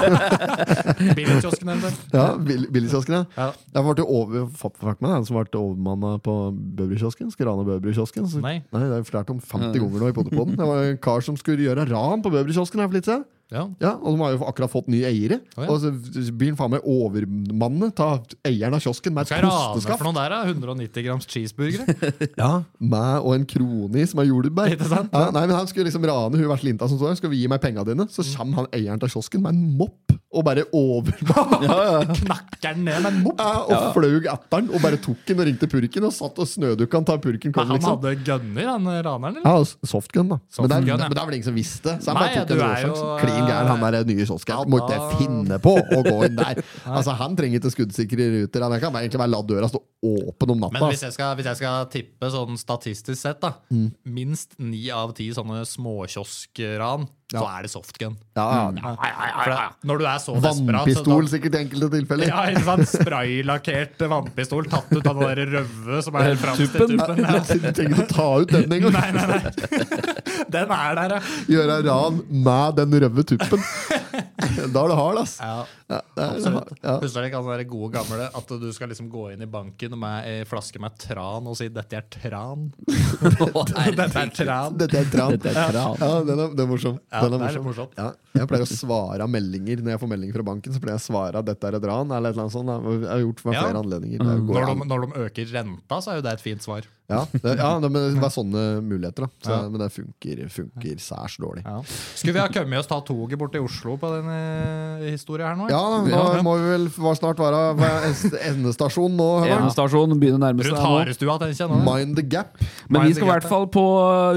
Speaker 3: Billedkiosken, eller? [laughs]
Speaker 1: Ja, Bill- Billigkiosken, ja.
Speaker 3: Ja.
Speaker 1: Jeg ble over, fuck, fuck meg, den som ble overmanna på Bøbrykiosken. Skulle rane Bøbrykiosken. Så-
Speaker 3: Nei.
Speaker 1: Nei, det er flært om 50 ganger nå i Poddepoden. Det var en kar som skulle gjøre ran på Bøbrykiosken her for litt siden.
Speaker 3: Ja.
Speaker 1: [laughs] Ja, og de har jo akkurat fått nye eiere.
Speaker 3: Å, ja.
Speaker 1: Og så blir han faen meg overmannet av eieren av kiosken med
Speaker 3: Skal
Speaker 1: et
Speaker 3: jeg rane for
Speaker 1: kosteskaft.
Speaker 3: noen der, da? 190 grams
Speaker 1: [laughs]
Speaker 3: cheeseburgere?
Speaker 1: Ja, meg og en krone i som er jordbær.
Speaker 3: Ikke sant?
Speaker 1: Ja, nei, men Han skulle liksom rane hun vesle jenta som står der. Skal vi gi meg penga dine? Så kommer han eieren av kiosken med en mopp og bare overmanner
Speaker 3: Knakker den ned med en mopp?
Speaker 1: Ja, og fløy etter den og bare tok den og ringte purken og satt og snødukka han til purken kom,
Speaker 3: Han
Speaker 1: liksom.
Speaker 3: hadde gønner, han eh, raneren? eller?
Speaker 1: Ja, og s- softgun, da. men, det er,
Speaker 3: Softgun, ja.
Speaker 1: men det er vel ingen som visste. Så han
Speaker 3: Nei,
Speaker 1: bare tok
Speaker 3: ja,
Speaker 1: en
Speaker 3: du er jo,
Speaker 1: råsjanse. Klin gæren, han der nye
Speaker 3: ja,
Speaker 1: kiosken. Må ikke
Speaker 3: da-
Speaker 1: finne på å gå inn
Speaker 3: [laughs]
Speaker 1: der. Altså, Han trenger ikke skuddsikre ruter. Han kan bare egentlig bare la døra stå åpen om
Speaker 3: Men
Speaker 1: natta.
Speaker 3: hvis jeg, skal, hvis jeg skal tippe sånn statistisk sett, da
Speaker 1: Mm.
Speaker 3: minst ni av ti sånne småkioskran, så er det softgun.
Speaker 1: Ja,
Speaker 3: Mm,
Speaker 1: ja.
Speaker 3: For det, når du er så desperat så
Speaker 1: Vannpistol
Speaker 3: da-
Speaker 1: sikkert i enkelte tilfeller.
Speaker 3: Ja, ikke sant? Spraylakkert vannpistol tatt ut av den der røve som er helt fram til
Speaker 2: Tuppen.
Speaker 1: [laughs]
Speaker 3: tuppen. Ja.
Speaker 1: Du trenger ikke ta ut den engang.
Speaker 3: [laughs] Nei, nei, nei. [laughs] Den er der, ja.
Speaker 1: Gjøre ran med den røde tuppen.
Speaker 3: [laughs]
Speaker 1: Da er det hard, ass.
Speaker 3: ja. Absolutt. Husker dere ikke han der gode gamle at du skal liksom gå inn i banken med ei flaske med tran og si 'dette er tran'? Dette er tran.
Speaker 1: Dette er tran.
Speaker 2: [laughs] Dette er tran.
Speaker 1: Ja, den er, den er morsom.
Speaker 3: Ja,
Speaker 1: den er
Speaker 3: det
Speaker 1: morsom.
Speaker 3: er litt morsomt.
Speaker 1: Ja, jeg pleier å svare av meldinger når jeg får melding fra banken. Så pleier jeg å svare at 'dette er et ran' eller et eller annet sånt. da. Jeg har gjort det ved
Speaker 3: Ja. Mm.
Speaker 1: flere anledninger. Det går
Speaker 3: Når
Speaker 1: an.
Speaker 3: de, når de øker renta, så er jo det et fint svar.
Speaker 1: Ja, det, ja, det, men det var sånne muligheter, da. Så,
Speaker 3: Ja.
Speaker 1: Men det funker, funker særs dårlig. Ja.
Speaker 3: Skulle vi ha kommet oss ta toget bort til Oslo på denne eh, historien her nå?
Speaker 1: da, nå må vi vel f- snart være ved endestasjon nå. Høveren.
Speaker 2: Endestasjonen begynner å nærme seg
Speaker 3: Rundt
Speaker 2: nå.
Speaker 3: Harestua, tenker jeg nå.
Speaker 1: Mind the gap.
Speaker 2: eh, Men vi skal i hvert fall på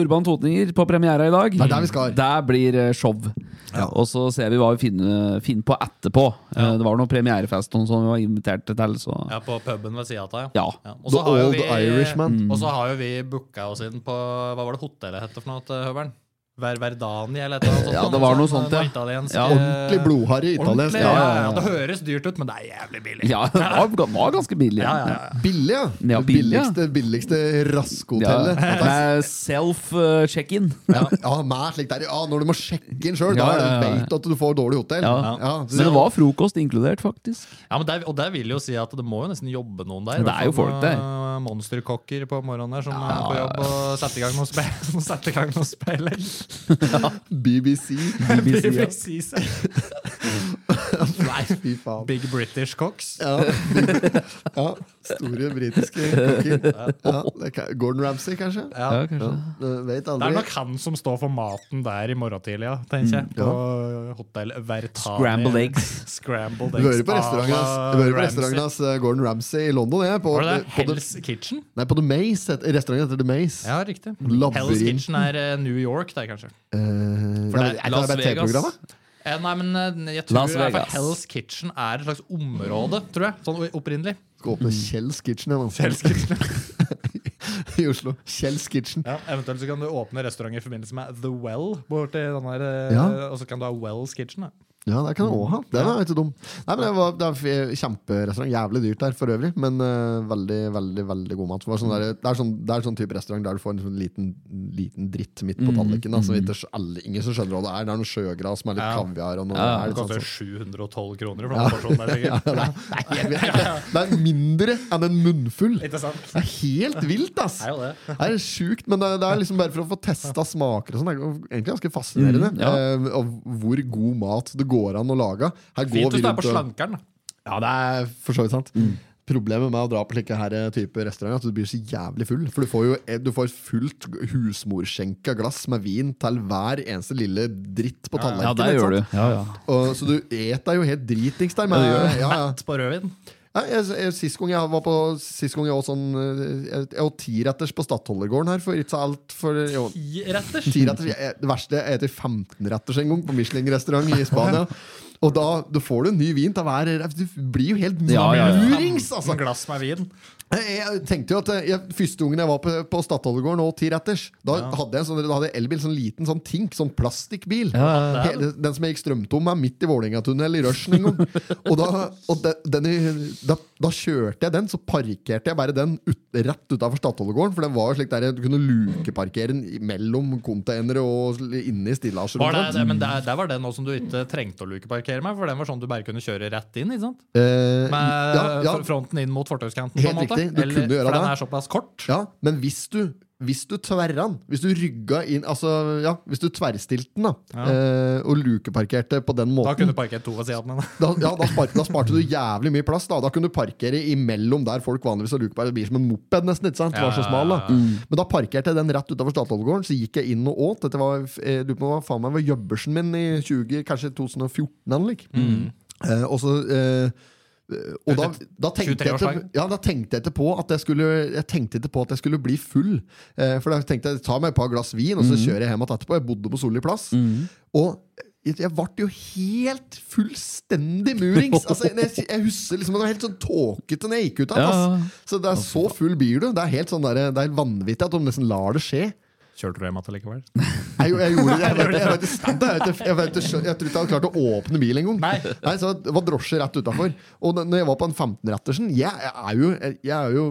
Speaker 2: Urban Totninger på premiera i dag.
Speaker 1: der vi skal.
Speaker 2: Der blir eh, show. Og så ser vi hva vi finner, finner på etterpå. Eh, Det var noen premierefest og noe sånt vi var invitert til, så
Speaker 3: Ja, på puben ved sida av deg.
Speaker 2: ja.
Speaker 3: Og
Speaker 1: The
Speaker 3: så har jo
Speaker 1: Old Irishman.
Speaker 3: Og så har jo vi booka oss inn på Hva var det hotellet het for noe, Høveren? Ver Verdani, eller et eller annet? sånt, altså.
Speaker 2: Ja, det var noe sånt, ja.
Speaker 3: italiensk,
Speaker 2: Ja.
Speaker 3: eh,
Speaker 1: Ordentlig blodharry italiensk. Ja,
Speaker 3: ordentlig, Ja,
Speaker 1: ja.
Speaker 3: ja, ja. Det høres dyrt ut, men det er jævlig
Speaker 2: [laughs]
Speaker 3: billig.
Speaker 2: Ja, det var, det var ganske billig.
Speaker 3: Ja, ja, ja.
Speaker 1: Billig, ja.
Speaker 2: Ja,
Speaker 1: det
Speaker 2: billig, ja.
Speaker 1: billigste, billigste raskhotellet.
Speaker 2: Ja.
Speaker 1: Ja.
Speaker 2: Med eh, self-check-in.
Speaker 1: [laughs] Ja, mer slik der. ja, Når du må sjekke inn sjøl,
Speaker 2: Ja,
Speaker 1: da
Speaker 2: ja, ja.
Speaker 1: vet du at du får dårlig hotell.
Speaker 2: Ja.
Speaker 1: så-
Speaker 2: Men det var frokost inkludert, faktisk.
Speaker 3: Ja, men der, og der vil jo si at det må jo nesten jobbe noen der.
Speaker 2: Det er jo
Speaker 3: i hvert fall
Speaker 2: folk
Speaker 3: noen,
Speaker 2: der.
Speaker 3: øh, Monsterkokker på morgenen der som er på jobb og setter i gang noen [laughs] spill. setter i gang noen
Speaker 2: [laughs]
Speaker 3: spill.
Speaker 1: BBC.
Speaker 2: BBC,
Speaker 3: Precis. Nei,
Speaker 1: Fy faen.
Speaker 3: Big British Cocks.
Speaker 1: Ja. ja. Store britiske kokker. Ja, det kan- Gordon Ramsay, kanskje?
Speaker 2: Ja,
Speaker 3: Ja.
Speaker 2: kanskje.
Speaker 1: Du Vet
Speaker 3: Det er
Speaker 1: aldri.
Speaker 3: nok han som står for maten der i morgen tidlig, ja, tenker jeg. På Hotell Vertani.
Speaker 2: Mm, Scrambled eggs.
Speaker 3: [laughs] Scrambled
Speaker 1: Du
Speaker 3: eggs.
Speaker 1: hører på restauranten hans,
Speaker 3: à
Speaker 1: du hører på
Speaker 3: Ramsay.
Speaker 1: restauranten hans eh, Gordon Ramsay i London. Jeg, på,
Speaker 3: Var det det?
Speaker 1: på, the,
Speaker 3: Hell's Kitchen?
Speaker 1: nei, på The Maze. het- Restauranten heter The Maze.
Speaker 3: Ja, riktig.
Speaker 1: Labyrinten.
Speaker 3: Hell's Kitchen er eh, New York, der, kanskje.
Speaker 1: Eh,
Speaker 3: For
Speaker 1: ja,
Speaker 3: det er
Speaker 1: men
Speaker 3: Las
Speaker 1: det bare
Speaker 3: Vegas.
Speaker 1: TV-programmet?
Speaker 3: Eh, Nei, men eh, jeg tror
Speaker 2: Las
Speaker 3: i hvert fall
Speaker 2: Vegas.
Speaker 3: Hell's Kitchen er et slags område, tror jeg. Sånn opprinnelig.
Speaker 1: Skal
Speaker 2: Mm.
Speaker 1: åpne Kjells Kitchen igjen, altså.
Speaker 3: Hell's Kitchen.
Speaker 1: [laughs] i Oslo. Kjells Kitchen.
Speaker 3: [laughs] Ja, eventuelt så kan du åpne restaurant i forbindelse med The Well. Borti den her, eh,
Speaker 1: Ja.
Speaker 3: Og så kan du ha Wells Kitchen. Da.
Speaker 1: Ja, der
Speaker 3: Mm.
Speaker 1: kan jeg òg ha. Den er ikke dum. Nei, men det var, det var Kjemperestaurant. Jævlig dyrt der for øvrig, men eh, veldig veldig, veldig god mat. Det, var sånn der, det, er sånn, det er sånn type restaurant der du får en sånn liten, liten dritt midt på
Speaker 3: Mm.
Speaker 1: altså, tallriken. da, som ikke skj- alle, ingen som skjønner hva det er. Det er noe sjøgras med litt
Speaker 3: Ja.
Speaker 1: kaviar og noe.
Speaker 2: Ja,
Speaker 1: det er
Speaker 3: Det
Speaker 1: litt [laughs] sånn,
Speaker 3: koster
Speaker 1: sånn.
Speaker 3: 712 kroner for den porsjonen
Speaker 1: [laughs]
Speaker 3: der, sikkert.
Speaker 1: Nei, nei, jeg vet ikke. Det er mindre enn en munnfull.
Speaker 3: Ikke sant?
Speaker 1: Det er helt vilt, ass!
Speaker 3: Det er jo det.
Speaker 1: Det er sjukt, men det er, det er liksom bare for å få testa smaker og sånn. Det er jo egentlig ganske fascinerende.
Speaker 2: Mm, ja.
Speaker 1: eh, og hvor god mat det går an å lage. Her går
Speaker 3: Fint
Speaker 1: vi
Speaker 3: hvis du er
Speaker 1: rundt
Speaker 3: på
Speaker 1: og-
Speaker 3: slankeren. da.
Speaker 1: Ja, det er for så vidt sant.
Speaker 2: Mm.
Speaker 1: Problemet med å dra på slike her eh, type restauranter er at du blir så jævlig full. For du får jo eh, du får fullt husmorskjenka glass med vin til hver eneste lille dritt på tallerkenen.
Speaker 2: Ja, der
Speaker 1: ikke
Speaker 2: gjør du.
Speaker 1: sant? Og, så du et deg jo helt dritings der. Med, ja, ja.
Speaker 3: Mett på rødvin.
Speaker 1: Nei, jeg, jeg, sist gang jeg var på Sist gang jeg var sånn eh, Jeg, jeg var tiretters på Stadholdergården her For ikke så alt for jo,
Speaker 3: Tiretters.
Speaker 1: tiretters, jeg, jeg- Det verste jeg etter 15-retters en gang På Michelin-restaurant i
Speaker 2: [laughs]
Speaker 1: Spania Og da, da får du en ny vin til hver Du blir jo helt
Speaker 2: Ja, ja, ja.
Speaker 1: murings altså.
Speaker 3: Sånn glass med vin.
Speaker 1: jeg, jeg tenkte jo at eh, jeg, Første gangen jeg var på, på Stadholdergården Og tiretters Da hadde jeg en sånn, da hadde jeg elbil Sånn liten sånn tink Sånn plastikkbil Hele, den som jeg gikk strømtom med midt i Vålerenga-tunnel i rushen en gang. Og, da, og de, den, i- da, da kjørte jeg den, så parkerte jeg bare den ut, rett utafor Stadholdegården. For den var jo slik der du kunne lukeparkere den i- mellom containere og sl- inne i stillasjer.
Speaker 3: Var det,
Speaker 1: omtrent.
Speaker 3: det, men der, der var det noe som du ikke trengte å lukeparkere med, for den var sånn du bare kunne kjøre rett inn. ikke sant?
Speaker 1: Eh,
Speaker 3: Med
Speaker 1: ja, ja,
Speaker 3: fr- fronten inn mot fortauskanten. på
Speaker 1: Helt
Speaker 3: en måte.
Speaker 1: riktig, du kunne gjøre
Speaker 3: for den
Speaker 1: det.
Speaker 3: er såpass kort.
Speaker 1: ja, men hvis du hvis du tverra den, hvis du rygga inn Altså, ja, hvis du tverrstilte den da eh, og lukeparkerte på den måten
Speaker 3: Da kunne du parkert to ved
Speaker 1: [laughs]
Speaker 3: siden av den.
Speaker 1: da, ja, da, sparte, da sparte du jævlig mye plass. Da Da kunne du parkere imellom der folk vanligvis har lukepark. Det blir som en moped, nesten. ikke sant? Det var så smal, da. Men da parkerte jeg den rett utafor Statoilgården, så gikk jeg inn og åt. Dette var, eh, lurer på hva faen meg var jøbbersen min i 20, kanskje 2014. Anlik.
Speaker 3: Mm.
Speaker 1: Eh, og så eh, og da, da, tenkte jeg ikke,
Speaker 3: 23-årsdagen.
Speaker 1: ja, da tenkte jeg ikke på at jeg skulle Jeg tenkte ikke på at jeg skulle bli full. Eh, for da tenkte jeg ta meg et par glass vin, og så kjører jeg hjem igjen etterpå. Jeg bodde på Solli plass. Og jeg, jeg ble jo helt fullstendig murings. Altså, jeg, jeg husker liksom at det var helt sånn tåkete når jeg gikk ut av
Speaker 2: Ja.
Speaker 1: den. ass. Så det er så full blir du. Det er helt sånn der, det er vanvittig at de nesten lar det skje.
Speaker 3: Kjørte du hjem igjen likevel?
Speaker 1: Jeg, jeg gjorde det. Jeg, vet, jeg, vet, jeg, vet, jeg, vet, jeg, vet, jeg tror ikke jeg hadde klart å åpne bilen engang.
Speaker 3: Nei.
Speaker 1: Nei, så det var drosje rett utafor. Og da når jeg var på en 15-rettersen Jeg er jo, jeg er jo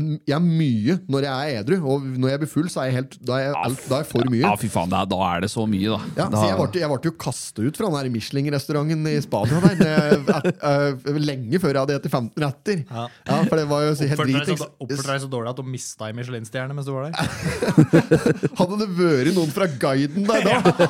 Speaker 1: en, jeg er mye når jeg er edru. Og når jeg blir full, så er jeg, helt, da er jeg, alt, da er jeg for mye.
Speaker 2: Ja, fy faen, da, da er det så mye, da.
Speaker 1: Ja,
Speaker 2: da
Speaker 1: så jeg ble, jeg ble jo kastet ut fra den her Michelin-restauranten i Spania der, når jeg- at- øh, lenge før jeg hadde spist 15 retter. Ja. for det var jo så helt
Speaker 3: [laughs] Oppførte deg
Speaker 1: dritings.
Speaker 3: så, oppførte deg så dårlig at du mista ei Michelin-stjerne mens du
Speaker 1: [laughs]
Speaker 3: var der? [laughs]
Speaker 2: [laughs]
Speaker 1: Hadde det vært noen fra guiden der da?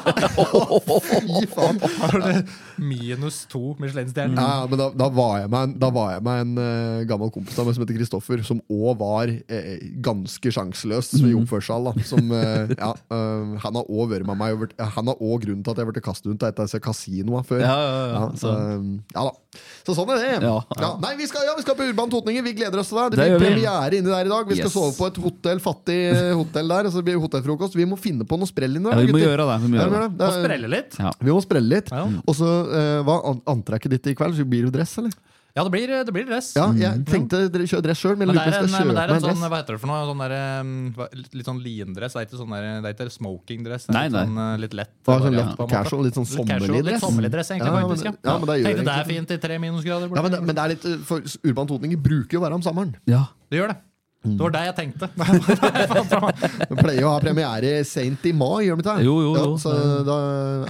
Speaker 1: Å, fy faen.
Speaker 3: Har du, Minus to
Speaker 9: Mm.
Speaker 3: Michelin-stjerner.
Speaker 1: Ja, men da, da var jeg med en, da var jeg med en eh, gammel kompis av meg som heter Kristoffer, som òg var eh, ganske sjanseløs i
Speaker 9: Mm.
Speaker 1: oppførsel. Da, som, eh, ja, eh, han har òg vært med meg og vært- eh, Han har òg grunnen til at jeg ble kastet rundt av et av disse kasinoene før.
Speaker 9: Ja, ja, ja,
Speaker 1: så. eh, ja da. Så sånn er det.
Speaker 9: Ja, ja.
Speaker 1: Nei, vi skal, ja, vi skal på Urban Totninger. Vi gleder oss til
Speaker 9: Det
Speaker 1: det. Det blir
Speaker 9: gjør vi.
Speaker 1: premiere inni der i dag. Vi skal
Speaker 9: Yes.
Speaker 1: sove på et hotell, fattig eh, hotell der. Og så blir det hotellfrokost. Vi må finne på noe sprell inni
Speaker 9: Ja,
Speaker 1: der.
Speaker 9: vi må
Speaker 1: gutter.
Speaker 9: gjøre det. Vi må
Speaker 1: Ja,
Speaker 9: gjøre
Speaker 1: vi må
Speaker 9: det.
Speaker 1: det.
Speaker 3: Og
Speaker 1: Det er-
Speaker 3: sprelle litt.
Speaker 9: Ja.
Speaker 1: vi må sprelle litt.
Speaker 3: Ja.
Speaker 9: Mm.
Speaker 1: Og så eh, hva an- antrekket ditt i kveld? Så blir det jo dress, eller?
Speaker 3: Ja, det blir, det blir dress.
Speaker 1: Ja,
Speaker 9: Mm.
Speaker 1: jeg tenkte dere kjøre dress sjøl, men jeg
Speaker 3: Men
Speaker 1: lurer
Speaker 3: det
Speaker 1: på
Speaker 3: er
Speaker 1: om jeg
Speaker 3: en,
Speaker 1: skal
Speaker 3: men det
Speaker 1: kjøpe meg
Speaker 3: er en
Speaker 1: en
Speaker 3: sånn,
Speaker 1: dress.
Speaker 3: hva heter det for noe? Sånn der, um, hva- litt sånn lindress. Det er ikke sånn, der, det er ikke smokingdress. Det er
Speaker 9: Nei,
Speaker 3: litt
Speaker 9: nei.
Speaker 3: Sånn, uh, litt lett.
Speaker 1: Bare sånn
Speaker 3: variant,
Speaker 1: lett
Speaker 3: på en måte.
Speaker 1: casual, litt sånn
Speaker 3: casual,
Speaker 1: sommerlig dress.
Speaker 3: Litt sommerlig dress, egentlig,
Speaker 1: Ja, men-
Speaker 3: faktisk. Ja.
Speaker 1: ja, men det gjør
Speaker 3: Tenkte
Speaker 1: jeg
Speaker 3: det er
Speaker 1: ikke.
Speaker 3: fint i tre minusgrader.
Speaker 1: Ja, men, det, men det er litt, eh, for Urban Totninger bruker jo å være om sommeren.
Speaker 9: Ja.
Speaker 3: Det gjør det.
Speaker 1: Mm.
Speaker 3: Det var deg jeg
Speaker 1: [laughs]
Speaker 3: tenkte.
Speaker 1: Vi pleier jo å ha premiere seint i mai, gjør vi ikke det?
Speaker 9: Jo, jo, jo.
Speaker 1: Ja, så da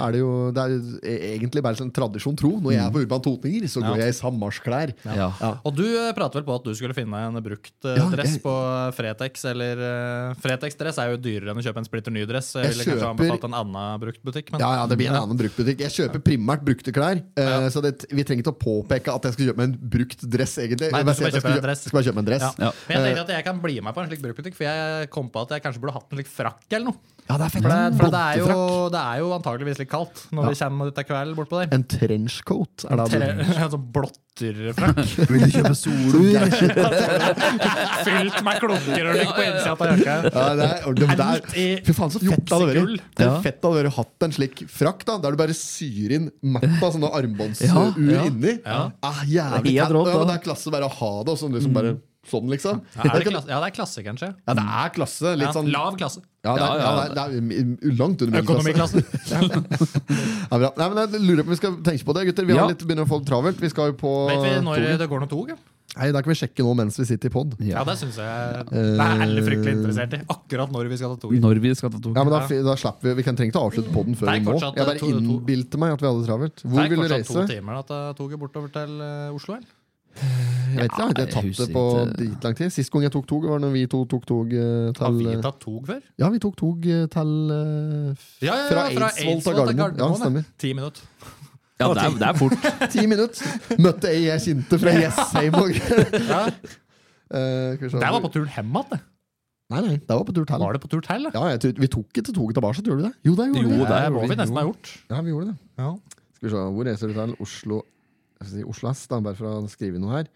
Speaker 1: er det jo Det er jo egentlig bare sånn tradisjon tro. Når jeg er på Urban Totninger, så går jeg i sammarsklær.
Speaker 9: Ja.
Speaker 3: Og du eh, prater vel på at du skulle finne en brukt eh,
Speaker 1: Ja,
Speaker 3: dress
Speaker 1: jeg-
Speaker 3: på Fretex? Eller eh, Fretex-dress er jo dyrere enn å kjøpe en splitter ny dress. Jeg
Speaker 1: Jeg
Speaker 3: ville kanskje
Speaker 1: kjøper-
Speaker 3: anbefalt en annen brukt butikk. Men
Speaker 1: Ja, ja, det blir en annen bruktbutikk. Jeg kjøper primært brukte klær. eh, Så det, vi trenger ikke å påpeke at jeg skal kjøpe meg en brukt dress, egentlig.
Speaker 3: Nei, du
Speaker 1: Jeg bare
Speaker 3: skal
Speaker 1: sier
Speaker 3: bare
Speaker 1: at jeg
Speaker 3: kjøpe deg en dress.
Speaker 1: skal bare kjøpe meg en dress. Eh,
Speaker 3: Ja.
Speaker 9: Ja.
Speaker 3: Men jeg tenker at jeg kan bli med på en slik bruktbutikk, for jeg kom på at jeg kanskje burde hatt en slik frakk eller noe.
Speaker 1: Ja, det er fett.
Speaker 3: For det, for det, er,
Speaker 1: Mm, Blottefrakk.
Speaker 3: jo, det er jo antageligvis litt kaldt når vi kommer til kvelden bortpå der.
Speaker 1: En trenchcoat er det
Speaker 3: Tre,
Speaker 1: altså.
Speaker 3: [laughs] en sånn blotterfrakk.
Speaker 9: Vil du kjøpe
Speaker 3: [laughs]
Speaker 9: solo?
Speaker 3: Fylt med klunker og ligger på innsida av jakka.
Speaker 1: Ja, det er, det, det
Speaker 3: Helt
Speaker 1: er,
Speaker 3: i
Speaker 1: fy faen, så fett det hadde
Speaker 3: juksegull.
Speaker 1: vært. Det er
Speaker 9: Ja.
Speaker 1: fett det hadde vært å hatt en slik frakk, da, der du bare syr inn mappa, sånne armbåndsur
Speaker 9: Ja, ja.
Speaker 1: inni.
Speaker 3: Ja.
Speaker 1: Ah, jævlig
Speaker 9: Det er helt
Speaker 1: fett.
Speaker 9: rått,
Speaker 1: ja, men
Speaker 9: da.
Speaker 1: det er klasse bare å ha det, og sånn liksom bare sånn, liksom.
Speaker 3: Mm. Ja, er det, klasse, ja, det er klasse, kanskje.
Speaker 1: Ja, det er klasse.
Speaker 3: Ja,
Speaker 1: Litt sånn
Speaker 3: lav klasse.
Speaker 1: Ja, det er, ja,
Speaker 9: Ja,
Speaker 1: det er, det er langt under middelklasse.
Speaker 3: [laughs] Økonomiklasse.
Speaker 1: Ja, bra. Nei, men jeg lurer på om vi skal tenke på det, gutter. Vi har
Speaker 9: Ja.
Speaker 1: litt, begynner å få det travelt. Vi skal jo på
Speaker 3: Vet vi når eh,
Speaker 1: toget.
Speaker 3: det går noe tog? ja?
Speaker 1: Nei, da kan vi sjekke nå mens vi sitter i pod.
Speaker 3: Ja,
Speaker 9: Ja.
Speaker 3: det syns
Speaker 1: Eh,
Speaker 3: jeg Det er alle fryktelig interessert i. Akkurat når vi skal ta toget.
Speaker 9: Når vi skal ta tog.
Speaker 1: Ja, men da, da slapper Vi Vi kan trenger ikke å avslutte podden før
Speaker 3: Mm. Nei,
Speaker 1: vi må.
Speaker 3: fortsatt,
Speaker 1: Jeg
Speaker 3: eh,
Speaker 1: bare
Speaker 3: to- to-
Speaker 1: innbilte meg at vi hadde det travelt.
Speaker 3: Det
Speaker 1: Hvor
Speaker 3: er
Speaker 1: vil du
Speaker 3: fortsatt to
Speaker 1: reise?
Speaker 3: timer da, til toget bortover til eh, Oslo. Eller?
Speaker 1: Jeg vet ikke,
Speaker 9: Ja,
Speaker 1: jeg har ikke
Speaker 9: jeg
Speaker 1: tatt det
Speaker 9: husker
Speaker 1: på
Speaker 9: ikke.
Speaker 1: dritlang tid. Sist gang jeg tok tog, var når vi to tok tog eh,
Speaker 3: Har
Speaker 1: til
Speaker 3: vi tatt tog før?
Speaker 1: Ja, vi tok tog eh, til eh, f-
Speaker 3: Ja, ja, ja,
Speaker 1: Fra Eidsvoll til Gardermoen. Ja, stemmer.
Speaker 3: Ti minutter.
Speaker 9: Ja, det er, det er fort.
Speaker 1: Ti minutter! Møtte ei jeg kjente fra Jessheim og greier.
Speaker 3: Ja.
Speaker 1: [laughs] Eh, skal vi se.
Speaker 3: Det var på turen hjem igjen.
Speaker 1: Nei, nei, det var på tur til.
Speaker 3: Var det på tur til? da?
Speaker 1: Ja, jeg tror, vi tok ikke toget tilbake, gjorde vi det? Jo, det gjorde
Speaker 9: Jo,
Speaker 1: vi.
Speaker 9: det
Speaker 3: det må
Speaker 9: gjorde
Speaker 3: vi
Speaker 9: vi.
Speaker 3: nesten ha gjort.
Speaker 1: Ja, vi gjorde det.
Speaker 3: Ja.
Speaker 1: Skal vi se, Hvor reiser du til? Oslo jeg skal si Oslo S, da, bare for å skrive noe her.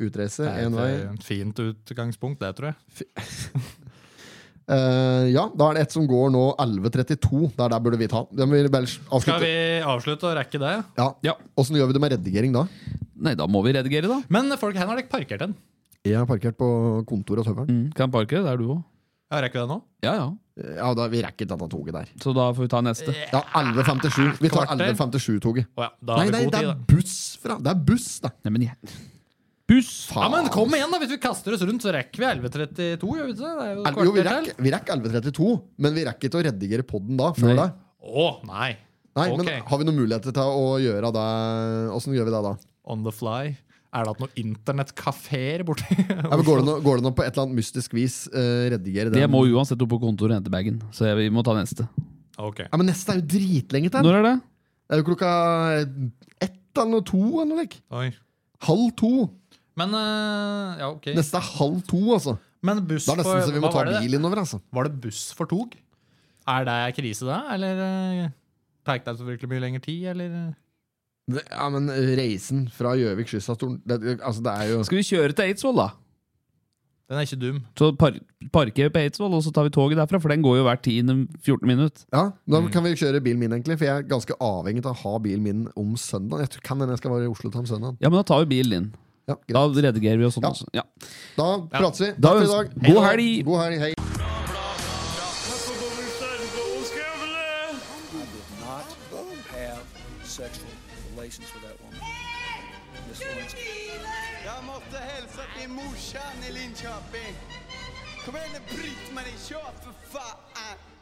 Speaker 1: Utreise,
Speaker 3: Det
Speaker 1: én
Speaker 3: er
Speaker 1: vei.
Speaker 3: et eh, fint utgangspunkt, det, tror jeg.
Speaker 1: Eh, ja, da er det et som går nå 11.32. Der, der burde vi ta. Den vil bare
Speaker 3: Skal
Speaker 1: avslutte.
Speaker 3: vi avslutte og rekke det?
Speaker 1: Ja.
Speaker 9: Ja.
Speaker 1: Åssen gjør vi det med redigering da?
Speaker 9: Nei, da må vi redigere, da.
Speaker 3: Men folk, hvor har dere parkert den?
Speaker 1: Jeg har parkert på kontoret hos høveren.
Speaker 9: Mm, kan parkere, det er du òg.
Speaker 3: Ja, rekker vi det nå?
Speaker 9: Ja, ja.
Speaker 1: Mm. Ja, da, vi rekker ikke dette toget der.
Speaker 9: Så da får vi ta neste.
Speaker 1: Ja, 11.57. Vi tar
Speaker 3: Kvarter.
Speaker 1: 11.57-toget.
Speaker 3: Å ja, da
Speaker 1: Nei,
Speaker 3: har
Speaker 1: nei,
Speaker 3: vi god
Speaker 1: det
Speaker 3: tid,
Speaker 1: er
Speaker 3: da.
Speaker 1: buss fra Det er buss, da!
Speaker 9: Nei, men jeg... Buss!
Speaker 3: Ja, men kom igjen, da! Hvis vi kaster oss rundt, så rekker vi 11.32, gjør vi ikke det? Det er jo et
Speaker 1: Jo, vi
Speaker 3: kvarter til.
Speaker 1: rekker, vi rekker 11.32, men vi rekker ikke å redigere podden da. Før
Speaker 9: Nei.
Speaker 1: da.
Speaker 3: Å, nei!
Speaker 1: Nei,
Speaker 3: Ok.
Speaker 1: men Har vi noen muligheter til å gjøre det? Åssen gjør vi det da?
Speaker 3: On the fly. Er det at noen internettkafeer borti
Speaker 1: Ja, men går, det noe, går det noe på et eller annet mystisk vis eh, redigere den?
Speaker 9: Jeg må uansett opp på kontoret og hente bagen, så jeg, vi må ta neste.
Speaker 3: Ok.
Speaker 1: Ja, men neste er jo dritlenge til!
Speaker 9: Når er det?
Speaker 1: Det er jo klokka ett eller noe, to eller noe. like.
Speaker 3: Oi.
Speaker 1: Halv to.
Speaker 3: Men eh, ja, ok.
Speaker 1: Neste er halv to, altså.
Speaker 3: Men buss
Speaker 1: Da er det
Speaker 3: for
Speaker 1: nesten så vi må
Speaker 3: hva
Speaker 1: ta
Speaker 3: var det?
Speaker 1: bil innover, altså.
Speaker 3: Var det buss for tog? Er det krise, da? Eller eh, tar det så virkelig mye lengre tid, eller?
Speaker 1: Det, ja, men eh, reisen fra Gjøvik skystatorn det, det- altså, det er jo
Speaker 9: Skal vi kjøre til Eidsvoll, da?
Speaker 3: Den er ikke dum.
Speaker 9: Så par parkerer vi på Eidsvoll, og så tar vi toget derfra, for den går jo hver 10-14 minutt.
Speaker 1: Ja, Da
Speaker 9: Mm.
Speaker 1: kan vi kjøre bilen min, egentlig. For jeg er ganske avhengig av å ha bilen min om søndag. Jeg tror, kan hende jeg skal være i Oslo til om søndag.
Speaker 9: Ja, men da tar vi bilen din.
Speaker 1: Ja, greit.
Speaker 9: Da redigerer vi og sånn
Speaker 1: Ja.
Speaker 9: også. Ja.
Speaker 1: Da prates vi.
Speaker 9: Da
Speaker 1: Takk for i
Speaker 9: ønsker-
Speaker 1: dag.
Speaker 9: God helg!
Speaker 1: God helg, hei.
Speaker 4: not have sexual relations with that woman. Miss Lewinsky.
Speaker 5: Jag måste hälsa till morsan i Linköping. Kom igen nu Britt-Marie, kör för fan!